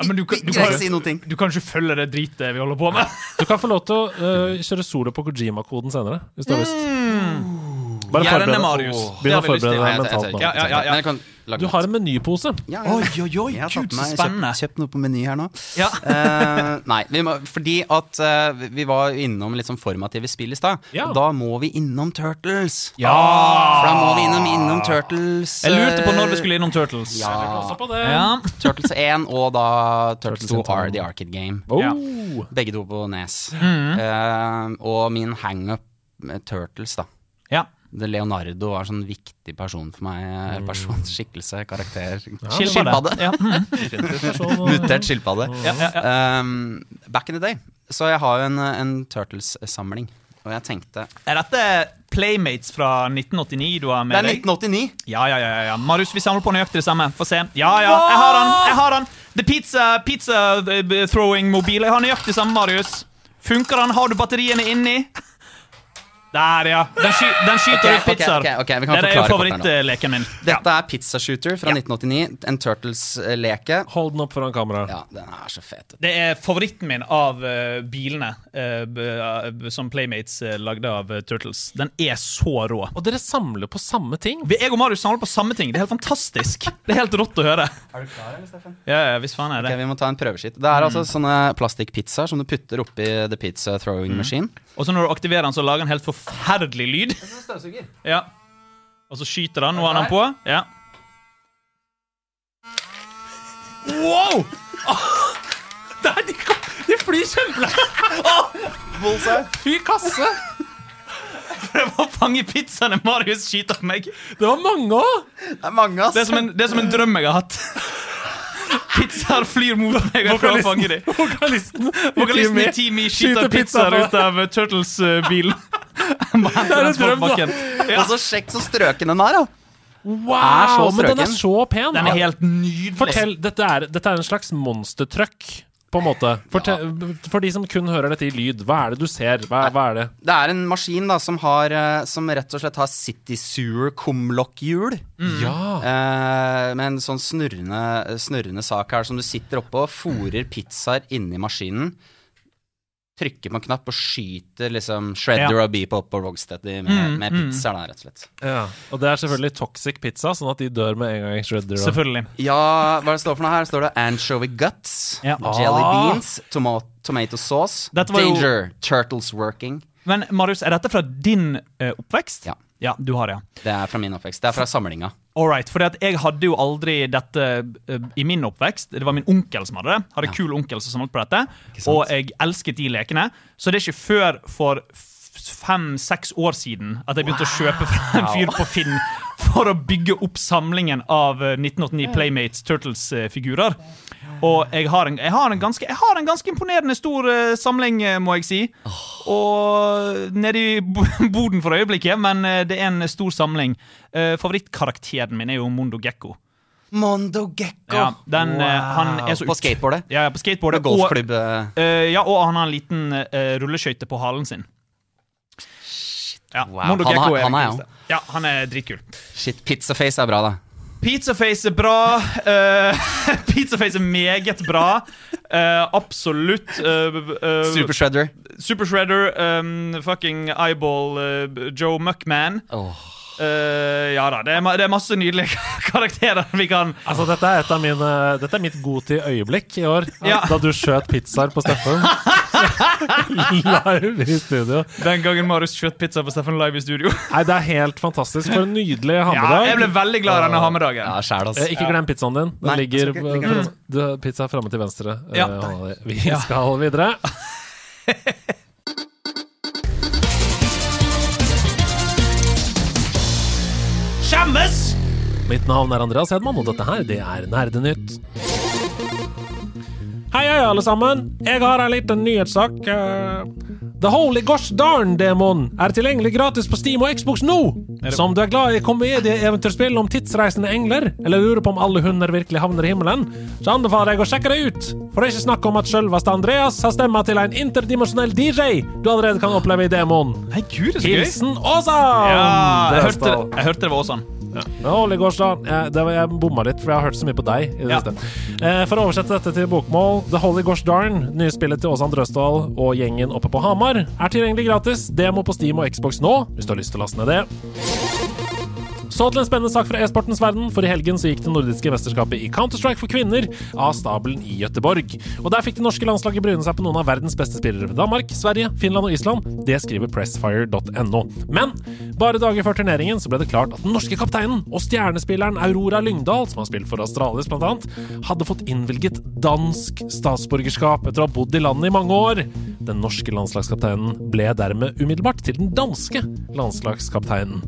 [SPEAKER 2] Ja, men du, kan- du,
[SPEAKER 4] Ikke
[SPEAKER 2] kan,
[SPEAKER 4] si noen ting.
[SPEAKER 2] du kan ikke følge det dritet vi holder på med.
[SPEAKER 3] Du kan få lov til å eh, kjøre solo på Kojima-koden senere, hvis du har lyst. Bare
[SPEAKER 5] Gjerne
[SPEAKER 3] forbered deg.
[SPEAKER 5] Marius.
[SPEAKER 3] Begynn å
[SPEAKER 2] Det har vi lyst til.
[SPEAKER 3] forberede
[SPEAKER 4] Nei,
[SPEAKER 3] deg mentalt
[SPEAKER 4] jeg, jeg, jeg, jeg,
[SPEAKER 3] nå.
[SPEAKER 2] Ja, ja, ja, ja.
[SPEAKER 4] Men jeg kan lage
[SPEAKER 3] Du har en menypose.
[SPEAKER 4] Ja, ja.
[SPEAKER 5] Oi, oi, oi,
[SPEAKER 4] Jeg har
[SPEAKER 5] gud,
[SPEAKER 4] tatt
[SPEAKER 5] så
[SPEAKER 4] meg,
[SPEAKER 5] spennende.
[SPEAKER 4] Kjøpt, kjøpt noe på Meny her nå.
[SPEAKER 5] Ja.
[SPEAKER 4] Eh, nei, vi må, fordi at eh, vi- vi var jo innom litt sånn formative spill i stad.
[SPEAKER 3] Ja.
[SPEAKER 4] Og Da må vi innom Turtles.
[SPEAKER 2] Ja!
[SPEAKER 4] For da må vi innom, innom Turtles
[SPEAKER 2] Jeg lurte på når
[SPEAKER 4] eh,
[SPEAKER 2] vi skulle innom Turtles.
[SPEAKER 4] ja,
[SPEAKER 2] Ja.
[SPEAKER 4] Turtles 1 og da Turtles 2
[SPEAKER 3] Turtles
[SPEAKER 4] are the arcade game.
[SPEAKER 3] Oh.
[SPEAKER 4] Begge to på Nes. Eh, og min hangup med Turtles, da.
[SPEAKER 2] Ja.
[SPEAKER 4] Det Leonardo var en sånn viktig person for meg. Person, skikkelse, karakter.
[SPEAKER 2] Skilpadde. Ja. Mm.
[SPEAKER 4] Mutert skilpadde.
[SPEAKER 2] Ja, ja, ja.
[SPEAKER 4] Um, back in the day. Så jeg har jo en, en Turtles-samling. Og jeg tenkte
[SPEAKER 2] Er dette Playmates fra 1989 du har
[SPEAKER 4] Det
[SPEAKER 2] med
[SPEAKER 4] er
[SPEAKER 2] deg?
[SPEAKER 4] 1989!
[SPEAKER 2] Ja, ja, ja, ja, ja. Marius, vi samler på nøyaktig det samme. Få se. Ja, ja, jeg har han! jeg har han The pizza, pizza eh, throwing mobil. Jeg har nøyaktig samme, Marius. Funker han? Har du batteriene inni? Der, ja. Den, sky den skyter
[SPEAKER 4] Ok,
[SPEAKER 2] ut pizzaer.
[SPEAKER 4] ok, ok, ok, vi kan
[SPEAKER 2] Det er jo
[SPEAKER 4] forklare kort her nå.
[SPEAKER 2] favorittleken min.
[SPEAKER 4] Dette er Pizza Shooter fra 1989. En Turtles-leke.
[SPEAKER 3] Hold den opp foran kameraet.
[SPEAKER 4] Ja, den er så fet.
[SPEAKER 2] Det er favoritten min av eh, bilene eh, b- eh, b- som Playmates eh, lagde av eh, Turtles. Den er så rå.
[SPEAKER 3] Og dere samler på samme ting.
[SPEAKER 2] Vi- Jeg og Marius samler på samme ting. Det er helt fantastisk. Det er helt rått å høre.
[SPEAKER 4] Er du klar, eller, Steffen?
[SPEAKER 2] Ja, ja, hvis faen er
[SPEAKER 4] Ok,
[SPEAKER 2] det.
[SPEAKER 4] Vi må ta en prøveskitt. Det er
[SPEAKER 2] Mm.
[SPEAKER 4] altså sånne plastikkpizzaer som du putter oppi The Pizza
[SPEAKER 2] Mm.
[SPEAKER 4] Throwing Machine.
[SPEAKER 2] Og så når du aktiverer den, så lager den helt forferdelig lyd. Ja. Og så skyter han, nå er han på. Ja. Wow! Der, de, kom- de flyr kjempelangt! Ah!
[SPEAKER 3] Fy kasse!
[SPEAKER 2] Prøv å fange pizzaene Marius skyter på meg.
[SPEAKER 3] Det var mange òg!
[SPEAKER 4] Det er mange, ass!
[SPEAKER 2] Det er som en, det er som en drøm jeg har hatt. Pizzaer flyr mot meg, og jeg prøver å fange dem.
[SPEAKER 3] Vokalisten.
[SPEAKER 2] Vokalisten i
[SPEAKER 3] Team E.
[SPEAKER 2] Team E skyter
[SPEAKER 3] skyter
[SPEAKER 2] pizzaer
[SPEAKER 3] pizza på-
[SPEAKER 2] ut av eh, Turtles-bilen. Det
[SPEAKER 3] en drøm, da.
[SPEAKER 4] Og
[SPEAKER 2] Altså,
[SPEAKER 4] så sjekk så strøken den er, da! Er
[SPEAKER 3] Wow,
[SPEAKER 4] så
[SPEAKER 3] men den er
[SPEAKER 4] strøken.
[SPEAKER 3] så pen.
[SPEAKER 2] Den er helt nydelig.
[SPEAKER 3] Fortell, dette er, dette er en slags monstertruck, på en måte. Fortell, For de som kun hører dette i lyd, hva er det du ser? Hva, hva er det?
[SPEAKER 4] Det er en maskin da som, har, eh, som rett og slett har City Sewer Comlock-hjul.
[SPEAKER 2] Mm.
[SPEAKER 3] Ja.
[SPEAKER 4] Eh, med en sånn snurrende, snurrende sak her som du sitter oppå og fôrer pizzaer inni maskinen. Trykker på en knapp og skyter liksom Shredder og Beeple opp på Rogsteady med,
[SPEAKER 2] Mm,
[SPEAKER 4] med pizzaer, da, rett og slett.
[SPEAKER 3] ja. Og det er selvfølgelig toxic pizza, sånn at de dør med en gang. i Shredder, da.
[SPEAKER 2] Selvfølgelig.
[SPEAKER 4] Ja, hva er det står for noe her? Står det anchovy guts,
[SPEAKER 2] Ja.
[SPEAKER 4] jelly
[SPEAKER 3] Ah.
[SPEAKER 4] beans, tomat, tomato sauce,
[SPEAKER 2] Dette var jo-
[SPEAKER 4] danger, turtles working.
[SPEAKER 2] Men Marius, er dette fra din eh, oppvekst?
[SPEAKER 4] Ja.
[SPEAKER 2] du har det, ja.
[SPEAKER 4] Det er fra min oppvekst. Det er fra samlinga.
[SPEAKER 2] All right, for jeg hadde jo aldri dette eh, i min oppvekst. Det var min onkel som hadde det. Hadde en kul onkel som samlet på dette. Og jeg elsket de lekene. Så det er ikke før for fem-seks år siden at jeg begynte å kjøpe fra en fyr på Finn for å bygge opp samlingen av eh, 1989 Playmates eh, Turtles-figurer. Og jeg har, en, jeg, har en ganske, jeg har en ganske imponerende stor eh, samling, eh, må jeg si. Og nede i bo- boden for øyeblikket, men eh, det er en stor samling. Eh, Favorittkarakteren min er jo Mondo Gekko.
[SPEAKER 4] Mondo Gekko!
[SPEAKER 2] Ja, den, eh, han er så
[SPEAKER 4] På
[SPEAKER 2] ut-
[SPEAKER 4] skateboardet.
[SPEAKER 2] Ja, ja, på skateboardet.
[SPEAKER 4] Med golfklubb. eh,
[SPEAKER 2] Og, eh, ja, og han har en liten eh, rulleskøyte på halen sin. Ja,
[SPEAKER 4] Wow.
[SPEAKER 2] Mondo
[SPEAKER 4] Han
[SPEAKER 2] Gekko
[SPEAKER 4] er-
[SPEAKER 2] er
[SPEAKER 4] han er
[SPEAKER 2] den kuleste. Ja, han er dritkul.
[SPEAKER 4] Shit, pizzaface er bra, da.
[SPEAKER 2] Pizzaface er bra. eh, Pizzaface er meget bra. Eh, absolutt. eh, eh,
[SPEAKER 4] Super Shredder.
[SPEAKER 2] Super Shredder, um, fucking Eyeball, uh, Joe Muckman. Uh, ja da, det er, ma det er masse nydelige karakterer vi kan
[SPEAKER 3] Altså, dette er, et av mine, dette er mitt godtid-øyeblikk i år,
[SPEAKER 2] Ja.
[SPEAKER 3] da du skjøt pizzaer på Steffen. Live i studio.
[SPEAKER 2] Den gangen Marius skjøt pizza på Steffen Live i studio.
[SPEAKER 3] Nei, det er helt fantastisk. For en nydelig
[SPEAKER 2] Ja, jeg
[SPEAKER 3] hammedag.
[SPEAKER 2] ble veldig glad i denne hammedagen.
[SPEAKER 4] Ja, sjæl, altså.
[SPEAKER 3] Eh, Ikke glem pizzaen din. Den
[SPEAKER 4] Nei,
[SPEAKER 3] ligger
[SPEAKER 4] jeg
[SPEAKER 2] altså,
[SPEAKER 4] skal ikke- ligger
[SPEAKER 3] eh, fra- du- Pizza er framme til venstre. eh,
[SPEAKER 2] Ja.
[SPEAKER 3] hånda di. Vi skal videre.
[SPEAKER 2] Skjemmes!
[SPEAKER 3] Mitt navn er Andreas Hedman, og dette her, det er Nerdenytt. Hei, hei, alle sammen. Jeg har en liten nyhetssak. Eh, The Holy Gosh Darn-demoen er tilgjengelig gratis på Steam og Xbox nå! Så om du er glad i komedieeventyrspill om tidsreisende engler, eller lurer på om alle hunder virkelig havner i himmelen, så anbefaler jeg å sjekke det ut. For ikke snakk om at selveste Andreas har stemma til en interdimensjonell DJ du allerede kan oppleve i demoen.
[SPEAKER 2] Nei, gud, det er så gøy.
[SPEAKER 3] Hilsen Åsa!
[SPEAKER 2] Ja, jeg hørte, jeg hørte det var Åsan.
[SPEAKER 3] Ja, Ole Gårdstad, jeg, det var, jeg bomma litt, for jeg har hørt så mye på deg. I det
[SPEAKER 2] Ja.
[SPEAKER 3] siste. Eh, for å oversette dette til bokmål The Holy Gosh Darn, nye spillet til Åsan Drøsdal og gjengen oppe på Hamar, er tilgjengelig gratis. Demo på Steam og Xbox nå, hvis du har lyst til å laste ned det. Så til en spennende sak fra e-sportens verden, for i helgen så gikk det nordiske mesterskapet i Counter-Strike for kvinner av stabelen i Gøteborg. Og der fikk det norske landslaget bryne seg på noen av verdens beste spillere fra Danmark, Sverige, Finland og Island. Det skriver pressfire.no. Men bare dager før turneringen så ble det klart at den norske kapteinen og stjernespilleren Aurora Lyngdal, som har spilt for Astralis blant annet, hadde fått innvilget dansk statsborgerskap etter å ha bodd i landet i mange år. Den norske landslagskapteinen ble dermed umiddelbart til den danske landslagskapteinen.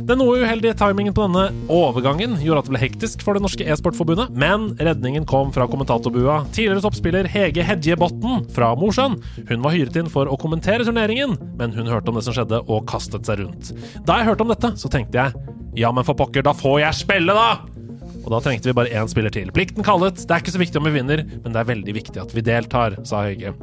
[SPEAKER 3] Den noe uheldige timingen på denne overgangen gjorde at det ble hektisk for det norske e-sportforbundet, men redningen kom fra kommentatorbua. Tidligere toppspiller Hege Hedje Botten fra Mosjøen. Hun var hyret inn for å kommentere turneringen, men hun hørte om det som skjedde, og kastet seg rundt. Da jeg hørte om dette, så tenkte jeg ja, men for pokker, da får jeg spille, da! Og da trengte vi bare én spiller til. Plikten kallet. Det er ikke så viktig om vi vinner, men det er veldig viktig at vi deltar, sa Hege.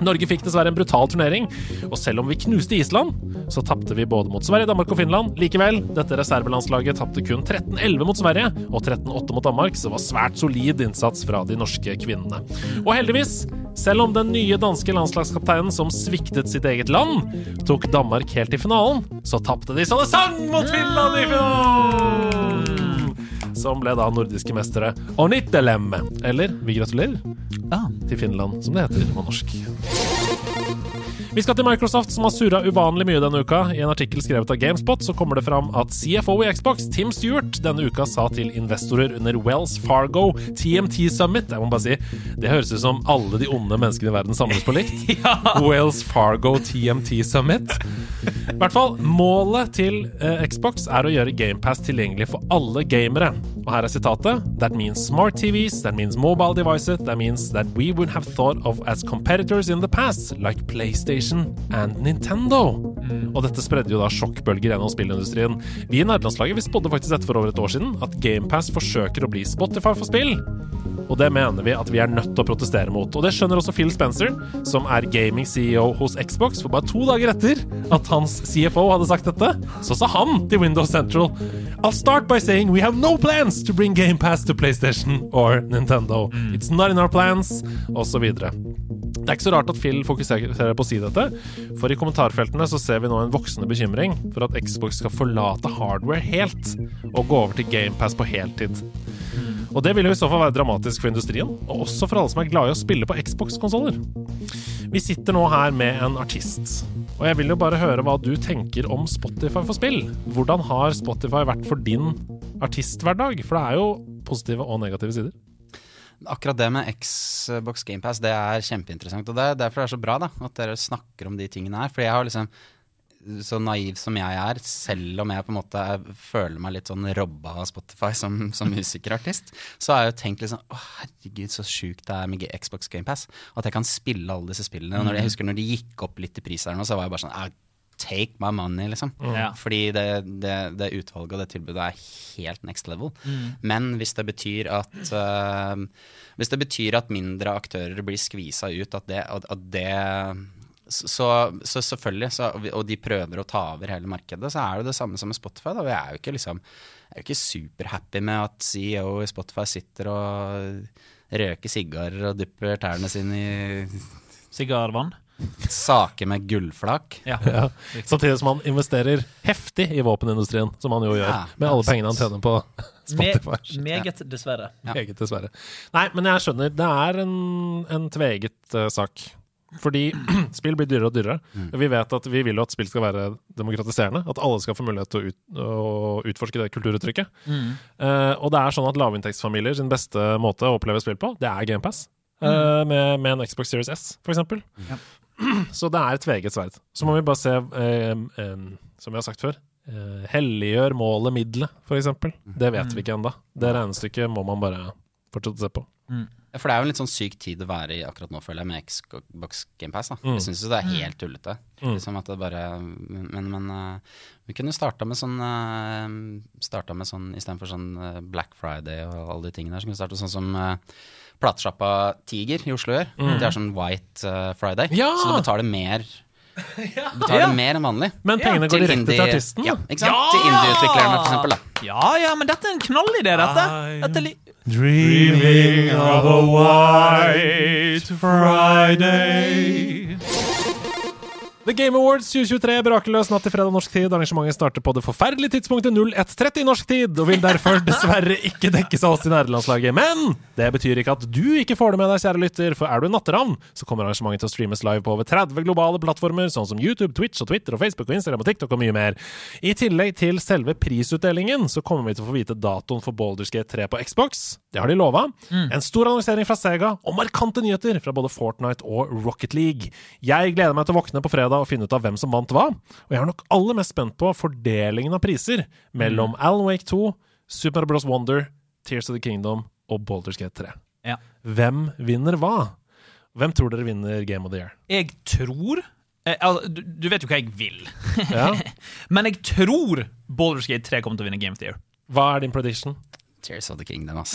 [SPEAKER 3] Norge fikk dessverre en brutal turnering, og selv om vi knuste Island, så tapte vi både mot Sverige, Danmark og Finland. Likevel, dette reservelandslaget tapte kun 13-11 mot Sverige og 13-8 mot Danmark, så det var svært solid innsats fra de norske kvinnene. Og heldigvis, selv om den nye danske landslagskapteinen som sviktet sitt eget land, tok Danmark helt til finalen, så tapte de så det sang mot Finland i finalen! Som ble da nordiske mestere Onittelem. Eller vi gratulerer til Finland, som det heter på norsk. Vi skal til Microsoft, som har surra uvanlig mye denne uka. I en artikkel skrevet av Gamespot så kommer det fram at CFO i Xbox, Tim Stewart, denne uka sa til investorer under Wells Fargo TMT Summit Jeg må bare si, det høres ut som alle de onde menneskene i verden samles på likt. Wells Fargo TMT Summit. I hvert fall, målet til eh, Xbox er å gjøre GamePass tilgjengelig for alle gamere. Og her er sitatet. That means smart TVs, that means mobile devices, that means that we would have thought of as competitors in the past, like PlayStation and Nintendo. Og dette spredde jo da sjokkbølger gjennom spillindustrien. Vi i nærlandslaget vi spådde faktisk dette for over et år siden, at GamePass forsøker å bli Spotify for spill. Og det mener vi at vi er nødt til å protestere mot. Og det skjønner også Phil Spencer, som er gaming-CEO hos Xbox, for bare to dager etter at hans CFO hadde sagt dette, så sa han til Windows Central I'll start by saying we have no plans to bring GamePass to PlayStation or Nintendo. It's not in our plans, osv. Det er ikke så rart at Phil fokuserer på å si dette, for i kommentarfeltene så ser vi nå en voksende bekymring for at Xbox skal forlate hardware helt og gå over til GamePass på heltid. Og det vil jo i så fall være dramatisk for industrien, og også for alle som er glad i å spille på Xbox-konsoller. Vi sitter nå her med en artist, og jeg vil jo bare høre hva du tenker om Spotify for spill. Hvordan har Spotify vært for din artisthverdag? For det er jo positive og negative sider.
[SPEAKER 4] Akkurat det med Xbox GamePass, det er kjempeinteressant. Og det er derfor det er så bra da, at dere snakker om de tingene her. Fordi jeg har liksom, så naiv som jeg er, selv om jeg på en måte er, føler meg litt sånn robba av Spotify som, som musikerartist, så har jeg jo tenkt liksom Å, herregud, så sjukt det er med G- Xbox GamePass. At jeg kan spille alle disse spillene. Og når de, jeg husker når de gikk opp litt i pris her nå, så var jeg bare sånn «Ah, Take my money, liksom.
[SPEAKER 2] Ja.
[SPEAKER 4] Fordi det, det, det utvalget og det tilbudet er helt next level. Men hvis det betyr at eh, Hvis det betyr at mindre aktører blir skvisa ut, at det, at, at det så, så selvfølgelig, så, og de prøver å ta over hele markedet, så er det det samme som med Spotify. Da. Vi er jo ikke, liksom, er jo ikke superhappy med at CEO i Spotify sitter og røker sigarer og dypper tærne sine i
[SPEAKER 2] Sigarvann.
[SPEAKER 4] saker med gullflak.
[SPEAKER 2] Ja.
[SPEAKER 3] Ja. Samtidig som han investerer heftig i våpenindustrien, som han jo gjør,
[SPEAKER 4] Ja,
[SPEAKER 3] med alle
[SPEAKER 4] ja,
[SPEAKER 3] pengene han tjener på Spotify.
[SPEAKER 2] Me meget, dessverre.
[SPEAKER 4] Ja.
[SPEAKER 3] Meget dessverre. Nei, men jeg skjønner. Det er en, en tveget eh, sak. Fordi spill blir dyrere og dyrere. Vi vet at vi vil jo at spill skal være demokratiserende. At alle skal få mulighet til å, ut, å utforske det kulturuttrykket.
[SPEAKER 2] Mm.
[SPEAKER 3] Eh, og det er sånn at lavinntektsfamilier sin beste måte å oppleve spill på, det er GamePass. Uh, med, med en Xbox Series S, for eksempel. Så det er et tveget sverd. Så må vi bare se, eh, eh, som vi har sagt før eh, Helliggjør målet middelet, for eksempel. Det vet vi ikke ennå. Det regnestykket må man bare fortsette å se på.
[SPEAKER 4] Ja, For det er jo en litt sånn syk tid å være i akkurat nå, føler jeg, med Xbox GamePass.
[SPEAKER 3] Mm.
[SPEAKER 4] Jeg syns jo det er helt tullete. Liksom at det bare, men men eh, vi kunne starta med sånn, eh, starta med sånn istedenfor sånn eh, Black Friday og alle de tingene der, så kunne vi starta sånn som eh, platesjappa Tiger i Oslo gjør. Det er sånn White eh, Friday,
[SPEAKER 3] Mm. Ja!
[SPEAKER 4] så du betaler mer. Betaler mer enn vanlig.
[SPEAKER 3] Men pengene går direkte til artisten.
[SPEAKER 4] Ja, ikke sant? Til indieutviklerne, for eksempel. Da.
[SPEAKER 2] Ja ja, men dette er en knallidé, dette. dette li
[SPEAKER 1] Dreaming of a white Friday.
[SPEAKER 3] Det The Game Awards 2023 brakeløs natt til fredag norsk tid. Arrangementet starter på det forferdelige tidspunktet 01.30 norsk tid, og vil derfor dessverre ikke dekkes av oss i nærlandslaget. Men det betyr ikke at du ikke får det med deg, kjære lytter, for er du en natteravn, så kommer arrangementet til å streames live på over 30 globale plattformer, sånn som YouTube, Twitch og Twitter og Facebook og Instagram og TikTok og mye mer. I tillegg til selve prisutdelingen, så kommer vi til å få vite datoen for Baldur's Gate 3 på Xbox. Det har de lova. En stor annonsering fra Sega og markante nyheter fra både Fortnite og Rocket League. Jeg gleder meg til å våkne på fredag og finne ut av hvem som vant hva. Og jeg er nok aller mest spent på fordelingen av priser mellom Alan Wake 2, Super Mario Bros. Wonder, Tears of the Kingdom og Baldur's Gate 3.
[SPEAKER 2] Ja.
[SPEAKER 3] Hvem vinner hva? Hvem tror dere vinner Game of the Year?
[SPEAKER 2] Jeg tror eh, altså, du, du vet jo hva jeg vil,
[SPEAKER 3] Ja.
[SPEAKER 2] men jeg tror Baldur's Gate 3 kommer til å vinne Game of the Year.
[SPEAKER 3] Hva er din prediction?
[SPEAKER 4] Tears of the Kingdom, ass.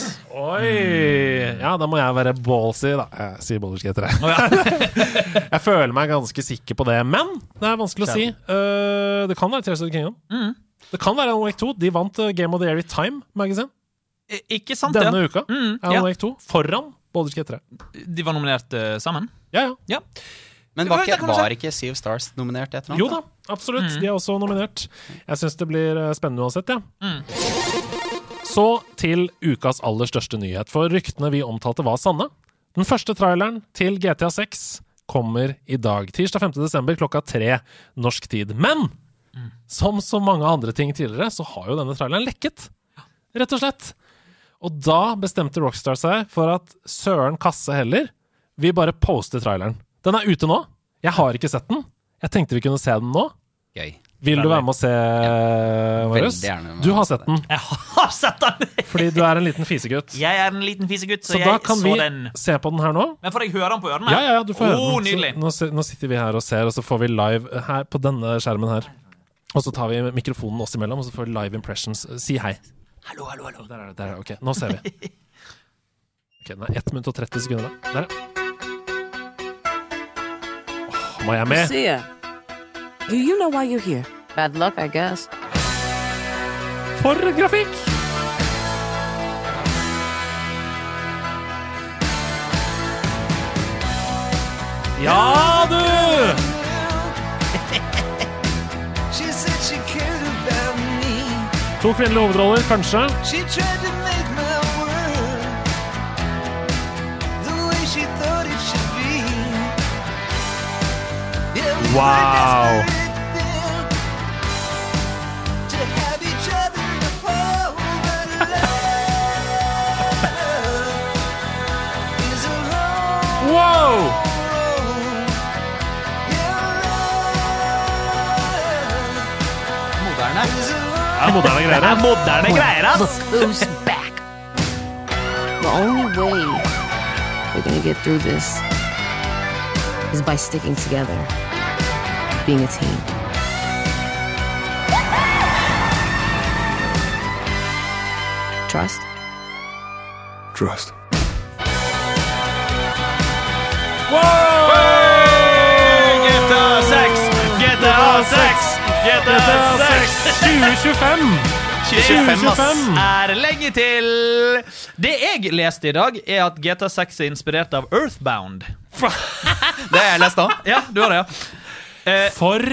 [SPEAKER 3] Oi! Ja, da må jeg være ballsy, da. Jeg Mm. sier Baldur's Gate 3. jeg føler meg ganske sikker på det, men det er vanskelig å si. Eh, det kan være Tears of the Kingdom. Det kan være Alan Wake 2. De vant eh, Game of the Year i Time Magazine
[SPEAKER 2] Eh, Ikke sant,
[SPEAKER 3] denne
[SPEAKER 2] det?
[SPEAKER 3] uka.
[SPEAKER 2] Mm,
[SPEAKER 3] Alan
[SPEAKER 2] ja.
[SPEAKER 3] Wake 2 foran Baldur's Gate 3.
[SPEAKER 2] De var nominert eh, sammen.
[SPEAKER 3] Ja, ja.
[SPEAKER 2] Ja.
[SPEAKER 4] Men var ikke, var ikke Sea of Stars nominert i et eller
[SPEAKER 3] Jo
[SPEAKER 4] annet? Mm.
[SPEAKER 3] da, absolutt. De er også nominert. Jeg syns det blir eh, spennende uansett, jeg. Ja.
[SPEAKER 4] Mm.
[SPEAKER 3] Så til ukas aller største nyhet, for ryktene vi omtalte, var sanne. Den første traileren til GTA 6 kommer i dag, tirsdag 5. desember klokka tre norsk tid. Men
[SPEAKER 4] Mm.
[SPEAKER 3] som så mange andre ting tidligere, så har jo denne traileren lekket. Rett og slett. Og da bestemte Rockstar seg for at søren kasse heller, vi bare poster traileren. Den er ute nå. Jeg har ikke sett den. Jeg tenkte vi kunne se den nå.
[SPEAKER 4] Gøy.
[SPEAKER 3] Vil du være med og se, Marius?
[SPEAKER 4] veldig gjerne med
[SPEAKER 3] Du
[SPEAKER 4] å
[SPEAKER 3] har
[SPEAKER 4] se
[SPEAKER 3] sett den,
[SPEAKER 2] Jeg har sett den!
[SPEAKER 3] fordi du er en liten fisegutt.
[SPEAKER 2] Jeg er en liten fisegutt, så,
[SPEAKER 3] Så da
[SPEAKER 2] jeg
[SPEAKER 3] kan
[SPEAKER 2] så
[SPEAKER 3] vi
[SPEAKER 2] den.
[SPEAKER 3] se på den her nå.
[SPEAKER 2] Men får jeg høre den på ørene?
[SPEAKER 3] Ja, ja, ja, du får
[SPEAKER 2] oh,
[SPEAKER 3] høre den.
[SPEAKER 2] Nydelig.
[SPEAKER 3] Så nå, si- nå sitter vi her og ser, og så får vi live her på denne skjermen her. Og så tar vi mikrofonen oss imellom, og så får vi live impressions. Si hei.
[SPEAKER 2] Hallo, hallo, hallo.
[SPEAKER 3] Der er det. Der er det. Ok, nå ser vi. Ok, Den er 1 minutt og 30 sekunder. da. Der, ja. Åh, Miami.
[SPEAKER 7] Sia, do you know why you're here? Bad luck, I guess.
[SPEAKER 3] For grafikk! Ja, du!
[SPEAKER 6] She said she cared about me.
[SPEAKER 3] To kvinnelige hovedroller, kanskje.
[SPEAKER 6] She tried to make my world the way she thought it should be. Yeah, we were
[SPEAKER 3] Wow.
[SPEAKER 6] desperate then To have each other in a but love is a long
[SPEAKER 3] Wow!
[SPEAKER 4] Moderne.
[SPEAKER 3] Det er moderne greier. her.
[SPEAKER 2] Moderne greier, ass!
[SPEAKER 7] Who's back? The only way we're gonna get through this is by sticking together, being a team. Trust?
[SPEAKER 1] Trust.
[SPEAKER 5] GTA 6! GTA 6! GTA 6!
[SPEAKER 3] 2025!
[SPEAKER 2] 25, ass,
[SPEAKER 3] 25.
[SPEAKER 2] er lenge til. Det jeg leste i dag, er at GTA6 er inspirert av Earthbound.
[SPEAKER 4] Det har jeg lest òg.
[SPEAKER 2] Ja, du har det, ja.
[SPEAKER 3] For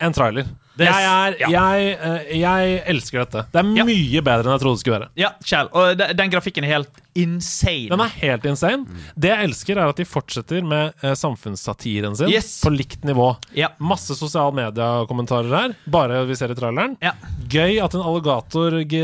[SPEAKER 3] en trailer. jeg, er, jeg, eh, jeg elsker dette. Det er
[SPEAKER 2] Ja.
[SPEAKER 3] mye bedre enn jeg trodde det skulle være.
[SPEAKER 2] Ja, Kjell. Og de- den grafikken er helt insane.
[SPEAKER 3] Den er helt insane. Det jeg elsker, er at de fortsetter med eh, samfunnssatiren sin
[SPEAKER 2] Yes.
[SPEAKER 3] på likt nivå.
[SPEAKER 2] Ja.
[SPEAKER 3] Masse sosiale mediekommentarer her, bare vi ser i traileren.
[SPEAKER 2] Ja.
[SPEAKER 3] Gøy at en alligator g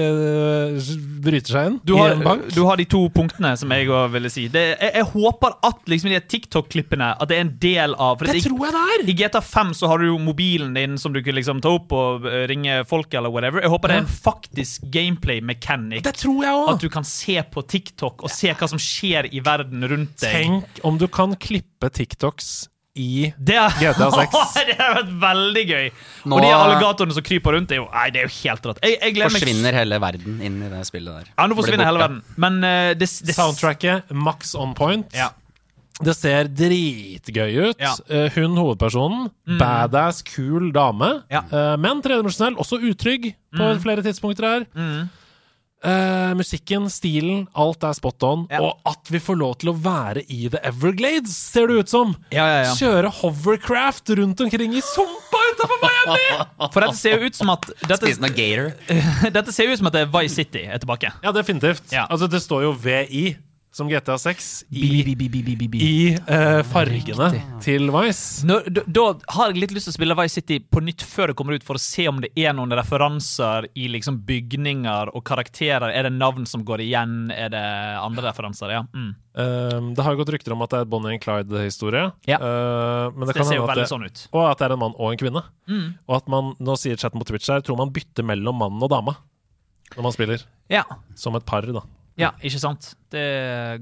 [SPEAKER 3] bryter seg inn
[SPEAKER 2] Du
[SPEAKER 3] i en
[SPEAKER 2] har,
[SPEAKER 3] bank.
[SPEAKER 2] Eh, du har de to punktene som jeg òg ville si. Det, jeg, jeg håper at liksom, de TikTok-klippene At det er en del av for det-
[SPEAKER 3] det tror jeg det er!
[SPEAKER 2] I GTA 5 så har du jo mobilen din som du kan liksom ta opp og eh, ringe folk eller whatever. Jeg håper det er en faktisk gameplay mechanic.
[SPEAKER 3] Det tror jeg òg!
[SPEAKER 2] At du kan se på TikTok og se hva som skjer i verden rundt deg.
[SPEAKER 3] Tenk om du kan klippe TikToks i
[SPEAKER 2] Det, er-
[SPEAKER 3] GTA 6.
[SPEAKER 2] det har vært veldig gøy.
[SPEAKER 4] Nå- eh,
[SPEAKER 2] Og de alligatorene som kryper rundt, er jo Nei, det er jo helt rått. Jeg, jeg gleder meg-
[SPEAKER 4] Forsvinner hele verden inn i det spillet der.
[SPEAKER 2] Ja, nå
[SPEAKER 4] Blir
[SPEAKER 2] forsvinner hele
[SPEAKER 4] borte.
[SPEAKER 2] verden. Men eh, det, det
[SPEAKER 3] Soundtracket max on point.
[SPEAKER 2] Ja.
[SPEAKER 3] Det ser dritgøy ut.
[SPEAKER 2] Ja. Mm.
[SPEAKER 3] Eh, Hun hovedpersonen, badass, kul dame.
[SPEAKER 2] Ja. Mm.
[SPEAKER 3] Eh, Men tredimensjonell, også utrygg på flere tidspunkter her. Eh, musikken, stilen, alt er spot on. Og at vi får lov til å være i The Everglades, ser det ut som!
[SPEAKER 2] Ja, ja, ja.
[SPEAKER 3] Kjøre hovercraft rundt omkring i sumpa utafor Miami!
[SPEAKER 2] For dette ser jo ut som at dette,
[SPEAKER 4] Spisen av gator.
[SPEAKER 2] dette ser jo ut som at det er Vice City er tilbake.
[SPEAKER 3] ja, definitivt.
[SPEAKER 2] Ja.
[SPEAKER 3] Altså, det står jo VI, som GTA 6, i, i eh, fargene til Vice.
[SPEAKER 2] Nå, da, da har jeg litt lyst til å spille Vice City på nytt før det kommer ut, for å se om det er noen referanser i liksom bygninger og karakterer. Er det navn som går igjen? Er det andre referanser? Ja. Mm.
[SPEAKER 3] Um, det har jo gått rykter om at det er Bonnie and Clyde-historie.
[SPEAKER 2] Ja.
[SPEAKER 3] Uh, men det,
[SPEAKER 2] Det
[SPEAKER 3] kan
[SPEAKER 2] ser jo
[SPEAKER 3] hende at
[SPEAKER 2] veldig
[SPEAKER 3] det,
[SPEAKER 2] sånn ut.
[SPEAKER 3] og at det er en mann og en kvinne. Og at man, nå sier chatten på Twitch her, tror man bytter mellom mannen og dama når man spiller.
[SPEAKER 2] Ja,
[SPEAKER 3] Som et par, da.
[SPEAKER 2] ja ikke sant? Det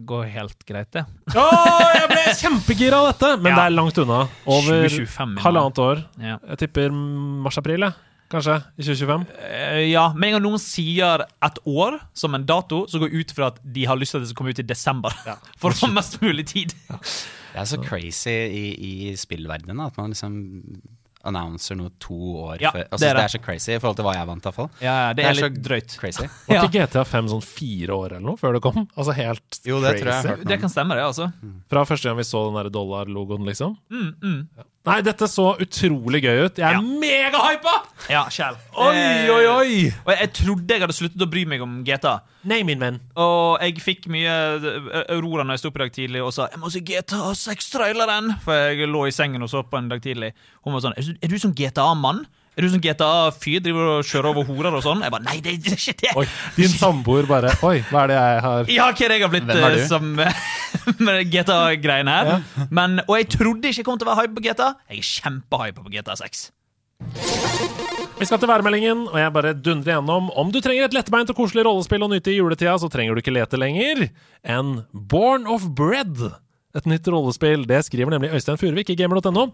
[SPEAKER 2] går helt greit, det.
[SPEAKER 3] jeg ble kjempegira av dette! Men
[SPEAKER 2] Ja.
[SPEAKER 3] det er langt unna. Over
[SPEAKER 2] 2025 i
[SPEAKER 3] halvannet år.
[SPEAKER 2] Ja.
[SPEAKER 3] Jeg tipper mars-april, jeg. Kanskje. I 2025.
[SPEAKER 2] Eh, ja, med en gang noen sier et år som en dato, så går jeg ut fra at de har lyst til at det skal komme ut i desember. For å få mest mulig tid.
[SPEAKER 4] Det er så crazy i, i spillverdenen at man liksom annonser noe to år
[SPEAKER 2] Ja,
[SPEAKER 4] før.
[SPEAKER 2] det
[SPEAKER 4] Altså,
[SPEAKER 2] er
[SPEAKER 4] det,
[SPEAKER 2] det.
[SPEAKER 4] er så crazy i forhold til hva jeg er vant til, iallfall.
[SPEAKER 2] Ja, ja, det er
[SPEAKER 4] så
[SPEAKER 2] litt drøyt.
[SPEAKER 4] Crazy.
[SPEAKER 3] Var
[SPEAKER 2] Ja.
[SPEAKER 3] ikke GTA 5 sånn fire år eller noe før det kom? Altså helt
[SPEAKER 4] Jo, det tror jeg
[SPEAKER 3] crazy.
[SPEAKER 4] jeg har hørt noe
[SPEAKER 2] Det
[SPEAKER 4] om.
[SPEAKER 2] kan stemme, det, altså.
[SPEAKER 3] Fra første gang vi så den der dollarlogoen, liksom. Ja. Nei, dette så utrolig gøy ut. Jeg er
[SPEAKER 2] Ja.
[SPEAKER 3] Eh, megahypa!
[SPEAKER 2] Ja, sjæl.
[SPEAKER 3] oi!
[SPEAKER 2] Eh, Og jeg trodde jeg hadde sluttet å bry meg om GTA.
[SPEAKER 3] Nei, min venn.
[SPEAKER 2] Og jeg fikk mye eh, Aurora når jeg sto opp i dag tidlig og sa 'Jeg må se GTA 6-traileren', for jeg lå i sengen og så på en dag tidlig. Hun var sånn 'Er du, er du sånn GTA-mann?' Er du sånn GTA-fyr? Driver og kjører over horer og sånn? Jeg bare Nei, det er ikke det!
[SPEAKER 3] Oi, din samboer bare Oi, hva er det jeg har
[SPEAKER 2] Ja, hva er det jeg har blitt
[SPEAKER 4] Hvem er
[SPEAKER 2] eh,
[SPEAKER 4] du?
[SPEAKER 2] som med GTA-greiene her. Men, og jeg trodde ikke jeg kom til å være hype på GTA. Jeg er kjempehype på GTA 6.
[SPEAKER 3] Vi skal til værmeldingen, og jeg bare dundrer gjennom. Om du trenger et lettbeint og koselig rollespill å nyte i juletida, så trenger du ikke lete lenger enn Born of Bread. Et nytt rollespill. Det skriver nemlig Øystein Furvik i gamer.no.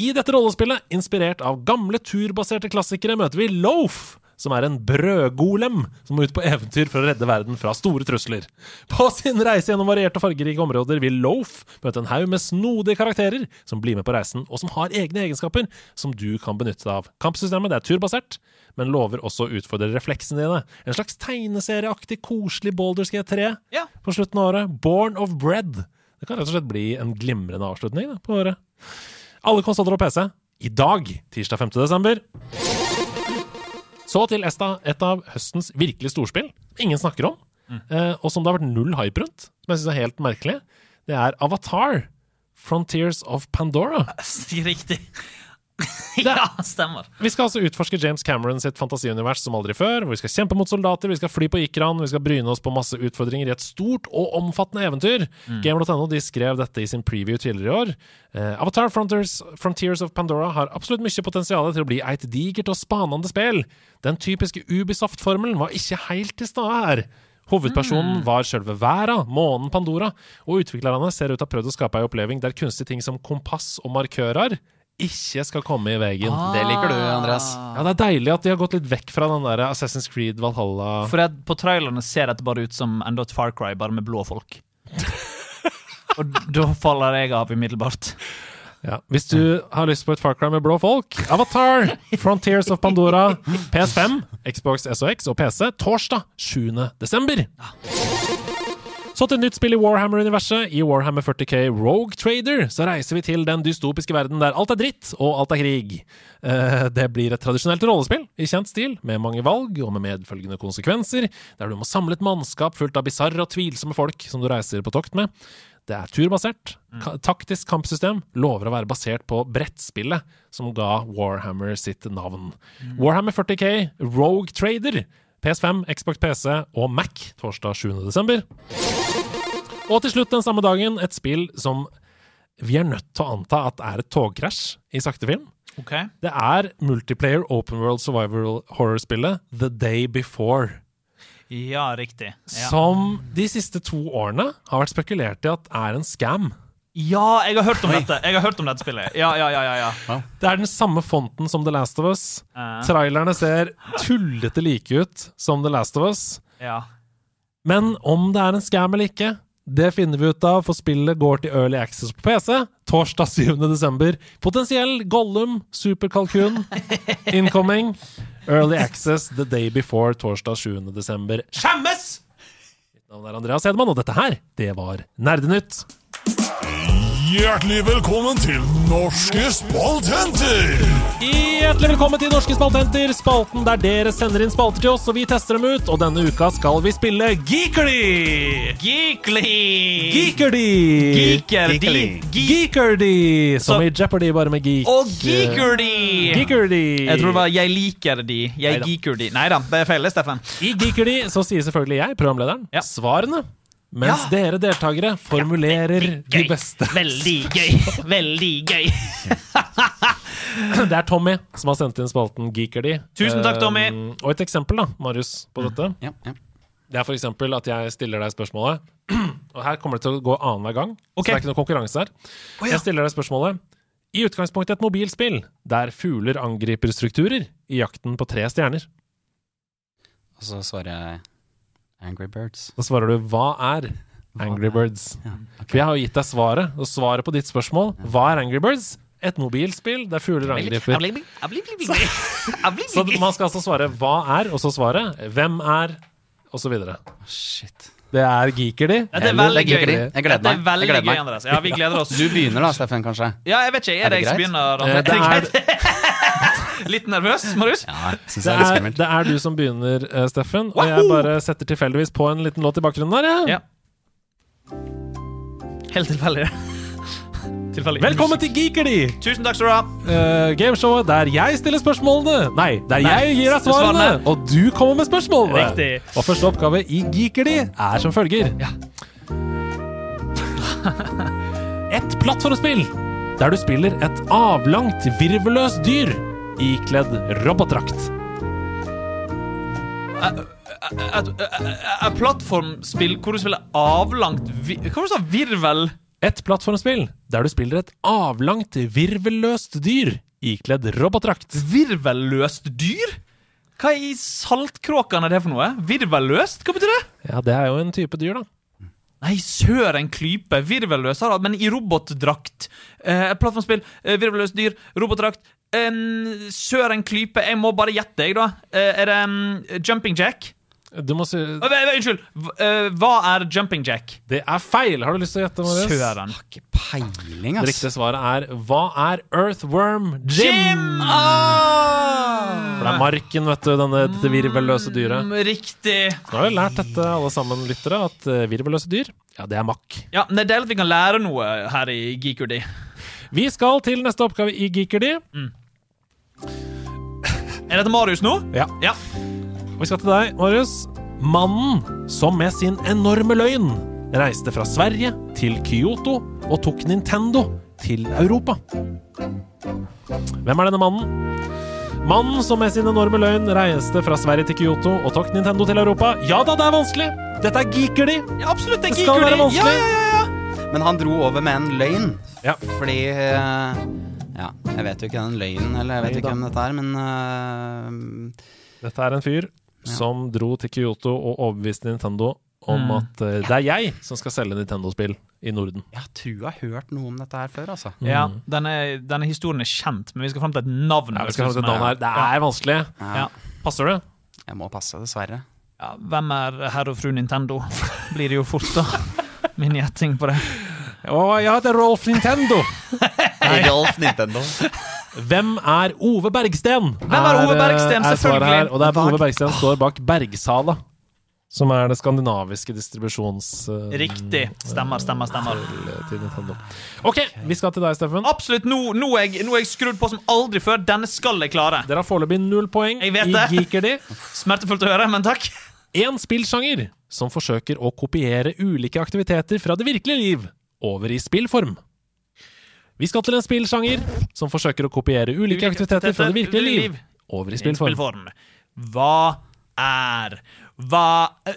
[SPEAKER 3] I dette rollespillet, inspirert av gamle turbaserte klassikere, møter vi Loaf. Som er en brødgolem som må ut på eventyr for å redde verden fra store trusler. På sin reise gjennom varierte og fargerike områder vil Loaf møte en haug med snodige karakterer som blir med på reisen, og som har egne egenskaper som du kan benytte deg av. Kampsystemet det er turbasert, men lover også å utfordre refleksene dine. En slags tegneserieaktig, koselig Baldur's G3
[SPEAKER 2] Ja.
[SPEAKER 3] på slutten av året. Born of Bread. Det kan rett og slett bli en glimrende avslutning da, på året. Alle konsoller og PC i dag, tirsdag 5. desember. Så til Esta, et av høstens virkelig storspill ingen snakker om, eh, og som det har vært null hype rundt, som jeg syns er helt merkelig. Det er Avatar. Frontiers of Pandora.
[SPEAKER 2] Riktig. ja, stemmer.
[SPEAKER 3] Vi skal altså utforske James Cameron sitt fantasiunivers som aldri før. hvor Vi skal kjempe mot soldater, vi skal fly på Ikran, vi skal bryne oss på masse utfordringer i et stort og omfattende eventyr. Gamer.no de skrev dette i sin preview tidligere i år. Eh, Avatar Frontiers, Frontiers of Pandora har absolutt mye potensial til å bli eit digert og spanende spill. Den typiske Ubisoft-formelen var ikke helt til stede her. Hovedpersonen var sjølve verda, månen Pandora, og utviklerne ser ut til å ha prøvd å skape ei oppleving der kunstige ting som kompass og markører ikke skal komme i veien.
[SPEAKER 4] Ah. Det liker du, Andreas.
[SPEAKER 3] Ja, det er deilig at de har gått litt vekk fra den der Assassin's Creed Valhalla
[SPEAKER 2] For at på trailerne ser dette bare ut som enda et Far Cry, bare med blå folk. Og da faller jeg av umiddelbart.
[SPEAKER 3] ja. Hvis du har lyst på et Far Cry med blå folk, Avatar, Frontiers of Pandora, PS5, Xbox SOX og PC, torsdag 7. desember. Så til nytt spill i Warhammer-universet. I Warhammer 40K Rogue Trader så reiser vi til den dystopiske verden der alt er dritt og alt er krig. Eh, Det blir et tradisjonelt rollespill i kjent stil, med mange valg og med medfølgende konsekvenser, der du må samle et mannskap fullt av bisarre og tvilsomme folk som du reiser på tokt med. Det er turbasert, ka taktisk kampsystem, lover å være basert på brettspillet som ga Warhammer sitt navn. Warhammer 40K Rogue Trader, PS5, Xbox PC og Mac torsdag 7. desember. Og til slutt den samme dagen et spill som vi er nødt til å anta at er et togkrasj i sakte film.
[SPEAKER 2] Ok
[SPEAKER 3] Det er multiplayer open world survival horror-spillet The Day Before.
[SPEAKER 2] Ja, riktig. Ja.
[SPEAKER 3] Som de siste to årene har vært spekulert i at er en scam.
[SPEAKER 2] ja, jeg har hørt om dette Jeg har hørt om dette spillet. Ja, ja, ja, ja, ja.
[SPEAKER 3] Det er den samme fonten som The Last of Us.
[SPEAKER 2] Eh,
[SPEAKER 3] Trailerne ser tullete like ut som The Last of Us.
[SPEAKER 2] ja.
[SPEAKER 3] Men om det er en scam eller ikke, det finner vi ut av, for spillet går til Early Access på PC torsdag 7. desember. Potensiell Gollum, superkalkun, incoming. Early Access the day before torsdag 7. desember.
[SPEAKER 2] Skjemmes!
[SPEAKER 3] Mitt navn er Andreas Hedman, og dette her, det var Nerdenytt.
[SPEAKER 8] Hjertelig velkommen til Norske spalthenter!
[SPEAKER 3] Hjertelig velkommen til Norske spaltenter, spalten der dere sender inn spalter til oss, og vi tester dem ut. Og denne uka skal vi spille Geekerdy!
[SPEAKER 2] Geekly!
[SPEAKER 3] Geekerdy!
[SPEAKER 2] Geekerdy! Geek
[SPEAKER 3] Geekerdy! Som
[SPEAKER 2] Så-
[SPEAKER 3] i Jeopardy, bare med geek.
[SPEAKER 2] og geekerdy!
[SPEAKER 3] Geekerdy!
[SPEAKER 2] Jeg tror det var 'jeg liker de'. Jeg
[SPEAKER 3] Neida.
[SPEAKER 2] geeker de. Nei da, det er feil, det, Steffen.
[SPEAKER 3] I Geekerdy så sier selvfølgelig jeg, programlederen,
[SPEAKER 2] Ja.
[SPEAKER 3] svarene. Mens
[SPEAKER 2] Ja.
[SPEAKER 3] dere deltakere formulerer de beste.
[SPEAKER 2] Veldig gøy. Veldig gøy.
[SPEAKER 3] Det er Tommy som har sendt inn spalten Geekerdy.
[SPEAKER 2] Tusen takk,
[SPEAKER 3] Eh,
[SPEAKER 2] Tommy. Mm.
[SPEAKER 3] og et eksempel, da, Marius, på dette.
[SPEAKER 4] Ja, ja.
[SPEAKER 3] Det er for eksempel at jeg stiller deg spørsmålet. Og her kommer det til å gå annenhver gang,
[SPEAKER 2] Ok.
[SPEAKER 3] så det er ikke noe konkurranse her. Jeg stiller deg spørsmålet. I utgangspunktet et mobilspill der fugler angriper strukturer i jakten på tre stjerner.
[SPEAKER 4] Og så svarer jeg Angry Birds.
[SPEAKER 3] Da svarer du 'Hva er Angry Birds'?
[SPEAKER 4] Ja,
[SPEAKER 3] For jeg har jo gitt deg svaret, og svaret på ditt spørsmål Hva er Angry Birds? Et mobilspill der fugler angriper. Så man skal altså svare hva er, og så svaret hvem er, og så videre.
[SPEAKER 4] Shit.
[SPEAKER 3] Det er geeker, de.
[SPEAKER 2] Ja, det er
[SPEAKER 4] Jeg
[SPEAKER 2] veldig
[SPEAKER 4] liker de.
[SPEAKER 2] gøy.
[SPEAKER 4] Jeg gleder
[SPEAKER 2] Det er
[SPEAKER 4] meg. Jeg
[SPEAKER 2] veldig
[SPEAKER 4] gleder
[SPEAKER 2] gøy,
[SPEAKER 4] meg.
[SPEAKER 2] Andreas. Ja, vi gleder oss.
[SPEAKER 4] Du begynner da, Steffen, kanskje?
[SPEAKER 2] Ja, jeg vet ikke. Er det
[SPEAKER 4] det
[SPEAKER 2] jeg som
[SPEAKER 4] greit?
[SPEAKER 2] begynner?
[SPEAKER 3] Eh,
[SPEAKER 2] Andreas?
[SPEAKER 3] Det er,
[SPEAKER 2] Er det greit? Litt nervøs, Marius?
[SPEAKER 4] Ja, syns
[SPEAKER 3] det,
[SPEAKER 4] jeg er litt
[SPEAKER 3] er,
[SPEAKER 4] skummelt.
[SPEAKER 3] det er du som begynner, eh, Steffen. Og jeg
[SPEAKER 2] Wahoo!
[SPEAKER 3] bare setter tilfeldigvis på en liten låt i bakgrunnen der. jeg.
[SPEAKER 2] Ja. Helt tilfeldig. tilfeldig.
[SPEAKER 3] Velkommen til Geeker, de!
[SPEAKER 2] Tusen takk skal du ha.
[SPEAKER 3] Eh, gameshowet der jeg stiller spørsmålene. Nei, der
[SPEAKER 2] Nei,
[SPEAKER 3] jeg gir deg svarene,
[SPEAKER 2] svarene.
[SPEAKER 3] og du kommer med spørsmålene.
[SPEAKER 2] Riktig.
[SPEAKER 3] Og første oppgave i Geeker de er som følger. et plattformspill der du spiller et avlangt, virveløst dyr ikledd robotdrakt.
[SPEAKER 2] Et, et- et Eh, plattformspill hvor du spiller avlangt vi Hva var det du sa? Virvel?
[SPEAKER 3] Et plattformspill der du spiller et avlangt, virvelløst dyr ikledd robotdrakt.
[SPEAKER 2] Virvelløst dyr? Hva i saltkråkene er det for noe? Virvelløst? Hva betyr det?
[SPEAKER 3] Ja, det er jo en type dyr, da.
[SPEAKER 2] Nei, søren klype. Virvelløs har han, men i robotdrakt. Eh, et plattformspill, eh, virvelløst dyr, robotdrakt. En søren klype. Jeg må bare gjette, jeg, da. Eh, er det mm, jumping jack?
[SPEAKER 3] Du må si
[SPEAKER 2] Å, nei, nei, Unnskyld. V- eh, hva er jumping jack?
[SPEAKER 3] Det er feil! Har du lyst til å gjette, Marius?
[SPEAKER 2] Søren.
[SPEAKER 4] Ikke peiling,
[SPEAKER 3] Det
[SPEAKER 4] ass.
[SPEAKER 3] riktige svaret er Hva er Earthworm Jim?
[SPEAKER 2] Jim! Ah!
[SPEAKER 3] For det er marken, vet du, denne, dette virvelløse dyret.
[SPEAKER 2] Mm, Riktig.
[SPEAKER 3] Nå har vi lært dette, alle sammen lyttere, at eh, virvelløse dyr, ja, det er makk.
[SPEAKER 2] Ja, men Det er deilig at vi kan lære noe her i Geekerdy.
[SPEAKER 3] Vi skal til neste oppgave i Geekerdy.
[SPEAKER 2] Er dette Marius nå?
[SPEAKER 3] Ja.
[SPEAKER 2] Ja.
[SPEAKER 3] Vi skal til deg, Marius. Mannen som med sin enorme løgn reiste fra Sverige til Kyoto og tok Nintendo til Europa. Hvem er denne mannen? Mannen som med sin enorme løgn reiste fra Sverige til Kyoto og tok Nintendo til Europa. Ja da, det er vanskelig! Dette er geeker de!
[SPEAKER 2] ja absolutt, det er
[SPEAKER 3] Det skal
[SPEAKER 2] Geekerdy.
[SPEAKER 3] være vanskelig.
[SPEAKER 2] Ja, ja, ja, ja.
[SPEAKER 4] Men han dro over med en løgn.
[SPEAKER 3] Ja.
[SPEAKER 4] Fordi eh, Ja, jeg vet jo ikke den løgnen, eller jeg vet ikke hvem dette er, men eh,
[SPEAKER 3] Dette er en fyr som dro til Kyoto og overbeviste Nintendo om at eh, det er jeg som skal selge Nintendo-spill i Norden.
[SPEAKER 4] Jeg tror jeg har hørt noe om dette her før, altså.
[SPEAKER 3] Mm.
[SPEAKER 2] ja denne, denne historien er kjent, men vi skal fram til et navn.
[SPEAKER 3] Ja, vi skal ha
[SPEAKER 2] som
[SPEAKER 3] et navn her. Det er vanskelig.
[SPEAKER 2] Ja.
[SPEAKER 3] Passer det?
[SPEAKER 4] Jeg må passe, dessverre.
[SPEAKER 2] Ja, hvem er herr og fru Nintendo? Blir det jo fort, da. Min gjetting på det.
[SPEAKER 3] Å, ja, det er Rolf Nintendo.
[SPEAKER 4] Rolf Nintendo.
[SPEAKER 3] Hvem er Ove Bergsten? Eh,
[SPEAKER 2] Hvem er Ove Bergsten?
[SPEAKER 3] er svaret
[SPEAKER 2] Selvfølgelig.
[SPEAKER 3] Her, og det er
[SPEAKER 4] Bak-
[SPEAKER 3] Ove Bergsten står bak Bergsala, som er det skandinaviske distribusjons... eh,
[SPEAKER 2] Riktig. Stemmer, stemmer, stemmer.
[SPEAKER 3] til Nintendo. OK, vi skal til deg, Steffen.
[SPEAKER 2] Absolutt, nå, nå, er jeg, nå er jeg skrudd på som aldri før. Denne skal jeg klare.
[SPEAKER 3] Dere har foreløpig null poeng i
[SPEAKER 2] Jeg vet det.
[SPEAKER 3] Geekerdy.
[SPEAKER 2] Smertefullt å høre, men takk.
[SPEAKER 3] Én spillsjanger som forsøker å kopiere ulike aktiviteter fra det virkelige liv over i spillform. Vi skal til en spillsjanger som forsøker å kopiere ulike,
[SPEAKER 2] Ulike
[SPEAKER 3] aktiviteter fra det
[SPEAKER 2] aktiviteter,
[SPEAKER 3] virkelige liv
[SPEAKER 2] liv.
[SPEAKER 3] over i spillform.
[SPEAKER 2] Spillform. Hva er Hva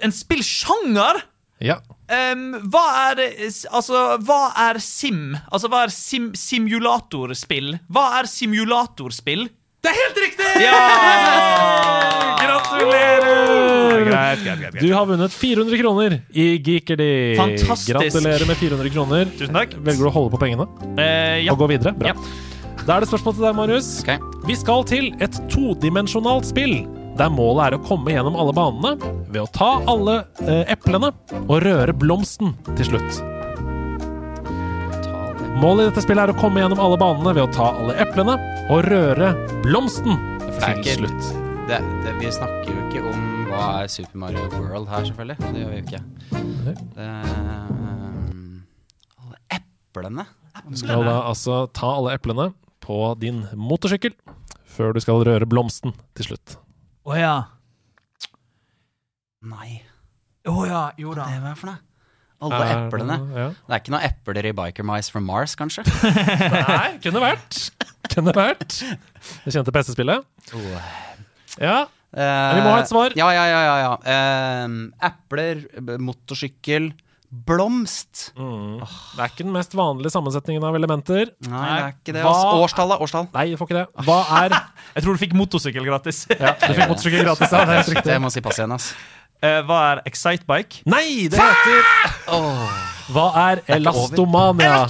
[SPEAKER 2] En spillsjanger?
[SPEAKER 3] Ja.
[SPEAKER 2] Em, hva er Altså, hva er sim? Altså, hva er sim, simulatorspill? Hva er simulatorspill? Det er helt riktig! Ja! Gratulerer! Greit, greit, greit,
[SPEAKER 3] Du har vunnet 400 kroner i Geekerdy.
[SPEAKER 2] Fantastisk.
[SPEAKER 3] Gratulerer med 400 kroner.
[SPEAKER 2] Tusen takk.
[SPEAKER 3] Velger du å holde på pengene
[SPEAKER 2] Eh, ja.
[SPEAKER 3] og gå videre? Bra.
[SPEAKER 2] Ja.
[SPEAKER 3] Da er det spørsmål til deg, Marius.
[SPEAKER 4] Ok.
[SPEAKER 3] Vi skal til et todimensjonalt spill der målet er å komme gjennom alle banene ved å ta alle eh, eplene og røre blomsten til slutt. Målet i dette spillet er å komme gjennom alle banene ved å ta alle eplene og røre blomsten til
[SPEAKER 4] er ikke-
[SPEAKER 3] slutt.
[SPEAKER 4] Det, det, vi snakker jo ikke om hva er Super Mario World her, selvfølgelig. Det gjør vi jo ikke. Det, eh, alle eplene.
[SPEAKER 3] Du skal da altså ta alle eplene på din motorsykkel før du skal røre blomsten til slutt.
[SPEAKER 2] Å ja.
[SPEAKER 4] Nei,
[SPEAKER 2] Å ja, jo da.
[SPEAKER 4] det hva er det for noe? Alle eplene.
[SPEAKER 3] Eh, Ja.
[SPEAKER 4] Det er ikke noen epler i Biker Mice from Mars, kanskje?
[SPEAKER 3] Nei, kunne vært. Kunne vært. Det kjente PC-spillet. Ja, vi må ha et svar.
[SPEAKER 4] Ja, ja, ja. ja, ja. Eh, epler, b- motorsykkel, blomst.
[SPEAKER 3] Mm. det er ikke den mest vanlige sammensetningen av elementer.
[SPEAKER 4] Nei, det er ikke det.
[SPEAKER 3] Hva-
[SPEAKER 4] Altså. Årstall, da. Årstall.
[SPEAKER 3] Nei, du får ikke det. Hva er
[SPEAKER 2] Jeg tror du fikk motorsykkel gratis.
[SPEAKER 3] ja, Du fikk motorsykkel gratis av det. er helt
[SPEAKER 4] Shit,
[SPEAKER 3] riktig.
[SPEAKER 4] Jeg må si pass igjen, ass.
[SPEAKER 2] Eh, hva er Excitebike?
[SPEAKER 3] Nei, det heter Hva er elastomania?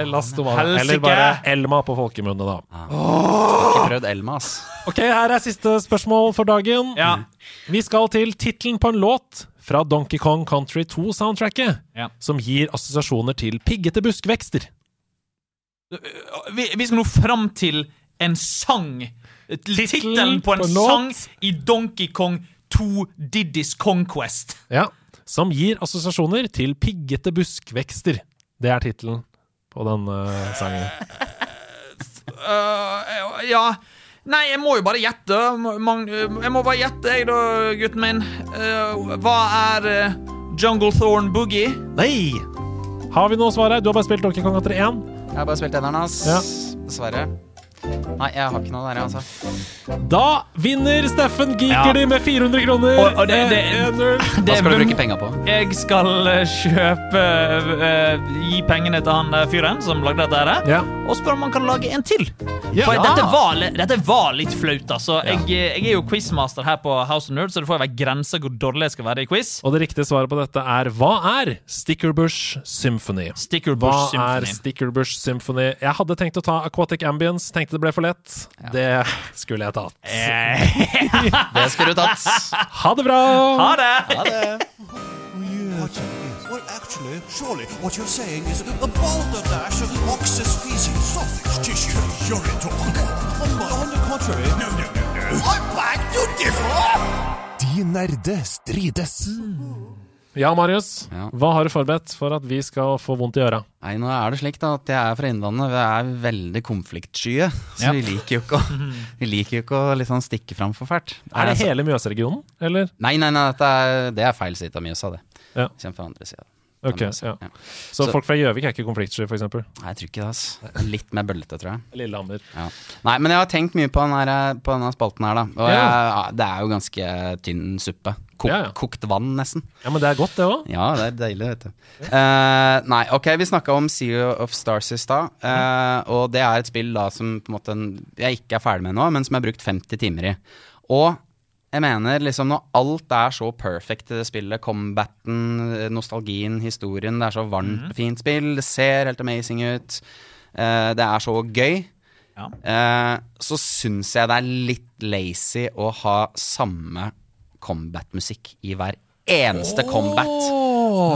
[SPEAKER 3] Elastomania. Eller bare Elma på folkemunne, da.
[SPEAKER 4] Ikke prøvd Elma, ass.
[SPEAKER 3] Ok, her er siste spørsmål for dagen.
[SPEAKER 2] Ja.
[SPEAKER 3] Vi skal til tittelen på en låt fra Donkey Kong Country 2-soundtracket,
[SPEAKER 2] Ja.
[SPEAKER 3] som gir assosiasjoner til piggete buskvekster.
[SPEAKER 2] Vi, vi skal nå fram til en sang. Tittelen på en
[SPEAKER 3] på en
[SPEAKER 2] sang
[SPEAKER 3] låt.
[SPEAKER 2] i Donkey Kong 2 Diddy's Conquest.
[SPEAKER 3] Ja. Som gir assosiasjoner til piggete buskvekster. Det er tittelen på denne sangen.
[SPEAKER 2] Øh, ja Nei, jeg må jo bare gjette. Magn- Jeg må bare gjette, jeg, da, gutten min. Øh, hva er øh, Jungle Thorn Boogie?
[SPEAKER 3] Nei! Har vi noe svar her? Du har bare spilt Donkey Kong Country 1.
[SPEAKER 4] Jeg har bare spilt eneren, ass.
[SPEAKER 3] Ja.
[SPEAKER 4] Dessverre. Nei, jeg har ikke noe der, jeg, altså.
[SPEAKER 3] Da vinner Steffen Gigerdi med 400 kroner.
[SPEAKER 2] Og- og det- det-
[SPEAKER 3] Eh, 1-0.
[SPEAKER 4] Hva skal du bruke penga på?
[SPEAKER 2] Jeg skal øh, kjøpe øh, Gi pengene til han øh, fyren som lagde dette her.
[SPEAKER 3] Ja.
[SPEAKER 2] Og spør om han kan lage en til.
[SPEAKER 3] Ja.
[SPEAKER 2] For dette var, li- dette var litt flaut, altså. Jeg, jeg er jo quizmaster her på House of Nerds, så det får være grenser hvor dårlig jeg skal være i quiz.
[SPEAKER 3] Og det riktige svaret på dette er hva er Stickerbush Symphony?
[SPEAKER 2] Stickerbush
[SPEAKER 3] Hva er
[SPEAKER 2] Symphony.
[SPEAKER 3] Stickerbush Symphony? Jeg hadde tenkt å ta Aquatic Ambience, tenkte det ble for lett. Det skulle jeg tatt.
[SPEAKER 2] Eh.
[SPEAKER 4] Det skulle du tatt.
[SPEAKER 3] Ha det bra!
[SPEAKER 2] Ha det!
[SPEAKER 6] Well, actually, surely what you're saying is a balderdash of oxus feces, sausage tissue, urine talk. On, my, on the contrary, no, no, no, no. I beg to differ! De nerde strides.
[SPEAKER 3] Ja, Marius.
[SPEAKER 4] Ja.
[SPEAKER 3] Hva har du forberedt for at vi skal få vondt i øra?
[SPEAKER 4] Nei, nå er det slik da at jeg er fra Innlandet. Vi er veldig konfliktskye. Så vi liker jo ikke å, vi liker jo ikke å liksom stikke fram for fælt.
[SPEAKER 3] Er det
[SPEAKER 4] Altså-
[SPEAKER 3] hele Mjøsregionen, eller?
[SPEAKER 4] Nei, nei, nei, dette er, det er feil side av Mjøsa, det.
[SPEAKER 3] Ja.
[SPEAKER 4] Kjem fra andre sida.
[SPEAKER 3] Ok, ja. Så
[SPEAKER 4] Så-
[SPEAKER 3] folk fra Gjøvik er ikke konfliktsky, for eksempel?
[SPEAKER 4] Nei, jeg tror ikke det, ass. Litt mer bøllete, tror jeg.
[SPEAKER 3] Lillehammer.
[SPEAKER 4] Ja. Nei, men jeg har tenkt mye på den her- eh, på denne spalten her, da. Og jeg,
[SPEAKER 3] Ja.
[SPEAKER 4] ja, det er jo ganske tynn suppe. Kok,
[SPEAKER 3] Ja, ja.
[SPEAKER 4] Kokt vann, nesten.
[SPEAKER 3] Ja, men det er godt, det òg.
[SPEAKER 4] Ja, det er deilig, vet du. Eh, nei, ok, vi snakka om Sea of Stars i stad. eh, og det er et spill da som på en måte en- jeg ikke er ferdig med nå, men som jeg har brukt 50 timer i. Og jeg mener liksom når alt er så perfect i det spillet, combaten, nostalgien, historien, det er så varmt, fint spill, det ser helt amazing ut, eh, det er så gøy.
[SPEAKER 2] Ja.
[SPEAKER 4] Eh, så syns jeg det er litt lazy å ha samme combat-musikk i hver eneste combat.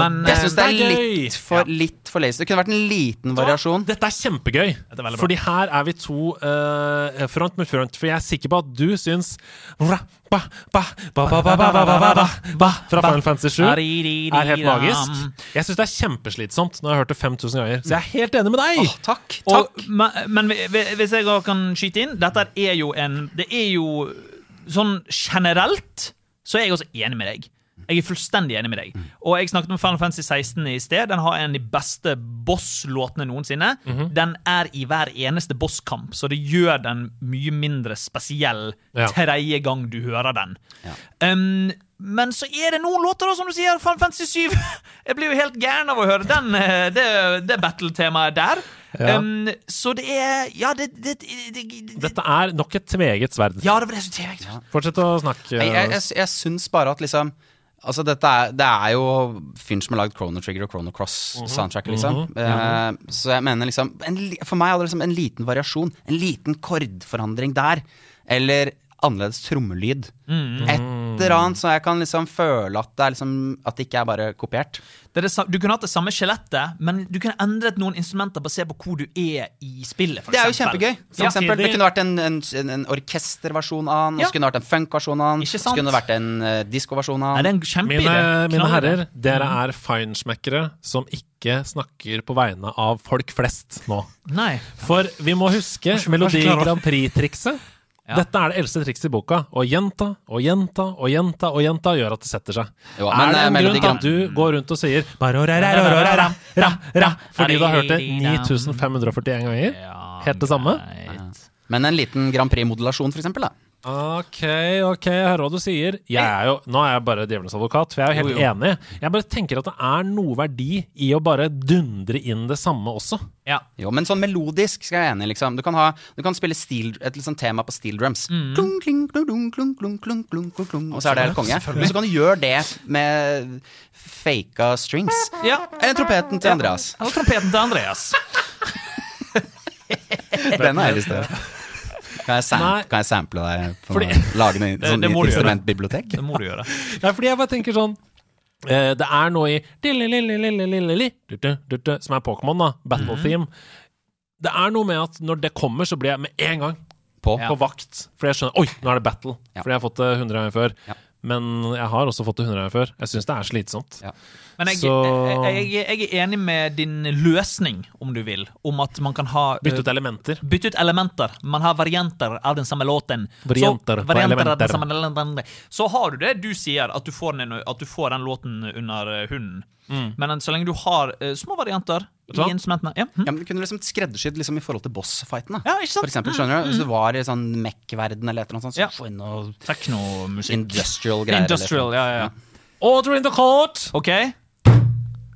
[SPEAKER 2] Men
[SPEAKER 4] Jeg syns det
[SPEAKER 3] eh, Det er
[SPEAKER 4] er
[SPEAKER 3] gøy.
[SPEAKER 4] litt for, litt for lazy. Det kunne vært en liten variasjon.
[SPEAKER 3] Dette er kjempegøy.
[SPEAKER 2] er veldig bra.
[SPEAKER 3] fordi her er vi to eh, front mot front. For jeg er sikker på at du syns Fra Final Fantasy 7 er helt magisk. Jeg syns det er kjempeslitsomt når jeg har hørt det 5000 ganger. Så jeg
[SPEAKER 2] Mm.
[SPEAKER 3] er helt enig med deg!
[SPEAKER 4] Takk.
[SPEAKER 2] Og,
[SPEAKER 4] takk.
[SPEAKER 2] men, men vi- vi- hvis jeg også kan skyte inn Dette er jo en Det er jo sånn generelt Så er jeg også enig med deg Jeg er fullstendig enig med deg Og jeg snakket om Final Fantasy 16 i sted Den har en av de beste boss-låtene noensinne
[SPEAKER 3] Mhm.
[SPEAKER 2] Den er i hver eneste bosskamp Så det gjør den mye mindre spesiell
[SPEAKER 3] Ja.
[SPEAKER 2] Tredje gang du hører den um, men så er det noen låter, da, som du sier, Final Fantasy 7. Jeg blir jo helt gæren av å høre den, eh, det, det battle-temaet der.
[SPEAKER 3] Ja.
[SPEAKER 2] Um, så det er Ja, det, det, det, det, det
[SPEAKER 3] Dette er nok et tveget sverd.
[SPEAKER 2] Ja, det var det som tjente.
[SPEAKER 3] Fortsett å snakke.
[SPEAKER 4] Jeg, jeg, jeg, jeg syns bare at liksom Altså, dette er, det er jo fyren som har lagd Chrono Trigger og Chrono
[SPEAKER 2] Mhm.
[SPEAKER 4] Cross-soundtracket, liksom. Eh, så jeg mener liksom en, li- For meg hadde det liksom en liten variasjon, en liten kordforandring der. Eller annerledes trommelyd.
[SPEAKER 2] Mhm.
[SPEAKER 4] Et eller annet, så jeg kan liksom føle at det, er liksom, at det ikke er bare kopiert.
[SPEAKER 2] Det er det, sa- du kunne hatt det samme skjelettet, men du kunne endret noen instrumenter basert på hvor du er i spillet. For
[SPEAKER 4] Det er jo
[SPEAKER 2] eksempel.
[SPEAKER 4] kjempegøy. For
[SPEAKER 2] Ja.
[SPEAKER 4] eksempel, det kunne vært en, en, en, en orkesterversjon av den, og
[SPEAKER 2] Ja.
[SPEAKER 4] så kunne det vært en funkversjon av den,
[SPEAKER 2] Ikke
[SPEAKER 4] så
[SPEAKER 2] sant?
[SPEAKER 4] kunne det vært en uh, diskoversjon av
[SPEAKER 2] Nei, det
[SPEAKER 4] den.
[SPEAKER 2] er en kjempeidé.
[SPEAKER 3] Mine, mine
[SPEAKER 2] Knallidé.
[SPEAKER 3] herrer, dere
[SPEAKER 2] Mm.
[SPEAKER 3] er feinschmeckere som ikke snakker på vegne av folk flest nå.
[SPEAKER 2] Nei.
[SPEAKER 3] For vi må huske Melodi
[SPEAKER 2] klarer du-
[SPEAKER 3] Grand Prix-trikset. Dette er det eldste trikset i boka. Å gjenta og gjenta og gjenta og gjenta gjør at det setter seg.
[SPEAKER 4] Jo,
[SPEAKER 3] er
[SPEAKER 4] men,
[SPEAKER 3] det
[SPEAKER 4] eh,
[SPEAKER 3] en
[SPEAKER 4] Melodi
[SPEAKER 3] grunn til at
[SPEAKER 4] Grand-
[SPEAKER 3] du går rundt og sier
[SPEAKER 2] Ra-ra-ra-ra-ra-ra, ra-ra.
[SPEAKER 3] Fordi du har hørt det
[SPEAKER 4] um,
[SPEAKER 3] 9541 ganger? Helt det samme?
[SPEAKER 4] Men en liten Grand Prix-modulasjon, for eksempel. Da.
[SPEAKER 3] Ok, ok, jeg hører hva du sier. Jeg er jo, nå er jeg bare djevelens advokat, for jeg er jo helt enig. Jeg bare tenker at det er noe verdi i å bare dundre inn det samme også.
[SPEAKER 2] Ja.
[SPEAKER 4] Jo, men sånn melodisk skal jeg være enig. i, Liksom. Du, kan ha, du kan spille steel, et liksom tema på steel drums.
[SPEAKER 2] Mhm.
[SPEAKER 4] Klung, kling, klung, klung, klung, klung, klung, klung, klung, klung, og så er det helt konge. Men så kan du gjøre det med faka strings.
[SPEAKER 2] ja.
[SPEAKER 4] Eller trompeten til Andreas.
[SPEAKER 2] Eller trompeten til Andreas.
[SPEAKER 4] Den har jeg lyst til. Kan
[SPEAKER 3] Nei.
[SPEAKER 4] jeg, sam kan jeg sample deg? På
[SPEAKER 3] Fordi-
[SPEAKER 4] lage en sånn
[SPEAKER 2] det må du gjøre.
[SPEAKER 4] instrumentbibliotek?
[SPEAKER 2] Det må du gjøre.
[SPEAKER 3] Nei, fordi jeg bare tenker sånn eh, Det er noe i dililililililili, dutte, dutte, Som er Pokémon, da. Battle theme. Det er noe med at når det kommer, så blir jeg med en gang
[SPEAKER 4] På.
[SPEAKER 3] på vakt. Fordi jeg skjønner Oi, nå er det battle!
[SPEAKER 4] Ja.
[SPEAKER 3] Fordi jeg har fått det 100 ganger før.
[SPEAKER 4] Ja.
[SPEAKER 3] Men jeg har også fått det 100 ganger før. Jeg syns det er slitsomt.
[SPEAKER 4] Ja.
[SPEAKER 2] Men jeg,
[SPEAKER 3] Så-
[SPEAKER 2] jeg, jeg, jeg er enig med din løsning, om du vil, om at man kan ha eh,
[SPEAKER 3] Bytte ut elementer.
[SPEAKER 2] Bytt ut elementer. Man har varianter av den samme låten.
[SPEAKER 3] Varianter
[SPEAKER 2] så,
[SPEAKER 3] på
[SPEAKER 2] varianter av den
[SPEAKER 3] elementer.
[SPEAKER 2] samme låten. så har du det du sier, at du får den, at du får den låten under eh, hunden. Men en- så lenge du har eh, små varianter
[SPEAKER 3] du hva?
[SPEAKER 2] i instrumentene ja. mhm.
[SPEAKER 4] Ja, men Du kunne liksom skreddersydd liksom, i forhold til boss-fightene.
[SPEAKER 2] Ja, ikke sant? Mm.
[SPEAKER 4] For eksempel, skjønner du? Hvis du var i sånn Mech-verden eller et eller annet sånt, så
[SPEAKER 2] Ja.
[SPEAKER 4] få inn noe
[SPEAKER 2] Teknomusikk.
[SPEAKER 4] industrial greier. liksom. eller
[SPEAKER 2] Industrial, ja, ja. ja.
[SPEAKER 3] Order in the court!
[SPEAKER 2] OK?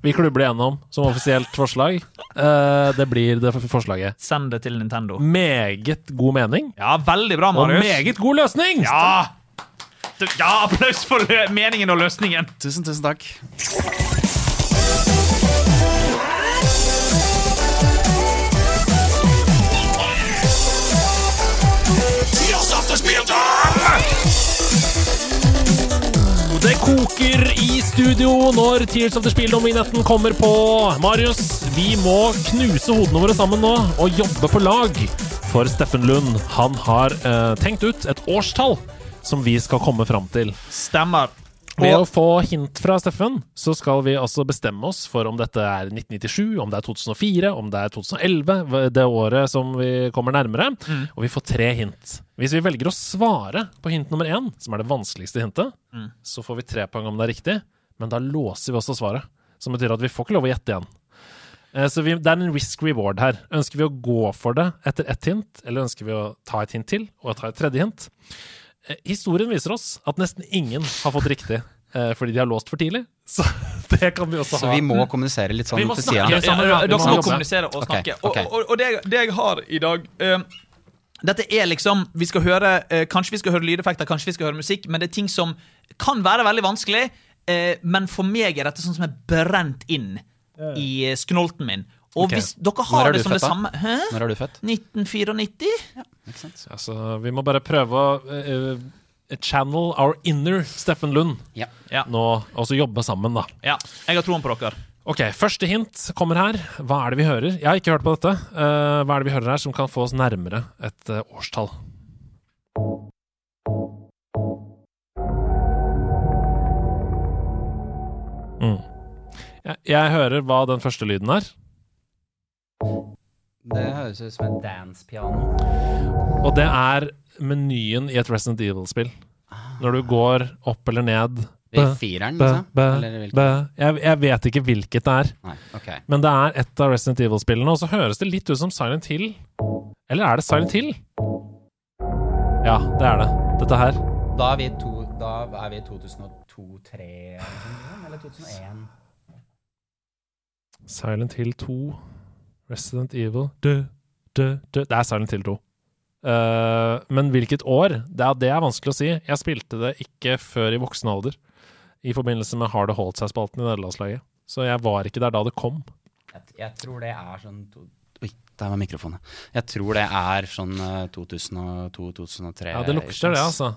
[SPEAKER 3] Vi klubber det gjennom som offisielt forslag. Eh, det blir det f- forslaget.
[SPEAKER 2] Send det til Nintendo.
[SPEAKER 3] Meget god mening.
[SPEAKER 2] Ja, veldig bra,
[SPEAKER 3] Mm. Og
[SPEAKER 2] Marius.
[SPEAKER 3] meget god løsning!
[SPEAKER 2] Ja! Du- ja, applaus for lø- meningen og løsningen.
[SPEAKER 4] noe. Tusen, tusen takk.
[SPEAKER 6] Tidas afterspiel
[SPEAKER 3] Det koker i studio når Tears of the Spill om vignetten kommer på. Marius, vi må knuse hodene våre sammen nå og jobbe på lag. For Steffen Lund, han har eh, tenkt ut et årstall som vi skal komme fram til.
[SPEAKER 2] Stemmer.
[SPEAKER 3] Ved å
[SPEAKER 2] Og,
[SPEAKER 3] få hint fra Steffen, så skal vi altså bestemme oss for om dette er 1997, om det er 2004, om det er 2011, hva- det året som vi kommer nærmere. Og vi får tre hint. Hvis vi velger å svare på hint nummer én, som er det vanskeligste hintet, så får vi tre poeng om det er riktig, men da låser vi også svaret. Som betyr at vi får ikke lov å gjette igjen. Eh, Så vi, det er en risk reward her. Ønsker vi å gå for det etter ett hint, eller ønsker vi å ta et hint til, og ta et tredje hint? Eh, Historien viser oss at nesten ingen har fått riktig eh, fordi de har låst for tidlig. Så det kan vi også
[SPEAKER 4] Så
[SPEAKER 3] ha.
[SPEAKER 4] vi må kommunisere litt sånn
[SPEAKER 3] Mm. Vi må
[SPEAKER 4] til
[SPEAKER 3] snakke.
[SPEAKER 4] sida.
[SPEAKER 2] ja,
[SPEAKER 3] Sammen, ja. Vi
[SPEAKER 2] dere
[SPEAKER 3] må
[SPEAKER 2] må
[SPEAKER 3] jobbe.
[SPEAKER 2] kommunisere og snakke.
[SPEAKER 4] Ok, ok.
[SPEAKER 2] Og, og, og det, jeg, det jeg har i dag eh, Dette er liksom Vi skal høre eh, Kanskje vi skal høre lydeffekter, kanskje vi skal høre musikk, men det er ting som kan være veldig vanskelig. eh, men for meg er dette sånn som er brent inn i eh, sknolten min. Og
[SPEAKER 3] Ok.
[SPEAKER 2] hvis dere
[SPEAKER 4] Når er
[SPEAKER 2] har det
[SPEAKER 4] du
[SPEAKER 2] som det
[SPEAKER 4] født, da?
[SPEAKER 2] samme Hæ?
[SPEAKER 3] sånn.
[SPEAKER 4] Når er du født?
[SPEAKER 2] 1994?
[SPEAKER 3] Ja, så Altså, vi må bare prøve å eh, eh, channel our inner Steffen Lund
[SPEAKER 4] Ja.
[SPEAKER 2] Ja.
[SPEAKER 3] nå, og så jobbe sammen, da.
[SPEAKER 2] ja. Jeg har troen på dere.
[SPEAKER 3] Ok, Første hint kommer her. Hva er det vi hører? Jeg har ikke hørt på dette. Eh, hva er det vi hører her som kan få oss nærmere et eh, årstall? Mm. Jeg, jeg hører hva den første lyden er,
[SPEAKER 4] Det høres ut som en dancepiano.
[SPEAKER 3] og det er menyen i et Resident Evil-spill.
[SPEAKER 4] Ah.
[SPEAKER 3] Når du går opp eller ned
[SPEAKER 4] I fireren,
[SPEAKER 3] bæ,
[SPEAKER 4] liksom?
[SPEAKER 3] bæ,
[SPEAKER 4] Eller hvilken?
[SPEAKER 3] bæ. Jeg, jeg vet ikke hvilket det er.
[SPEAKER 4] Nei, ok.
[SPEAKER 3] Men det er et av Resident Evil-spillene, og så høres det litt ut som Silent Hill. Eller er det Silent Hill? Ja, det er det. Dette her.
[SPEAKER 4] Da er vi, to, da er vi i 2002-2003 eller 2001.
[SPEAKER 3] Silent Hill 2, Resident Evil dø, dø, dø. Det er Silent Hill 2. Eh, men hvilket år? Det er, det er vanskelig å si. Jeg spilte det ikke før i voksen alder. i forbindelse med Har det holdt seg-spalten i nederlandslaget. Så jeg var ikke der da det kom.
[SPEAKER 4] Jeg, jeg tror det er sånn to, Oi, der var mikrofonen. Jeg tror det er sånn 2002-2003.
[SPEAKER 3] Ja, det lukter det, altså.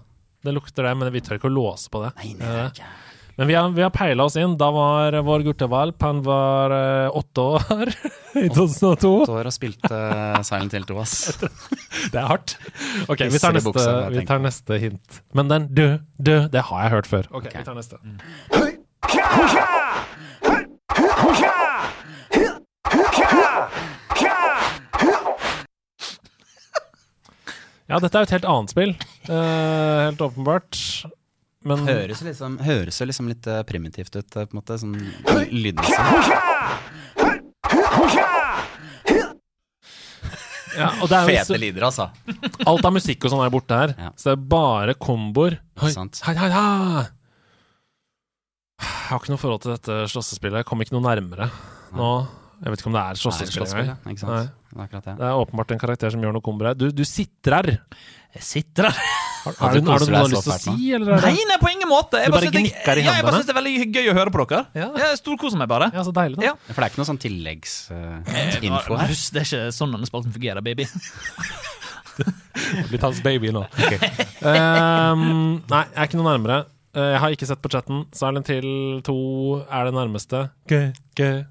[SPEAKER 3] Det lukter det, men vi tør ikke å låse på det. Eh,
[SPEAKER 4] Nei, nei, det er ikke.
[SPEAKER 3] Men vi har, vi har peila oss inn. Da var vår guttevalp Han var eh, åtte år i 2002.
[SPEAKER 4] Åtte år og spilte Silent Hill 2, ass.
[SPEAKER 3] Det er hardt. Ok, vi
[SPEAKER 4] Pisser i
[SPEAKER 3] tar neste,
[SPEAKER 4] buksa, jeg
[SPEAKER 3] vi
[SPEAKER 4] tenker.
[SPEAKER 3] tar neste hint. Men den dø, dø, det har jeg hørt før. Ok,
[SPEAKER 4] Ok.
[SPEAKER 3] vi tar neste. Ja, dette er jo et helt annet spill. Eh, helt åpenbart. Men
[SPEAKER 4] Høres jo liksom, høres jo liksom litt eh, primitivt ut, eh, på en måte. Sånn ly- lydmessig.
[SPEAKER 3] ja, og det er jo
[SPEAKER 4] Fete lyder, altså.
[SPEAKER 3] Alt av musikk og sånn er borte her.
[SPEAKER 4] Ja.
[SPEAKER 3] Så det er bare komboer. Hei,
[SPEAKER 4] Sant.
[SPEAKER 3] hei, hei, hei. Jeg har ikke noe forhold til dette slåssespillet. Jeg kom ikke noe nærmere nå. Jeg vet ikke om det er
[SPEAKER 4] Det er
[SPEAKER 3] slåssespill
[SPEAKER 4] slåsspill, ja.
[SPEAKER 3] engang.
[SPEAKER 4] Ikke
[SPEAKER 3] Nei.
[SPEAKER 4] sant. Det er akkurat det.
[SPEAKER 3] Det er åpenbart en karakter som gjør noe komboer her. Du, du sitrer.
[SPEAKER 2] Jeg sitter der.
[SPEAKER 3] Har,
[SPEAKER 4] Ja,
[SPEAKER 3] har,
[SPEAKER 4] du
[SPEAKER 3] du, har
[SPEAKER 4] koser
[SPEAKER 3] du noe
[SPEAKER 4] deg
[SPEAKER 3] lyst til å
[SPEAKER 4] så fælt nå.
[SPEAKER 3] si, eller er
[SPEAKER 2] Nei,
[SPEAKER 3] det
[SPEAKER 2] nei, på ingen måte. Jeg
[SPEAKER 3] Du bare
[SPEAKER 2] synes jeg-
[SPEAKER 3] gnikker i
[SPEAKER 2] Ja, jeg bare
[SPEAKER 3] hendene.
[SPEAKER 2] syns det er veldig gøy å høre på dere.
[SPEAKER 3] Ja.
[SPEAKER 2] Jeg storkoser meg bare.
[SPEAKER 3] Ja, så deilig, da.
[SPEAKER 2] Ja.
[SPEAKER 4] For det er ikke noe sånn tilleggsinfo her.
[SPEAKER 2] Marius, det er ikke sånn denne spalten fungerer, baby.
[SPEAKER 3] Det Blitt hans baby nå. Ehm, nei, jeg er ikke noe nærmere. Eh, Jeg har ikke sett på chatten. Silent Hill 2 er det nærmeste. Gøy, gøy.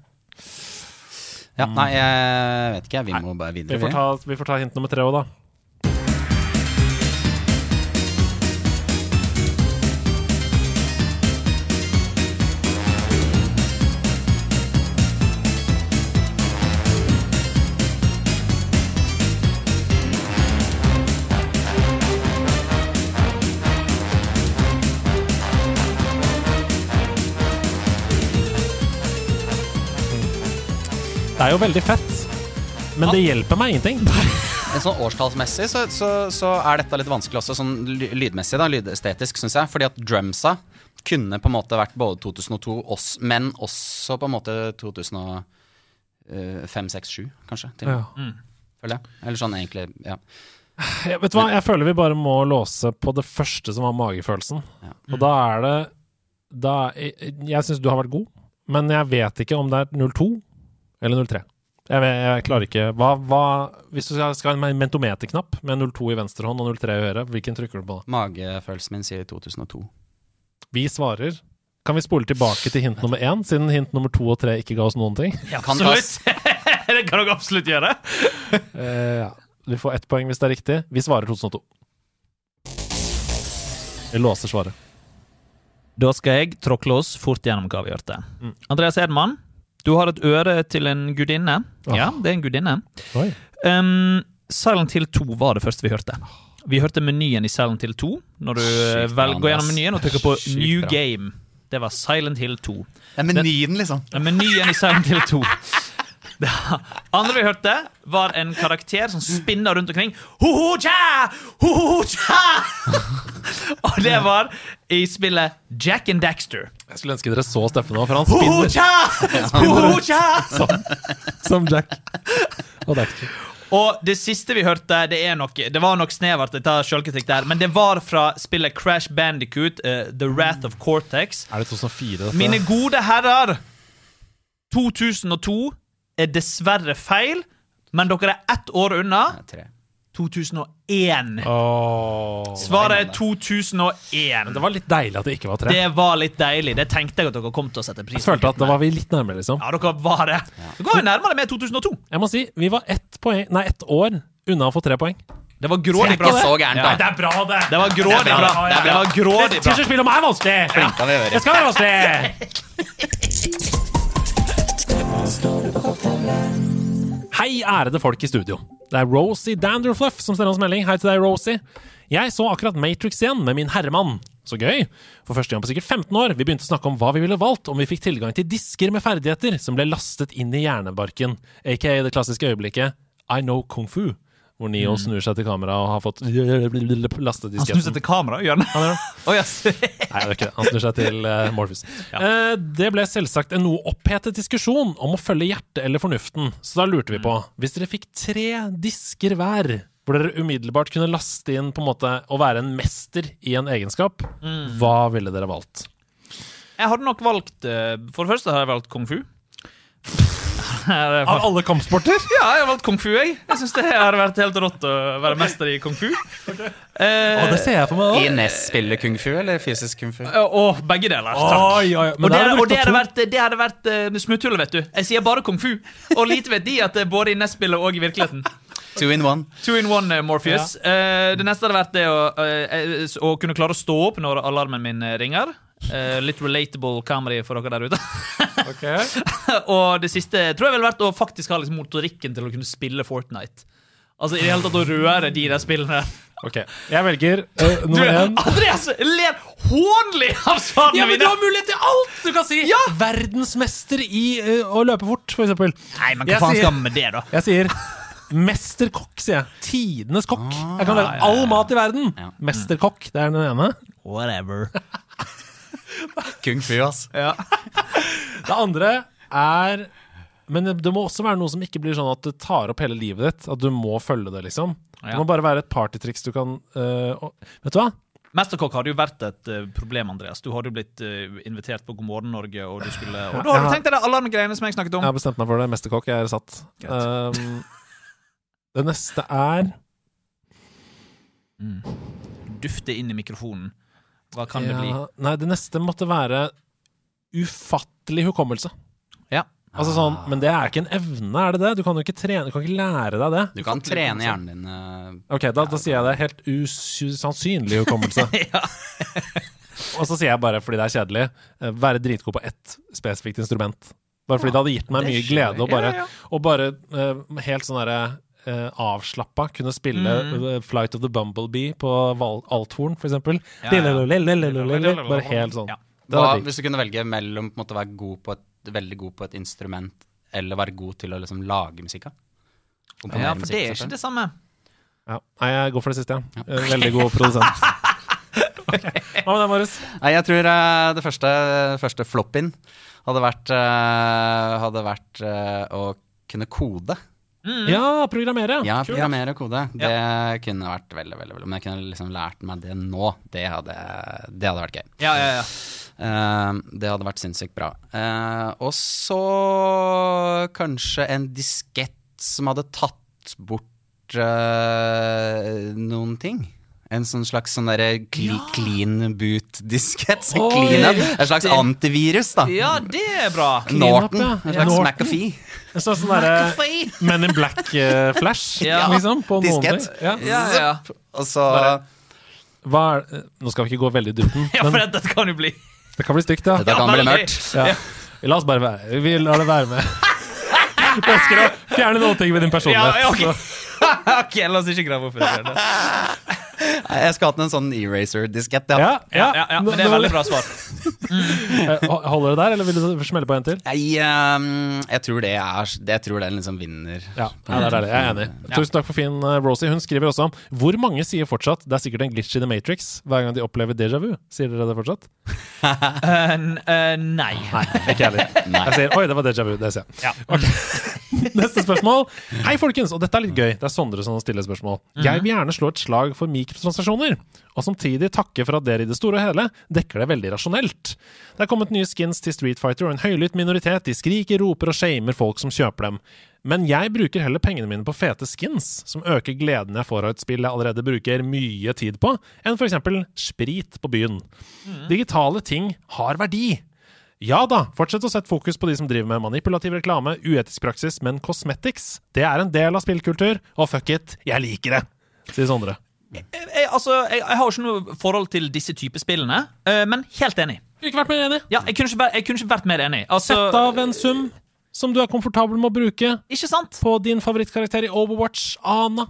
[SPEAKER 4] Ja, nei, jeg vet ikke. Vi må bare
[SPEAKER 3] Vi
[SPEAKER 4] videre.
[SPEAKER 3] får,
[SPEAKER 4] vi.
[SPEAKER 3] ta, vi får ta hint nummer tre òg, da. Det er jo veldig fett, men det hjelper meg ingenting.
[SPEAKER 4] Men sånn årstallsmessig så, så, så er dette litt vanskelig også, sånn ly- lydmessig, da, lydestetisk, syns jeg. Fordi at drumsa kunne på en måte vært både 2002, oss, men også på en måte 2005, 6, 7, kanskje. Til, og med, føler jeg. Eller sånn egentlig, ja.
[SPEAKER 3] Jeg, vet du hva, jeg føler vi bare må låse på det første som var magefølelsen.
[SPEAKER 4] Ja.
[SPEAKER 3] Og da er det da, Jeg, jeg syns du har vært god, men jeg vet ikke om det er 02 eller 03. Jeg, vet, jeg klarer ikke hva, hva, Hvis du skal skal ha en mentometerknapp med 02 i venstre hånd og 03 i høyre, hvilken trykker du på da?
[SPEAKER 4] Magefølelsen min sier 2002.
[SPEAKER 3] Vi svarer Kan vi spole tilbake til hint nummer én, siden hint nummer to og tre ikke ga oss noen ting?
[SPEAKER 4] Kan tas.
[SPEAKER 2] det kan dere absolutt gjøre.
[SPEAKER 3] Eh, ja. Du får ett poeng hvis det er riktig. Vi svarer 2002. Vi låser svaret.
[SPEAKER 2] Da skal jeg tråkle oss fort gjennom hva vi har gjort det. Andreas Hedman, du har et øre til en gudinne. Ja, det er en gudinne.
[SPEAKER 3] Oi.
[SPEAKER 2] Um, Silent Hill 2 var det første vi hørte. Vi hørte menyen i Silent Hill 2. Når du
[SPEAKER 4] Sykt bra,
[SPEAKER 2] velger, går gjennom
[SPEAKER 4] Andreas.
[SPEAKER 2] menyen og trykker på
[SPEAKER 4] Sykt
[SPEAKER 2] New
[SPEAKER 4] bra.
[SPEAKER 2] Game. Det var Silent Hill 2.
[SPEAKER 4] Det er menyen, liksom.
[SPEAKER 2] Ja, Menyen i Silent Hill 2. Det andre vi hørte, var en karakter som spinner rundt omkring. Ho-ho-tja! Ho-ho-tja! Og det var i spillet Jack and Daxter.
[SPEAKER 3] Jeg skulle ønske dere så Steffen nå, for han spinner
[SPEAKER 2] Ho-ho-tja! Ho-ho-tja!
[SPEAKER 3] Oh, som Jack. Og Dexter.
[SPEAKER 2] Og det siste vi hørte, det, er nok, det var nok snevert, jeg tar selvkritikk der, men det var fra spillet Crash Bandicoot, eh, The Wrath of Cortex.
[SPEAKER 3] Er det 2004, dette?
[SPEAKER 2] Mine gode herrer, 2002 er dessverre feil, men dere er ett år unna.
[SPEAKER 4] Nei, Tre.
[SPEAKER 2] 2001.
[SPEAKER 3] Åh.
[SPEAKER 2] Svaret er 2001.
[SPEAKER 3] Det var litt deilig at det ikke var tre.
[SPEAKER 2] Det var litt deilig. Det tenkte jeg at dere kom til å sette pris
[SPEAKER 3] Jeg følte at da var vi litt nærmere, liksom.
[SPEAKER 2] Ja, dere var det. Dere var jo nærmere med 2002.
[SPEAKER 3] Jeg må si, vi var ett poeng, nei, ett år unna å få tre poeng.
[SPEAKER 2] Det var grådig
[SPEAKER 4] Det er
[SPEAKER 2] bra.
[SPEAKER 4] ikke så gærent, da.
[SPEAKER 3] er bra, det!
[SPEAKER 2] Det var grådig bra. Det var grådig bra.
[SPEAKER 3] Tirsdagsspill om meg er vanskelig!
[SPEAKER 4] Flinke av dere.
[SPEAKER 3] Det skal være vanskelig! Hei, ærede folk i studio. Det er Rosie Danderfluff som sender oss melding. Hei til deg, Rosie. Jeg så akkurat Matrix igjen med min herremann. Så gøy! For første gang på sikkert 15 år, vi begynte å snakke om hva vi ville valgt om vi fikk tilgang til disker med ferdigheter som ble lastet inn i hjernebarken, aka det klassiske øyeblikket I know kung fu, hvor Neo snur seg til kamera og har fått
[SPEAKER 2] Mm. Han snur seg
[SPEAKER 3] lastet disketten.
[SPEAKER 2] til kamera og gjør den.
[SPEAKER 3] Han er-
[SPEAKER 2] Å, yes.
[SPEAKER 3] Nei, det er ikke det. Han snur seg til eh, Morpheus. Eh, det ble selvsagt en noe opphetet diskusjon om å følge hjertet eller fornuften, så da lurte vi på
[SPEAKER 2] Mm.
[SPEAKER 3] Hvis dere fikk tre disker hver, hvor dere umiddelbart kunne laste
[SPEAKER 2] Mm.
[SPEAKER 3] inn på en måte å være en mester i en egenskap, hva ville dere valgt?
[SPEAKER 2] Jeg hadde nok valgt eh, For det første hadde jeg valgt kung fu.
[SPEAKER 3] Av alle kampsporter?
[SPEAKER 2] Ah, Ja, jeg har valgt kung fu, jeg. Jeg syns det hadde vært helt rått å være mester i kung fu.
[SPEAKER 3] Å, Ah, det ser jeg for meg òg.
[SPEAKER 4] Ines spiller E kung fu, eller fysisk kung fu?
[SPEAKER 2] Og Eh, begge deler.
[SPEAKER 3] Ah,
[SPEAKER 2] Takk. Og det, og det hadde vært, det hadde vært eh, smutthull, vet du. Jeg sier bare kung fu. Og lite vet de at det er både i nettspillet og i virkeligheten.
[SPEAKER 4] Two in one.
[SPEAKER 2] Two in one, eh, Morpheus. Eh, det neste hadde vært det å, eh, eh, s- å kunne klare å stå opp når alarmen min eh, ringer. Eh, litt relatable comedy for dere der ute. og det siste tror jeg ville vært å faktisk ha liksom, motorikken til å kunne spille Fortnite. Altså i det hele tatt å røre de der spillene.
[SPEAKER 3] Ok, jeg velger eh, nummer én.
[SPEAKER 2] Andreas ler hånlig av svarene mine!
[SPEAKER 3] mulighet til alt! Du kan si ja! verdensmester i eh, å løpe fort, for eksempel.
[SPEAKER 2] Nei, men hva
[SPEAKER 3] Jeg
[SPEAKER 2] faen
[SPEAKER 3] sier-
[SPEAKER 2] skal man med det, da?
[SPEAKER 3] Jeg sier mesterkokk, sier jeg. Tidenes kokk. Jeg kan velge all mat i verden. Mesterkokk, det er den ene.
[SPEAKER 2] Whatever.
[SPEAKER 4] Kung fu, ass.
[SPEAKER 3] Det andre er Men det må også være noe som ikke blir sånn at det tar opp hele livet ditt. At du må følge det, liksom. Det
[SPEAKER 2] Ja.
[SPEAKER 3] må bare være et partytriks du kan eh, og, Vet du hva?
[SPEAKER 2] Mesterkokk hadde jo vært et eh, problem, Andreas. Du hadde jo blitt eh, invitert på God morgen Norge, og du skulle Og da hadde du
[SPEAKER 3] Ja.
[SPEAKER 2] tenkt deg alle de greiene som jeg snakket
[SPEAKER 3] Jeg
[SPEAKER 2] om.
[SPEAKER 3] har bestemt meg for det. Mesterkokk jeg er satt. Um, det neste er
[SPEAKER 2] Dufte inn i mikrofonen. Hva kan det bli?
[SPEAKER 3] Ja, Nei, det neste måtte være ufattelig hukommelse.
[SPEAKER 2] Ja.
[SPEAKER 3] Altså sånn, Men det er ikke en evne, er det det? Du kan jo ikke trene, du kan ikke lære deg det.
[SPEAKER 4] Du kan trene
[SPEAKER 3] liksom.
[SPEAKER 4] hjernen din. eh,
[SPEAKER 3] Ok, Da, da sier jeg det. Helt usannsynlig hukommelse. Og så sier jeg bare, fordi det er kjedelig, eh, være dritgod på ett spesifikt instrument. Bare fordi det hadde gitt meg mye glede å bare, og bare eh, helt sånn derre eh, avslappa kunne spille eh, 'Flight of the Bumblebee' på val- althorn, for eksempel. Lillelulelulelulele, Bare helt sånn.
[SPEAKER 2] Ja.
[SPEAKER 3] Det hadde
[SPEAKER 4] Hva,
[SPEAKER 3] vært digg.
[SPEAKER 4] hvis du kunne velge mellom på en måte, å være god på et, veldig god på et instrument eller være god til å liksom, lage musikk av? Komponere
[SPEAKER 2] ja, for det er
[SPEAKER 4] musikk,
[SPEAKER 3] altså.
[SPEAKER 2] ikke det samme.
[SPEAKER 3] Ja. Nei, jeg går for det siste, ja. Eh, Veldig god produsent. Ok. Hva med deg, Marius?
[SPEAKER 4] Nei, jeg tror eh, det første, første floppen hadde vært, eh, hadde vært eh, å kunne kode.
[SPEAKER 2] Mm.
[SPEAKER 3] Ja, programmere.
[SPEAKER 4] Ja, programmere og kode. Det kunne vært veldig, veldig, veldig Om jeg kunne liksom lært meg det nå, det hadde, det hadde vært gøy.
[SPEAKER 2] Ja, ja, ja.
[SPEAKER 4] Eh, det hadde vært sinnssykt bra. Eh, og så kanskje en diskett som hadde tatt bort eh, noen ting. En sånn slags sånn derre cle clean boot-diskett. Så clean up. En slags antivirus, da.
[SPEAKER 2] ja, det er bra.
[SPEAKER 4] Norton.
[SPEAKER 3] ja.
[SPEAKER 4] En slags
[SPEAKER 3] Norton.
[SPEAKER 4] McAfee.
[SPEAKER 3] En slags sånn derre
[SPEAKER 2] Fri.
[SPEAKER 3] Men in Black-flash,
[SPEAKER 2] Ja.
[SPEAKER 3] liksom. På noen ting.
[SPEAKER 4] Diskett.
[SPEAKER 3] Ja.
[SPEAKER 2] Ja, ja, ja.
[SPEAKER 4] Og så
[SPEAKER 3] Hva er, eh, nå skal vi ikke gå veldig i dybden,
[SPEAKER 2] ja, for
[SPEAKER 3] men
[SPEAKER 2] dette kan jo bli
[SPEAKER 3] det kan bli stygt, ja.
[SPEAKER 4] Dette kan bli
[SPEAKER 2] veldig.
[SPEAKER 4] mørkt.
[SPEAKER 3] ja. La oss bare være Vi lar det være med. Vi ønsker å fjerne noen ting ved din
[SPEAKER 2] Ja,
[SPEAKER 3] personlighet.
[SPEAKER 2] ja, ok. ok, la oss ikke grave opp i det.
[SPEAKER 4] Nei, Jeg skulle hatt en sånn eraser-diskett.
[SPEAKER 3] Ja,
[SPEAKER 4] Ja.
[SPEAKER 3] ja.
[SPEAKER 2] Ja, ja, men det er veldig bra svar.
[SPEAKER 3] Eh, ho- Holder det der, eller vil du smelle på en til?
[SPEAKER 4] Jeg, ehm, jeg tror det er Jeg tror den liksom vinner.
[SPEAKER 3] Ja, ja det er deilig. Jeg er enig. Tusen takk for fin eh, Rosie. Hun skriver også Hvor mange sier fortsatt 'det er sikkert en glitch i The Matrix' hver gang de opplever déjà vu? Sier dere det fortsatt?
[SPEAKER 2] Eh, n- eh, nei. Mm.
[SPEAKER 3] Ikke jeg heller. Jeg sier 'oi, det var déjà vu'. Det ser jeg. Ok. Neste spørsmål. Hei, folkens. Og dette er litt gøy. Det er Sondre som stiller spørsmål. Jeg vil gjerne slå et slag for mikrotransaksjoner, og samtidig takke for at dere i det store og hele dekker det veldig rasjonelt. Det er kommet nye skins til Street Fighter, og en høylytt minoritet. De skriker, roper og shamer folk som kjøper dem. Men jeg bruker heller pengene mine på fete skins, som øker gleden jeg får av et spill jeg allerede bruker mye tid på, enn f.eks. sprit på byen. Digitale ting har verdi. Ja da, fortsett å sette fokus på de som driver med manipulativ reklame, uetisk praksis, men cosmetics. Det er en del av spillkultur, og fuck it, jeg liker det, sier Sondre.
[SPEAKER 2] Jeg, jeg, altså, jeg, jeg har jo ikke noe forhold til disse typer spillene, eh, men helt enig.
[SPEAKER 3] Ikke vært mer enig.
[SPEAKER 2] Ja, jeg kunne ikke, vært- jeg kunne ikke vært mer enig. Altså,
[SPEAKER 3] Sett av en sum som du er komfortabel med å bruke
[SPEAKER 2] ikke sant?
[SPEAKER 3] på din favorittkarakter i Overwatch, Ana.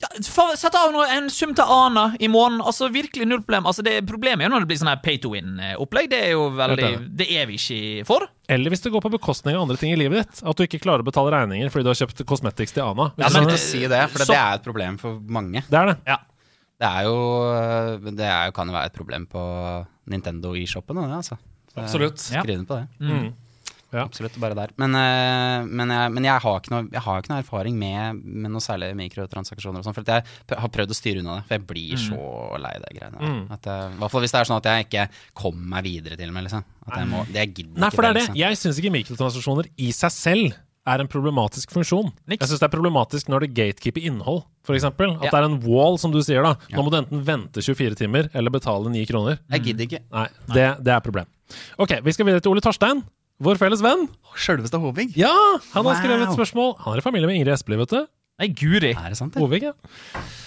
[SPEAKER 2] Ja, fa- Sett av noe, en sum til Ana i måneden. Altså, virkelig null problem. Altså, det, problemet er jo når det blir sånn her pay to win-opplegg. Det er jo veldig, det er vi ikke for.
[SPEAKER 3] Eller hvis det går på bekostning av andre ting i livet ditt. At du ikke klarer å betale regninger fordi du har kjøpt cosmetics til Ana.
[SPEAKER 4] Ja,
[SPEAKER 3] Hvis
[SPEAKER 4] men,
[SPEAKER 3] du-
[SPEAKER 4] ikke si det, for det,
[SPEAKER 2] så-
[SPEAKER 4] det er et problem for mange.
[SPEAKER 3] Det er det.
[SPEAKER 2] Ja.
[SPEAKER 4] Det er jo øh, Det er jo, kan jo være et problem på Nintendo e-shoppen. og det, Altså. Så
[SPEAKER 3] Absolutt.
[SPEAKER 2] Ja.
[SPEAKER 4] Skriv den på det.
[SPEAKER 3] Ja.
[SPEAKER 4] Absolutt, bare der. Men, eh, men, jeg, men jeg, har ikke noe, jeg har ikke noe erfaring med, med noe særlig mikrotransaksjoner og sånn, for at jeg p- har prøvd å styre unna det, for jeg blir så lei det greiene der. At jeg, I hvert fall hvis det er sånn at jeg ikke kommer meg videre til og med, liksom. At jeg må, det jeg gidder
[SPEAKER 3] Nei,
[SPEAKER 4] ikke
[SPEAKER 3] for det er det.
[SPEAKER 4] liksom.
[SPEAKER 3] Jeg syns ikke mikrotransaksjoner i seg selv er en problematisk funksjon.
[SPEAKER 2] Niks.
[SPEAKER 3] Jeg syns det er problematisk når det gatekeeper innhold, f.eks. At det er en wall, som du sier da. Nå må du enten vente 24 timer eller betale 9 kroner.
[SPEAKER 4] Jeg gidder ikke.
[SPEAKER 3] Nei, det, det er et problem. Ok, vi skal videre til Ole Torstein. Vår felles venn.
[SPEAKER 4] Sjølveste Hovig?
[SPEAKER 3] Ja, Han har skrevet et
[SPEAKER 4] Wow.
[SPEAKER 3] spørsmål. Han er i familie med Ingrid Espelid, vet du.
[SPEAKER 2] Nei, guri.
[SPEAKER 4] Er det sant, det?
[SPEAKER 3] Hovig, ja.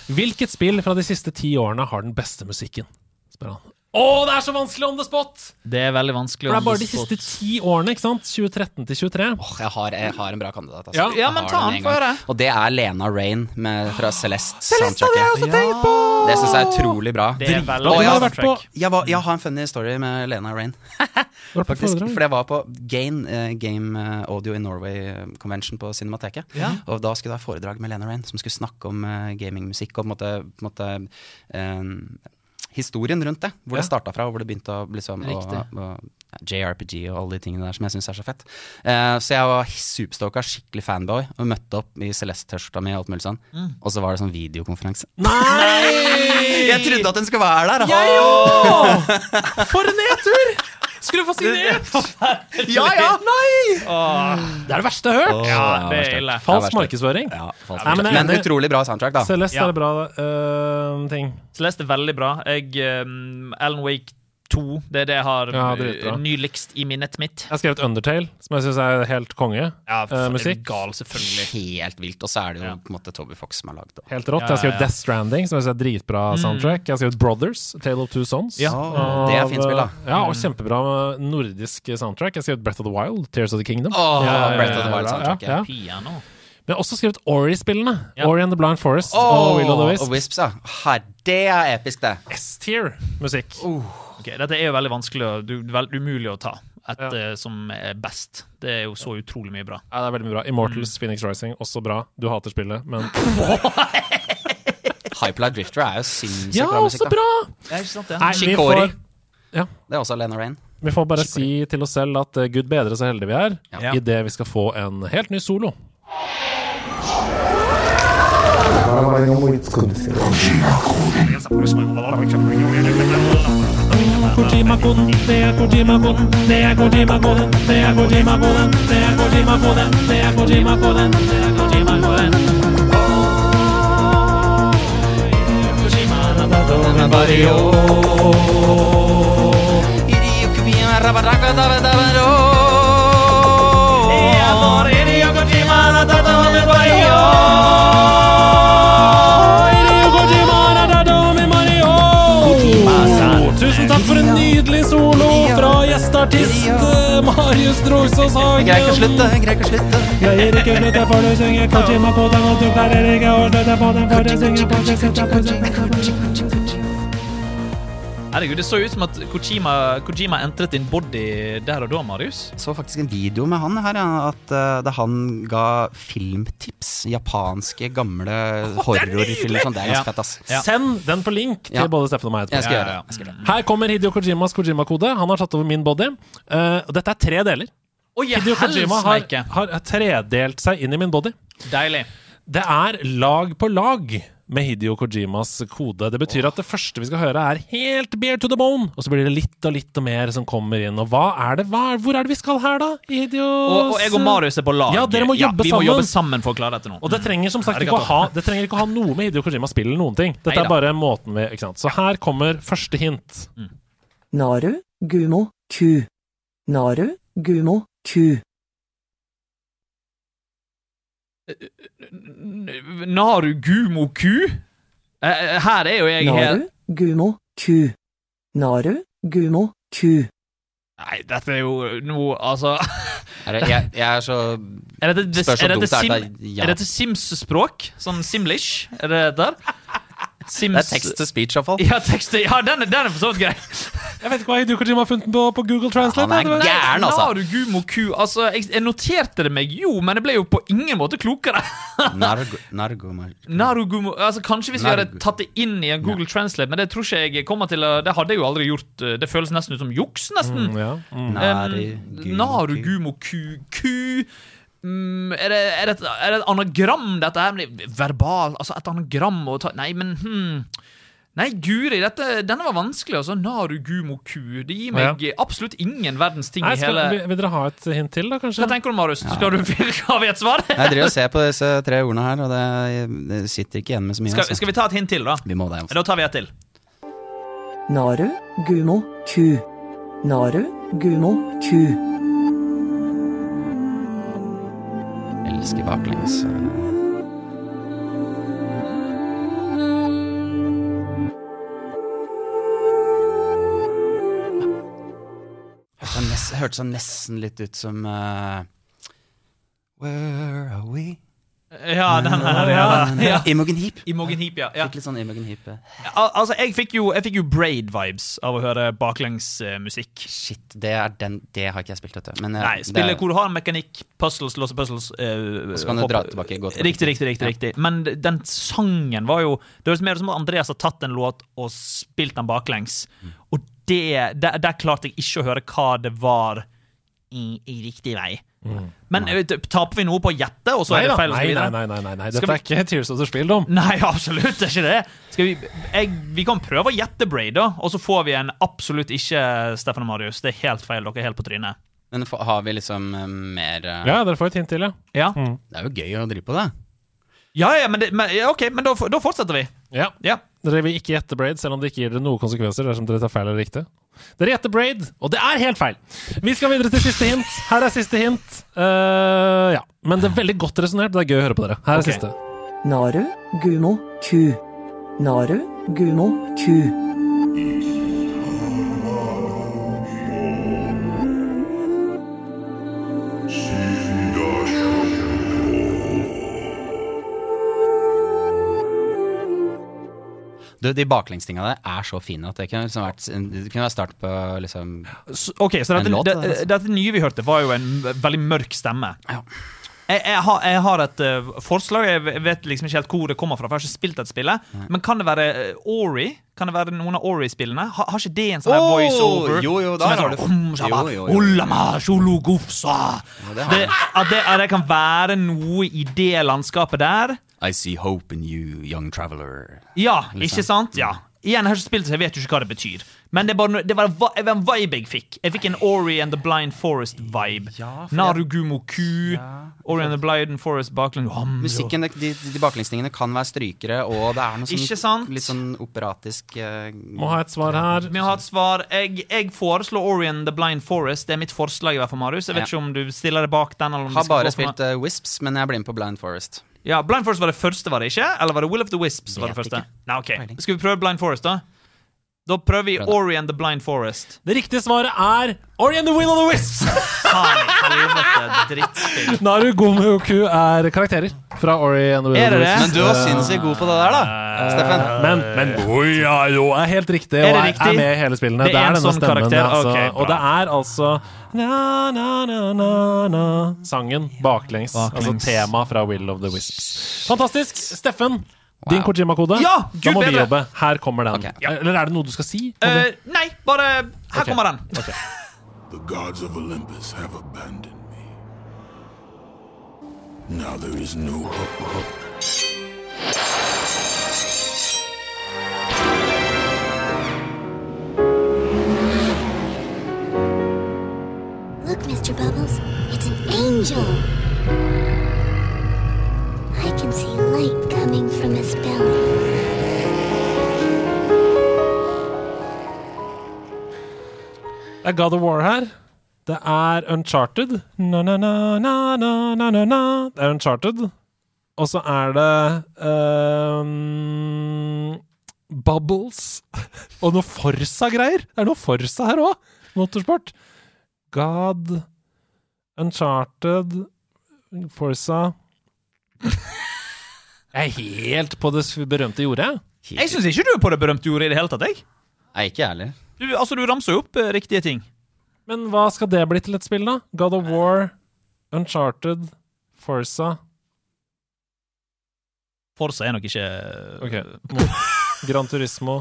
[SPEAKER 3] Hvilket spill fra de siste ti årene har den beste musikken? spør han. Å, det er så vanskelig on the spot!
[SPEAKER 2] Det er veldig vanskelig.
[SPEAKER 3] For det
[SPEAKER 2] å
[SPEAKER 3] er bare de
[SPEAKER 2] spå.
[SPEAKER 3] siste ti årene, ikke sant? 2013 til 23.
[SPEAKER 4] Åh, jeg, har, jeg har en bra kandidat. Altså.
[SPEAKER 3] Ja,
[SPEAKER 4] Jeg
[SPEAKER 2] ja,
[SPEAKER 4] har
[SPEAKER 2] men ta
[SPEAKER 4] den
[SPEAKER 2] den,
[SPEAKER 4] en
[SPEAKER 2] få
[SPEAKER 4] gang.
[SPEAKER 2] høre.
[SPEAKER 4] Og det er Lena Rain med, fra Celeste. Celeste hadde jeg også tenkt på! Det syns jeg er utrolig bra.
[SPEAKER 2] Det er veldig
[SPEAKER 4] Og
[SPEAKER 3] Hun
[SPEAKER 4] jeg,
[SPEAKER 3] har
[SPEAKER 2] bra
[SPEAKER 4] har-
[SPEAKER 3] vært på,
[SPEAKER 2] track.
[SPEAKER 4] jeg, var, jeg har en funny story med Lena Rain.
[SPEAKER 3] vært på
[SPEAKER 4] Faktisk,
[SPEAKER 3] foredrag.
[SPEAKER 4] fordi jeg var på Gain, eh, Game eh, Audio in Norway eh, Convention på Cinemateket. Og da skulle jeg ha foredrag med Lena Rain, som skulle snakke om eh, gamingmusikk og på en måte, på en måte eh, historien rundt det. Hvor det starta fra, og hvor det begynte å liksom, å,
[SPEAKER 2] Riktig.
[SPEAKER 4] å, ja, JRPG og alle de tingene der som jeg syns er så fett. Eh, så jeg var superstoka, skikkelig fanboy, og møtte opp i Celeste-T-skjorta mi og alt mulig sånn. Og så var det sånn videokonferanse. Jeg trodde at hun skulle være der! da.
[SPEAKER 3] For en nedtur! Skulle få signert! Ja, ja! Nei! Det er det verste jeg har hørt.
[SPEAKER 4] Åh,
[SPEAKER 2] Ja, det
[SPEAKER 4] verst.
[SPEAKER 2] er ille.
[SPEAKER 3] Falsk
[SPEAKER 4] verst.
[SPEAKER 3] markedsføring.
[SPEAKER 4] Ja, falsk.
[SPEAKER 3] Nei, men jeg er
[SPEAKER 4] men,
[SPEAKER 3] enig.
[SPEAKER 4] utrolig bra soundtrack, da.
[SPEAKER 3] Celeste
[SPEAKER 2] Ja.
[SPEAKER 3] er det bra øh, ting.
[SPEAKER 2] Celeste er veldig bra. Jeg, um, Alan Wake 2, det er det jeg har
[SPEAKER 3] Ja, det er bra.
[SPEAKER 2] nyligst i minnet mitt.
[SPEAKER 3] Jeg har skrevet Undertale, som jeg syns er helt konge.
[SPEAKER 2] Ja,
[SPEAKER 3] Eh, musikk.
[SPEAKER 2] Gal, selvfølgelig.
[SPEAKER 4] Helt vilt. Og så er det jo
[SPEAKER 2] Ja.
[SPEAKER 4] på en måte Toby Fox som har lagd det.
[SPEAKER 3] Helt rått.
[SPEAKER 2] Ja,
[SPEAKER 3] Jeg har skrevet
[SPEAKER 2] ja, ja.
[SPEAKER 3] Death Stranding, som jeg synes er dritbra soundtrack. Jeg har skrevet Brothers, Tale of Two Sons.
[SPEAKER 2] Ja. Mm.
[SPEAKER 3] Av, øh,
[SPEAKER 4] det er fint spill, da.
[SPEAKER 3] Ja, og kjempebra nordisk soundtrack. Jeg har skrevet Breath of the Wild, Tears of the Kingdom.
[SPEAKER 2] Ja,
[SPEAKER 4] Åh,
[SPEAKER 2] ja, ja,
[SPEAKER 4] Breath of the
[SPEAKER 3] ja,
[SPEAKER 4] Wild
[SPEAKER 3] ja,
[SPEAKER 4] soundtracket.
[SPEAKER 3] ja.
[SPEAKER 2] Piano.
[SPEAKER 3] Men jeg har også skrevet Ori-spillene.
[SPEAKER 2] Ja.
[SPEAKER 3] Ori and the Blind Forest
[SPEAKER 4] Åh,
[SPEAKER 3] og Will of the Wisp.
[SPEAKER 4] og Wisps, ja. Her, det er episk, det.
[SPEAKER 3] S-tier musikk.
[SPEAKER 2] Oh. Ok, dette er jo veldig vanskelig og du, vel, umulig å ta. Et eh, som er best. Det er jo så utrolig mye bra.
[SPEAKER 3] Ja, det er veldig mye bra. Immortals,
[SPEAKER 2] Mm.
[SPEAKER 3] Phoenix Rising, også bra. Du hater spillet, men
[SPEAKER 4] Hyperlight Drifter er jo sinnssykt
[SPEAKER 3] Ja,
[SPEAKER 4] bra musikk.
[SPEAKER 3] også bra!
[SPEAKER 2] Ja, ikke sant,
[SPEAKER 3] Nei, vi
[SPEAKER 4] Shikori.
[SPEAKER 3] får,
[SPEAKER 4] Da. Det er også Lena Rain.
[SPEAKER 3] vi får bare si til oss selv at eh, gud bedre så heldige vi er,
[SPEAKER 2] Ja.
[SPEAKER 3] i idet vi skal få en helt ny solo. Tusen takk for en nydelig solo fra gjesteartist eh, Marius Drogsås Hagen.
[SPEAKER 4] Greier ikke å slutte, greier ikke å slutte.
[SPEAKER 3] Greier ikke å slutte, for du synger Kojima på den, og du klarer ikke å slutte på den, for du synger på den, slutte på den.
[SPEAKER 2] Herregud, det så ut som at Kojima, Kojima entret din body der og da, Marius.
[SPEAKER 4] Så faktisk en video med han her, ja, at eh, da han ga filmtips. Japanske, gamle horrorfilmer. Sånn. Det er ganske
[SPEAKER 2] Ja.
[SPEAKER 4] fett, ass.
[SPEAKER 2] Ja.
[SPEAKER 3] Send den på link til
[SPEAKER 4] Ja.
[SPEAKER 3] både Steffen og meg.
[SPEAKER 4] Jeg skal
[SPEAKER 2] Ja,
[SPEAKER 4] gjøre
[SPEAKER 2] ja,
[SPEAKER 4] det. Jeg skal gjøre det.
[SPEAKER 3] Her kommer Hidio Kojimas Kojima-kode. Han har tatt over min body. Eh, og dette er tre deler.
[SPEAKER 2] Å, jeg
[SPEAKER 3] Hidio Kojima har,
[SPEAKER 2] helsmeike!
[SPEAKER 3] har tredelt seg inn i min body.
[SPEAKER 2] Deilig.
[SPEAKER 3] Det er lag på lag med Hidio Kojimas kode. Det betyr at det første vi skal høre, er helt beer to the bone. Og så blir det litt og litt og mer som kommer inn. Og hva er det, hva er, hvor er det vi skal her, da? Hidios
[SPEAKER 2] Og, og jeg og Marius er på lag.
[SPEAKER 3] Ja, dere må jobbe
[SPEAKER 2] vi må
[SPEAKER 3] sammen.
[SPEAKER 2] jobbe sammen for å klare dette nå.
[SPEAKER 3] Og det trenger som sagt ikke å
[SPEAKER 2] Arigato.
[SPEAKER 3] ha, det trenger ikke å ha noe med Hidio Kojimas spill eller noen ting. Dette
[SPEAKER 2] Neida.
[SPEAKER 3] er bare måten vi ikke sant? Så her kommer første hint.
[SPEAKER 9] Naru, Gumo, Q. Naru, Gumo, Q.
[SPEAKER 2] N- Naru Gumo Ku? Eh, eh, Her er jo jeg helt
[SPEAKER 9] Naru, Gumo, Q. Naru, Gumo, Q.
[SPEAKER 2] Nei, dette er jo noe Altså
[SPEAKER 4] Er det- Jeg, jeg er så
[SPEAKER 2] Er dette,
[SPEAKER 4] Spør så
[SPEAKER 2] er
[SPEAKER 4] dumt
[SPEAKER 2] dette,
[SPEAKER 4] det er,
[SPEAKER 2] sim,
[SPEAKER 4] det er ja.
[SPEAKER 2] er dette Sims-språk? Sånn Simlish? Er det det der? Sims
[SPEAKER 4] Det er text to speech, iallfall.
[SPEAKER 2] Ja, tekst, ja den, er, den er for så vidt grei.
[SPEAKER 3] Jeg vet ikke hva Hideo Kojima har funnet på på Google Translate.
[SPEAKER 4] Han er
[SPEAKER 3] jeg, det var-
[SPEAKER 4] gæren, altså.
[SPEAKER 2] Naru Gumo Ku. Altså, jeg, jeg noterte det meg jo, men jeg ble jo på ingen måte klokere.
[SPEAKER 4] Nargo, nargo, mar-
[SPEAKER 2] Naru Gumo, altså Kanskje hvis vi hadde
[SPEAKER 4] Naru-
[SPEAKER 2] tatt det inn i en Google Translate, men det tror ikke jeg kommer til å Det hadde jeg jo aldri gjort. eh, Det føles nesten ut som juks, nesten.
[SPEAKER 3] Ja. Mm.
[SPEAKER 4] Narigu-
[SPEAKER 2] Naru Gumo Ku Ku mm, er, det, er, det et, er det et anagram, dette her? Men det- Verbal, altså et anagram å ta Nei, men hm. Nei, guri, dette, denne var vanskelig, altså. Naru Gumo Ku. Det gir meg absolutt ingen verdens ting
[SPEAKER 3] Nei,
[SPEAKER 2] i
[SPEAKER 3] skal,
[SPEAKER 2] hele
[SPEAKER 3] vil, vil dere ha et hint til, da, kanskje?
[SPEAKER 2] Hva tenker du, Marius? Skal du virkelig ha et svar?
[SPEAKER 4] Jeg driver og ser på disse tre ordene her, og det, det sitter ikke igjen med så mye.
[SPEAKER 2] Skal,
[SPEAKER 4] altså.
[SPEAKER 2] skal vi ta et hint til, da?
[SPEAKER 4] Vi må det. Altså.
[SPEAKER 2] Da tar vi et til.
[SPEAKER 9] Naru Gumo Q. Naru Gumo Q.
[SPEAKER 4] Jeg elsker baklengs. eh. Hørtes han nes- hørtes han nesten litt ut som eh, Where are we?
[SPEAKER 2] Ja, den her, ja. ja.
[SPEAKER 4] Imogen Heap.
[SPEAKER 2] Imogen Heap, ja. ja.
[SPEAKER 4] Litt sånn Imogen Heap. eh.
[SPEAKER 2] Al altså, jeg fikk jo, jeg fikk jo Braid-vibes av å høre baklengsmusikk.
[SPEAKER 4] Shit, det, er den, det har ikke jeg spilt, vet du. Men, eh,
[SPEAKER 2] Nei,
[SPEAKER 4] det
[SPEAKER 2] spille
[SPEAKER 4] er-
[SPEAKER 2] hvor du har mekanikk, puzzles, låse puzzles eh,
[SPEAKER 4] Så kan du
[SPEAKER 2] hopp-
[SPEAKER 4] dra tilbake, gå tilbake.
[SPEAKER 2] Riktig, riktig, riktig, riktig. Men den sangen var jo Det høres mer ut som at Andreas har tatt en låt og spilt den baklengs.
[SPEAKER 4] Mm.
[SPEAKER 2] Og det, der, der klarte jeg ikke å høre hva det var i, i riktig vei. Men eh, taper vi noe på å gjette, og så
[SPEAKER 3] Nei,
[SPEAKER 2] er
[SPEAKER 3] da.
[SPEAKER 2] det feil? og så
[SPEAKER 3] nei, nei,
[SPEAKER 2] videre?
[SPEAKER 3] nei, nei, nei, nei.
[SPEAKER 2] Skal
[SPEAKER 3] Dette er ikke Tears of the Spill, dom.
[SPEAKER 2] Nei, absolutt det er ikke det. Skal vi, jeg, vi kan prøve å gjette Braid, da, og så får vi en absolutt ikke Stefan og Marius. Det er helt feil. Dere er helt på trynet.
[SPEAKER 4] Men fa- har vi liksom eh, mer eh,
[SPEAKER 3] Ja, dere får et hint til, ja.
[SPEAKER 2] Ja,
[SPEAKER 4] Det er jo gøy å drive på, da.
[SPEAKER 2] ja, ja men, det, men ja, OK, men da, f- da fortsetter vi.
[SPEAKER 3] ja.
[SPEAKER 2] Ja.
[SPEAKER 3] Dere vil ikke gjette Braid, selv om det ikke gir dere noen konsekvenser dersom dere tar feil eller riktig. Dere gjetter Braid, og det er helt feil! Vi skal videre til siste hint. Her er siste hint. Eh, ja. Men det er veldig godt resonnert. Det er gøy å høre på dere. Her er
[SPEAKER 2] Ok.
[SPEAKER 3] siste.
[SPEAKER 9] Naru Gumo Q. Naru Gumo Q.
[SPEAKER 4] Du, de baklengstinga der er så fine at det kunne liksom vært Det kunne vært start på liksom
[SPEAKER 2] S- OK, så dette,
[SPEAKER 4] En låt,
[SPEAKER 2] det,
[SPEAKER 4] det er det.
[SPEAKER 2] dette nye vi hørte, var jo en m- veldig mørk stemme.
[SPEAKER 4] Ja.
[SPEAKER 2] Jeg, jeg, har, jeg har et eh, forslag. Jeg v- vet liksom ikke helt hvor det kommer fra. For jeg har ikke spilt dette spillet Men kan det være eh, Ori? Kan det være noen av Ori-spillene? Ha, har ikke det en sånn her
[SPEAKER 4] Åh,
[SPEAKER 2] voiceover?
[SPEAKER 4] jo, jo, da
[SPEAKER 2] som er sånn,
[SPEAKER 4] har du-
[SPEAKER 2] om, shabba,
[SPEAKER 4] Jo, jo, jo.
[SPEAKER 2] ullama, sholo, gufsa.
[SPEAKER 4] det har
[SPEAKER 2] det, at, det, at det kan være noe i det landskapet der?
[SPEAKER 4] I see hope in you, young traveler.
[SPEAKER 2] Ja, ikke sant? Ja.
[SPEAKER 4] Mm.
[SPEAKER 2] Igjen, jeg har ikke spilt det, så jeg vet jo ikke hva det betyr. Men det, er bare, no- det var en vi- det var en vibe jeg fikk. Jeg fikk en Ori and the Blind Forest-vibe. Narugumo Ku, Ori and the Blind Forest baklengs Ham,
[SPEAKER 4] Musikken, de, de, de baklengstingene kan være strykere, og det er noe sånn
[SPEAKER 2] Ikke sant?
[SPEAKER 4] litt sånn operatisk eh,
[SPEAKER 3] Må ha et svar her.
[SPEAKER 2] Vi har et svar. Jeg, jeg foreslår Ori and the Blind Forest. Det er mitt forslag. i hvert fall, Marius. Jeg vet
[SPEAKER 4] Ja.
[SPEAKER 2] ikke om du stiller deg bak den. Eller om vi
[SPEAKER 4] Har
[SPEAKER 2] skal gå
[SPEAKER 4] bare
[SPEAKER 2] for noe.
[SPEAKER 4] spilt eh, Wisps, men jeg blir med på Blind Forest.
[SPEAKER 2] Ja, Blind Forest var det første, var det ikke? Eller var det Will of the Wisps? var det
[SPEAKER 4] Vet
[SPEAKER 2] første?
[SPEAKER 4] ikke.
[SPEAKER 2] Nei, ok.
[SPEAKER 4] Peiling.
[SPEAKER 2] Skal vi prøve Blind Forest, da? Da prøver vi
[SPEAKER 4] Prøv det.
[SPEAKER 2] Ori and the Blind Forest.
[SPEAKER 3] Det riktige svaret er Ori and the Will of the Wisps!
[SPEAKER 2] Faen i helvete, drittspill.
[SPEAKER 3] Naru Gomuku er karakterer fra Ori and the Will
[SPEAKER 2] Er
[SPEAKER 3] of
[SPEAKER 2] det
[SPEAKER 3] the
[SPEAKER 2] det?
[SPEAKER 3] Wisps. Eh,
[SPEAKER 4] Men du var sinnssykt god på det der, da,
[SPEAKER 2] Eh,
[SPEAKER 4] Steffen.
[SPEAKER 3] Men, men Boyaro er helt riktig,
[SPEAKER 2] Er det
[SPEAKER 3] og er,
[SPEAKER 2] riktig?
[SPEAKER 3] er med i hele spillene.
[SPEAKER 2] Det er en
[SPEAKER 3] denne
[SPEAKER 2] sånn karakter?
[SPEAKER 3] Altså,
[SPEAKER 2] Ok, bra.
[SPEAKER 3] og det er altså na, na, na, na, na, sangen baklengs. Altså tema fra Will of the Wisps. Fantastisk! Steffen, din Kojima-kode.
[SPEAKER 2] Ja,
[SPEAKER 3] da
[SPEAKER 2] gud
[SPEAKER 3] må vi
[SPEAKER 2] bedre.
[SPEAKER 3] jobbe. Her kommer den.
[SPEAKER 4] Ok.
[SPEAKER 3] Eller er det noe du skal si?
[SPEAKER 2] Eh, nei, bare Her kommer den.
[SPEAKER 8] The gods of Olympus have abandoned me. Now there is no hope.
[SPEAKER 10] Look, Mr. Bubbles, it's an angel. I can see light coming from his belly.
[SPEAKER 3] Det er God of War her. Det er Uncharted. Na, na, na, na, na, na, na, na. Det er Uncharted. Og så er det ehm, Bubbles. Og noe Forsa-greier. Det er noe Forsa her òg. Motorsport. God Uncharted Forsa Jeg er helt på det berømte jordet.
[SPEAKER 2] Jeg syns ikke du er på det berømte jordet i det hele tatt. jeg
[SPEAKER 4] Nei, ikke jeg heller.
[SPEAKER 2] Du, altså, du ramser jo opp eh, riktige ting.
[SPEAKER 3] Men hva skal det bli til et spill, da? God of War, Uncharted, Forza
[SPEAKER 2] Forsa er nok ikke eh,
[SPEAKER 3] Ok. Mo- Gran Turismo,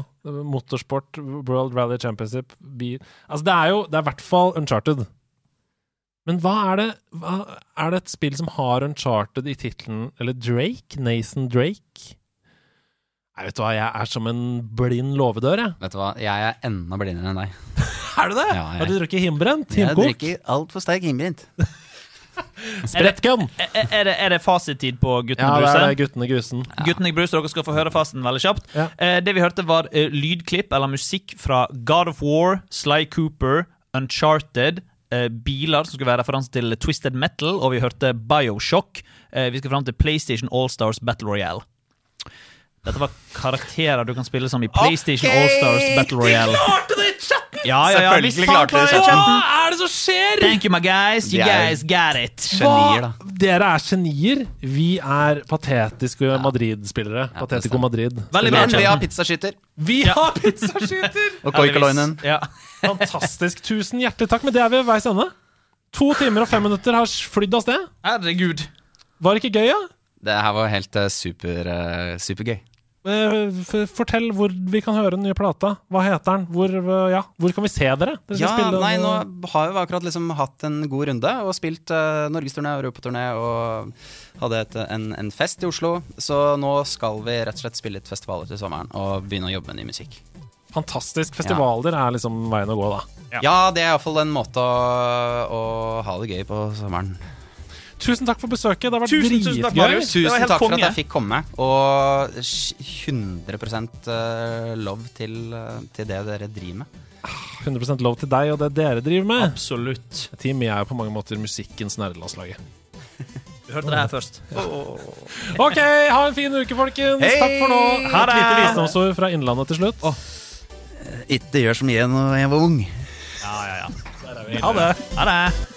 [SPEAKER 3] motorsport, World Rally Championship bil. Altså, det er jo Det er i hvert fall Uncharted. Men hva er det hva, Er det et spill som har Uncharted i tittelen Eller Drake? Nathan Drake? Nei, vet du hva, jeg er som en blind låvedør, jeg.
[SPEAKER 4] Vet du hva, jeg er enda blindere enn deg.
[SPEAKER 3] Er du det?
[SPEAKER 4] Ja, jeg-
[SPEAKER 3] Har du drukket himbrent?
[SPEAKER 4] Jeg
[SPEAKER 3] Himkokt?
[SPEAKER 4] drikker altfor sterk innbrent.
[SPEAKER 3] Sprettgun?
[SPEAKER 2] Er, eh, er- er, det, er det fasittid på
[SPEAKER 3] Ja,
[SPEAKER 2] Guttene
[SPEAKER 3] det
[SPEAKER 2] Bruse?
[SPEAKER 3] er det, guttene grusen.
[SPEAKER 2] Guttene i Bruse, dere skal få høre fasten veldig kjapt.
[SPEAKER 3] Ja.
[SPEAKER 2] Eh, det vi hørte, var eh, lydklipp eller musikk fra God of War, Sly Cooper, Uncharted. eh, biler som skulle være referanse til Twisted Metal, og vi hørte Bioshock. Eh, vi skal fram til PlayStation Allstars Battle Royale. Dette var karakterer du kan spille som i PlayStation Allstars Battle Royale. De klarte det i chatten! Ja, ja, ja,
[SPEAKER 4] Selvfølgelig klarte de det i
[SPEAKER 2] i
[SPEAKER 4] chatten.
[SPEAKER 2] chatten. Hva er det som skjer?! Thank you, my guys. You
[SPEAKER 4] Det er-
[SPEAKER 2] guys got it.
[SPEAKER 4] Genier, da.
[SPEAKER 3] Dere er genier. Vi er patetiske Madrid-spillere.
[SPEAKER 4] Ja,
[SPEAKER 3] Patetico
[SPEAKER 4] det
[SPEAKER 3] Madrid.
[SPEAKER 2] Veldig bra.
[SPEAKER 4] Men vi har pizzaskytter.
[SPEAKER 3] Vi har pizzaskyter!
[SPEAKER 4] Og Koikaloinen.
[SPEAKER 2] Ja.
[SPEAKER 3] Fantastisk. Tusen hjertelig takk. Men det er vi ved veis ende. To timer og fem minutter har flydd av sted.
[SPEAKER 2] Herregud.
[SPEAKER 3] Var det ikke gøy, da?
[SPEAKER 4] Det her var helt eh, super, eh, supergøy.
[SPEAKER 3] Eh, f- Fortell hvor vi kan høre den nye plata. Hva heter den? Hvor, eh, ja. hvor kan vi se dere? dere skal
[SPEAKER 4] Ja,
[SPEAKER 3] spille
[SPEAKER 4] nei,
[SPEAKER 3] den,
[SPEAKER 4] nå
[SPEAKER 3] eh,
[SPEAKER 4] har vi akkurat liksom hatt en god runde og spilt uh, norgesturné og europaturné og hadde et, en, en fest i Oslo. Så nå skal vi rett og slett spille litt festivaler til sommeren og begynne å jobbe med ny musikk.
[SPEAKER 3] Fantastisk. Festivaler er liksom veien å gå, da.
[SPEAKER 4] Ja, det er iallfall en måte å, å ha det gøy på sommeren.
[SPEAKER 3] Tusen takk for besøket. Det har vært
[SPEAKER 2] Tusen, tusen takk,
[SPEAKER 3] dritgøy.
[SPEAKER 2] Marius. Det var
[SPEAKER 4] Tusen
[SPEAKER 2] helt
[SPEAKER 4] takk for at
[SPEAKER 2] konge.
[SPEAKER 4] jeg fikk komme, og 100 love til, eh, til det dere driver med.
[SPEAKER 3] 100 lov til deg og det dere driver med.
[SPEAKER 2] Absolutt.
[SPEAKER 3] Team, jeg er jo på mange måter musikkens nerdelandslaget.
[SPEAKER 2] Du hørte det her først.
[SPEAKER 3] OK, ha en fin uke, folkens. Takk for nå.
[SPEAKER 2] Ha
[SPEAKER 3] Et lite
[SPEAKER 2] det!
[SPEAKER 3] visdomsord fra Innlandet til slutt.
[SPEAKER 4] Ikke gjør som jeg når jeg var ung.
[SPEAKER 2] Ha det!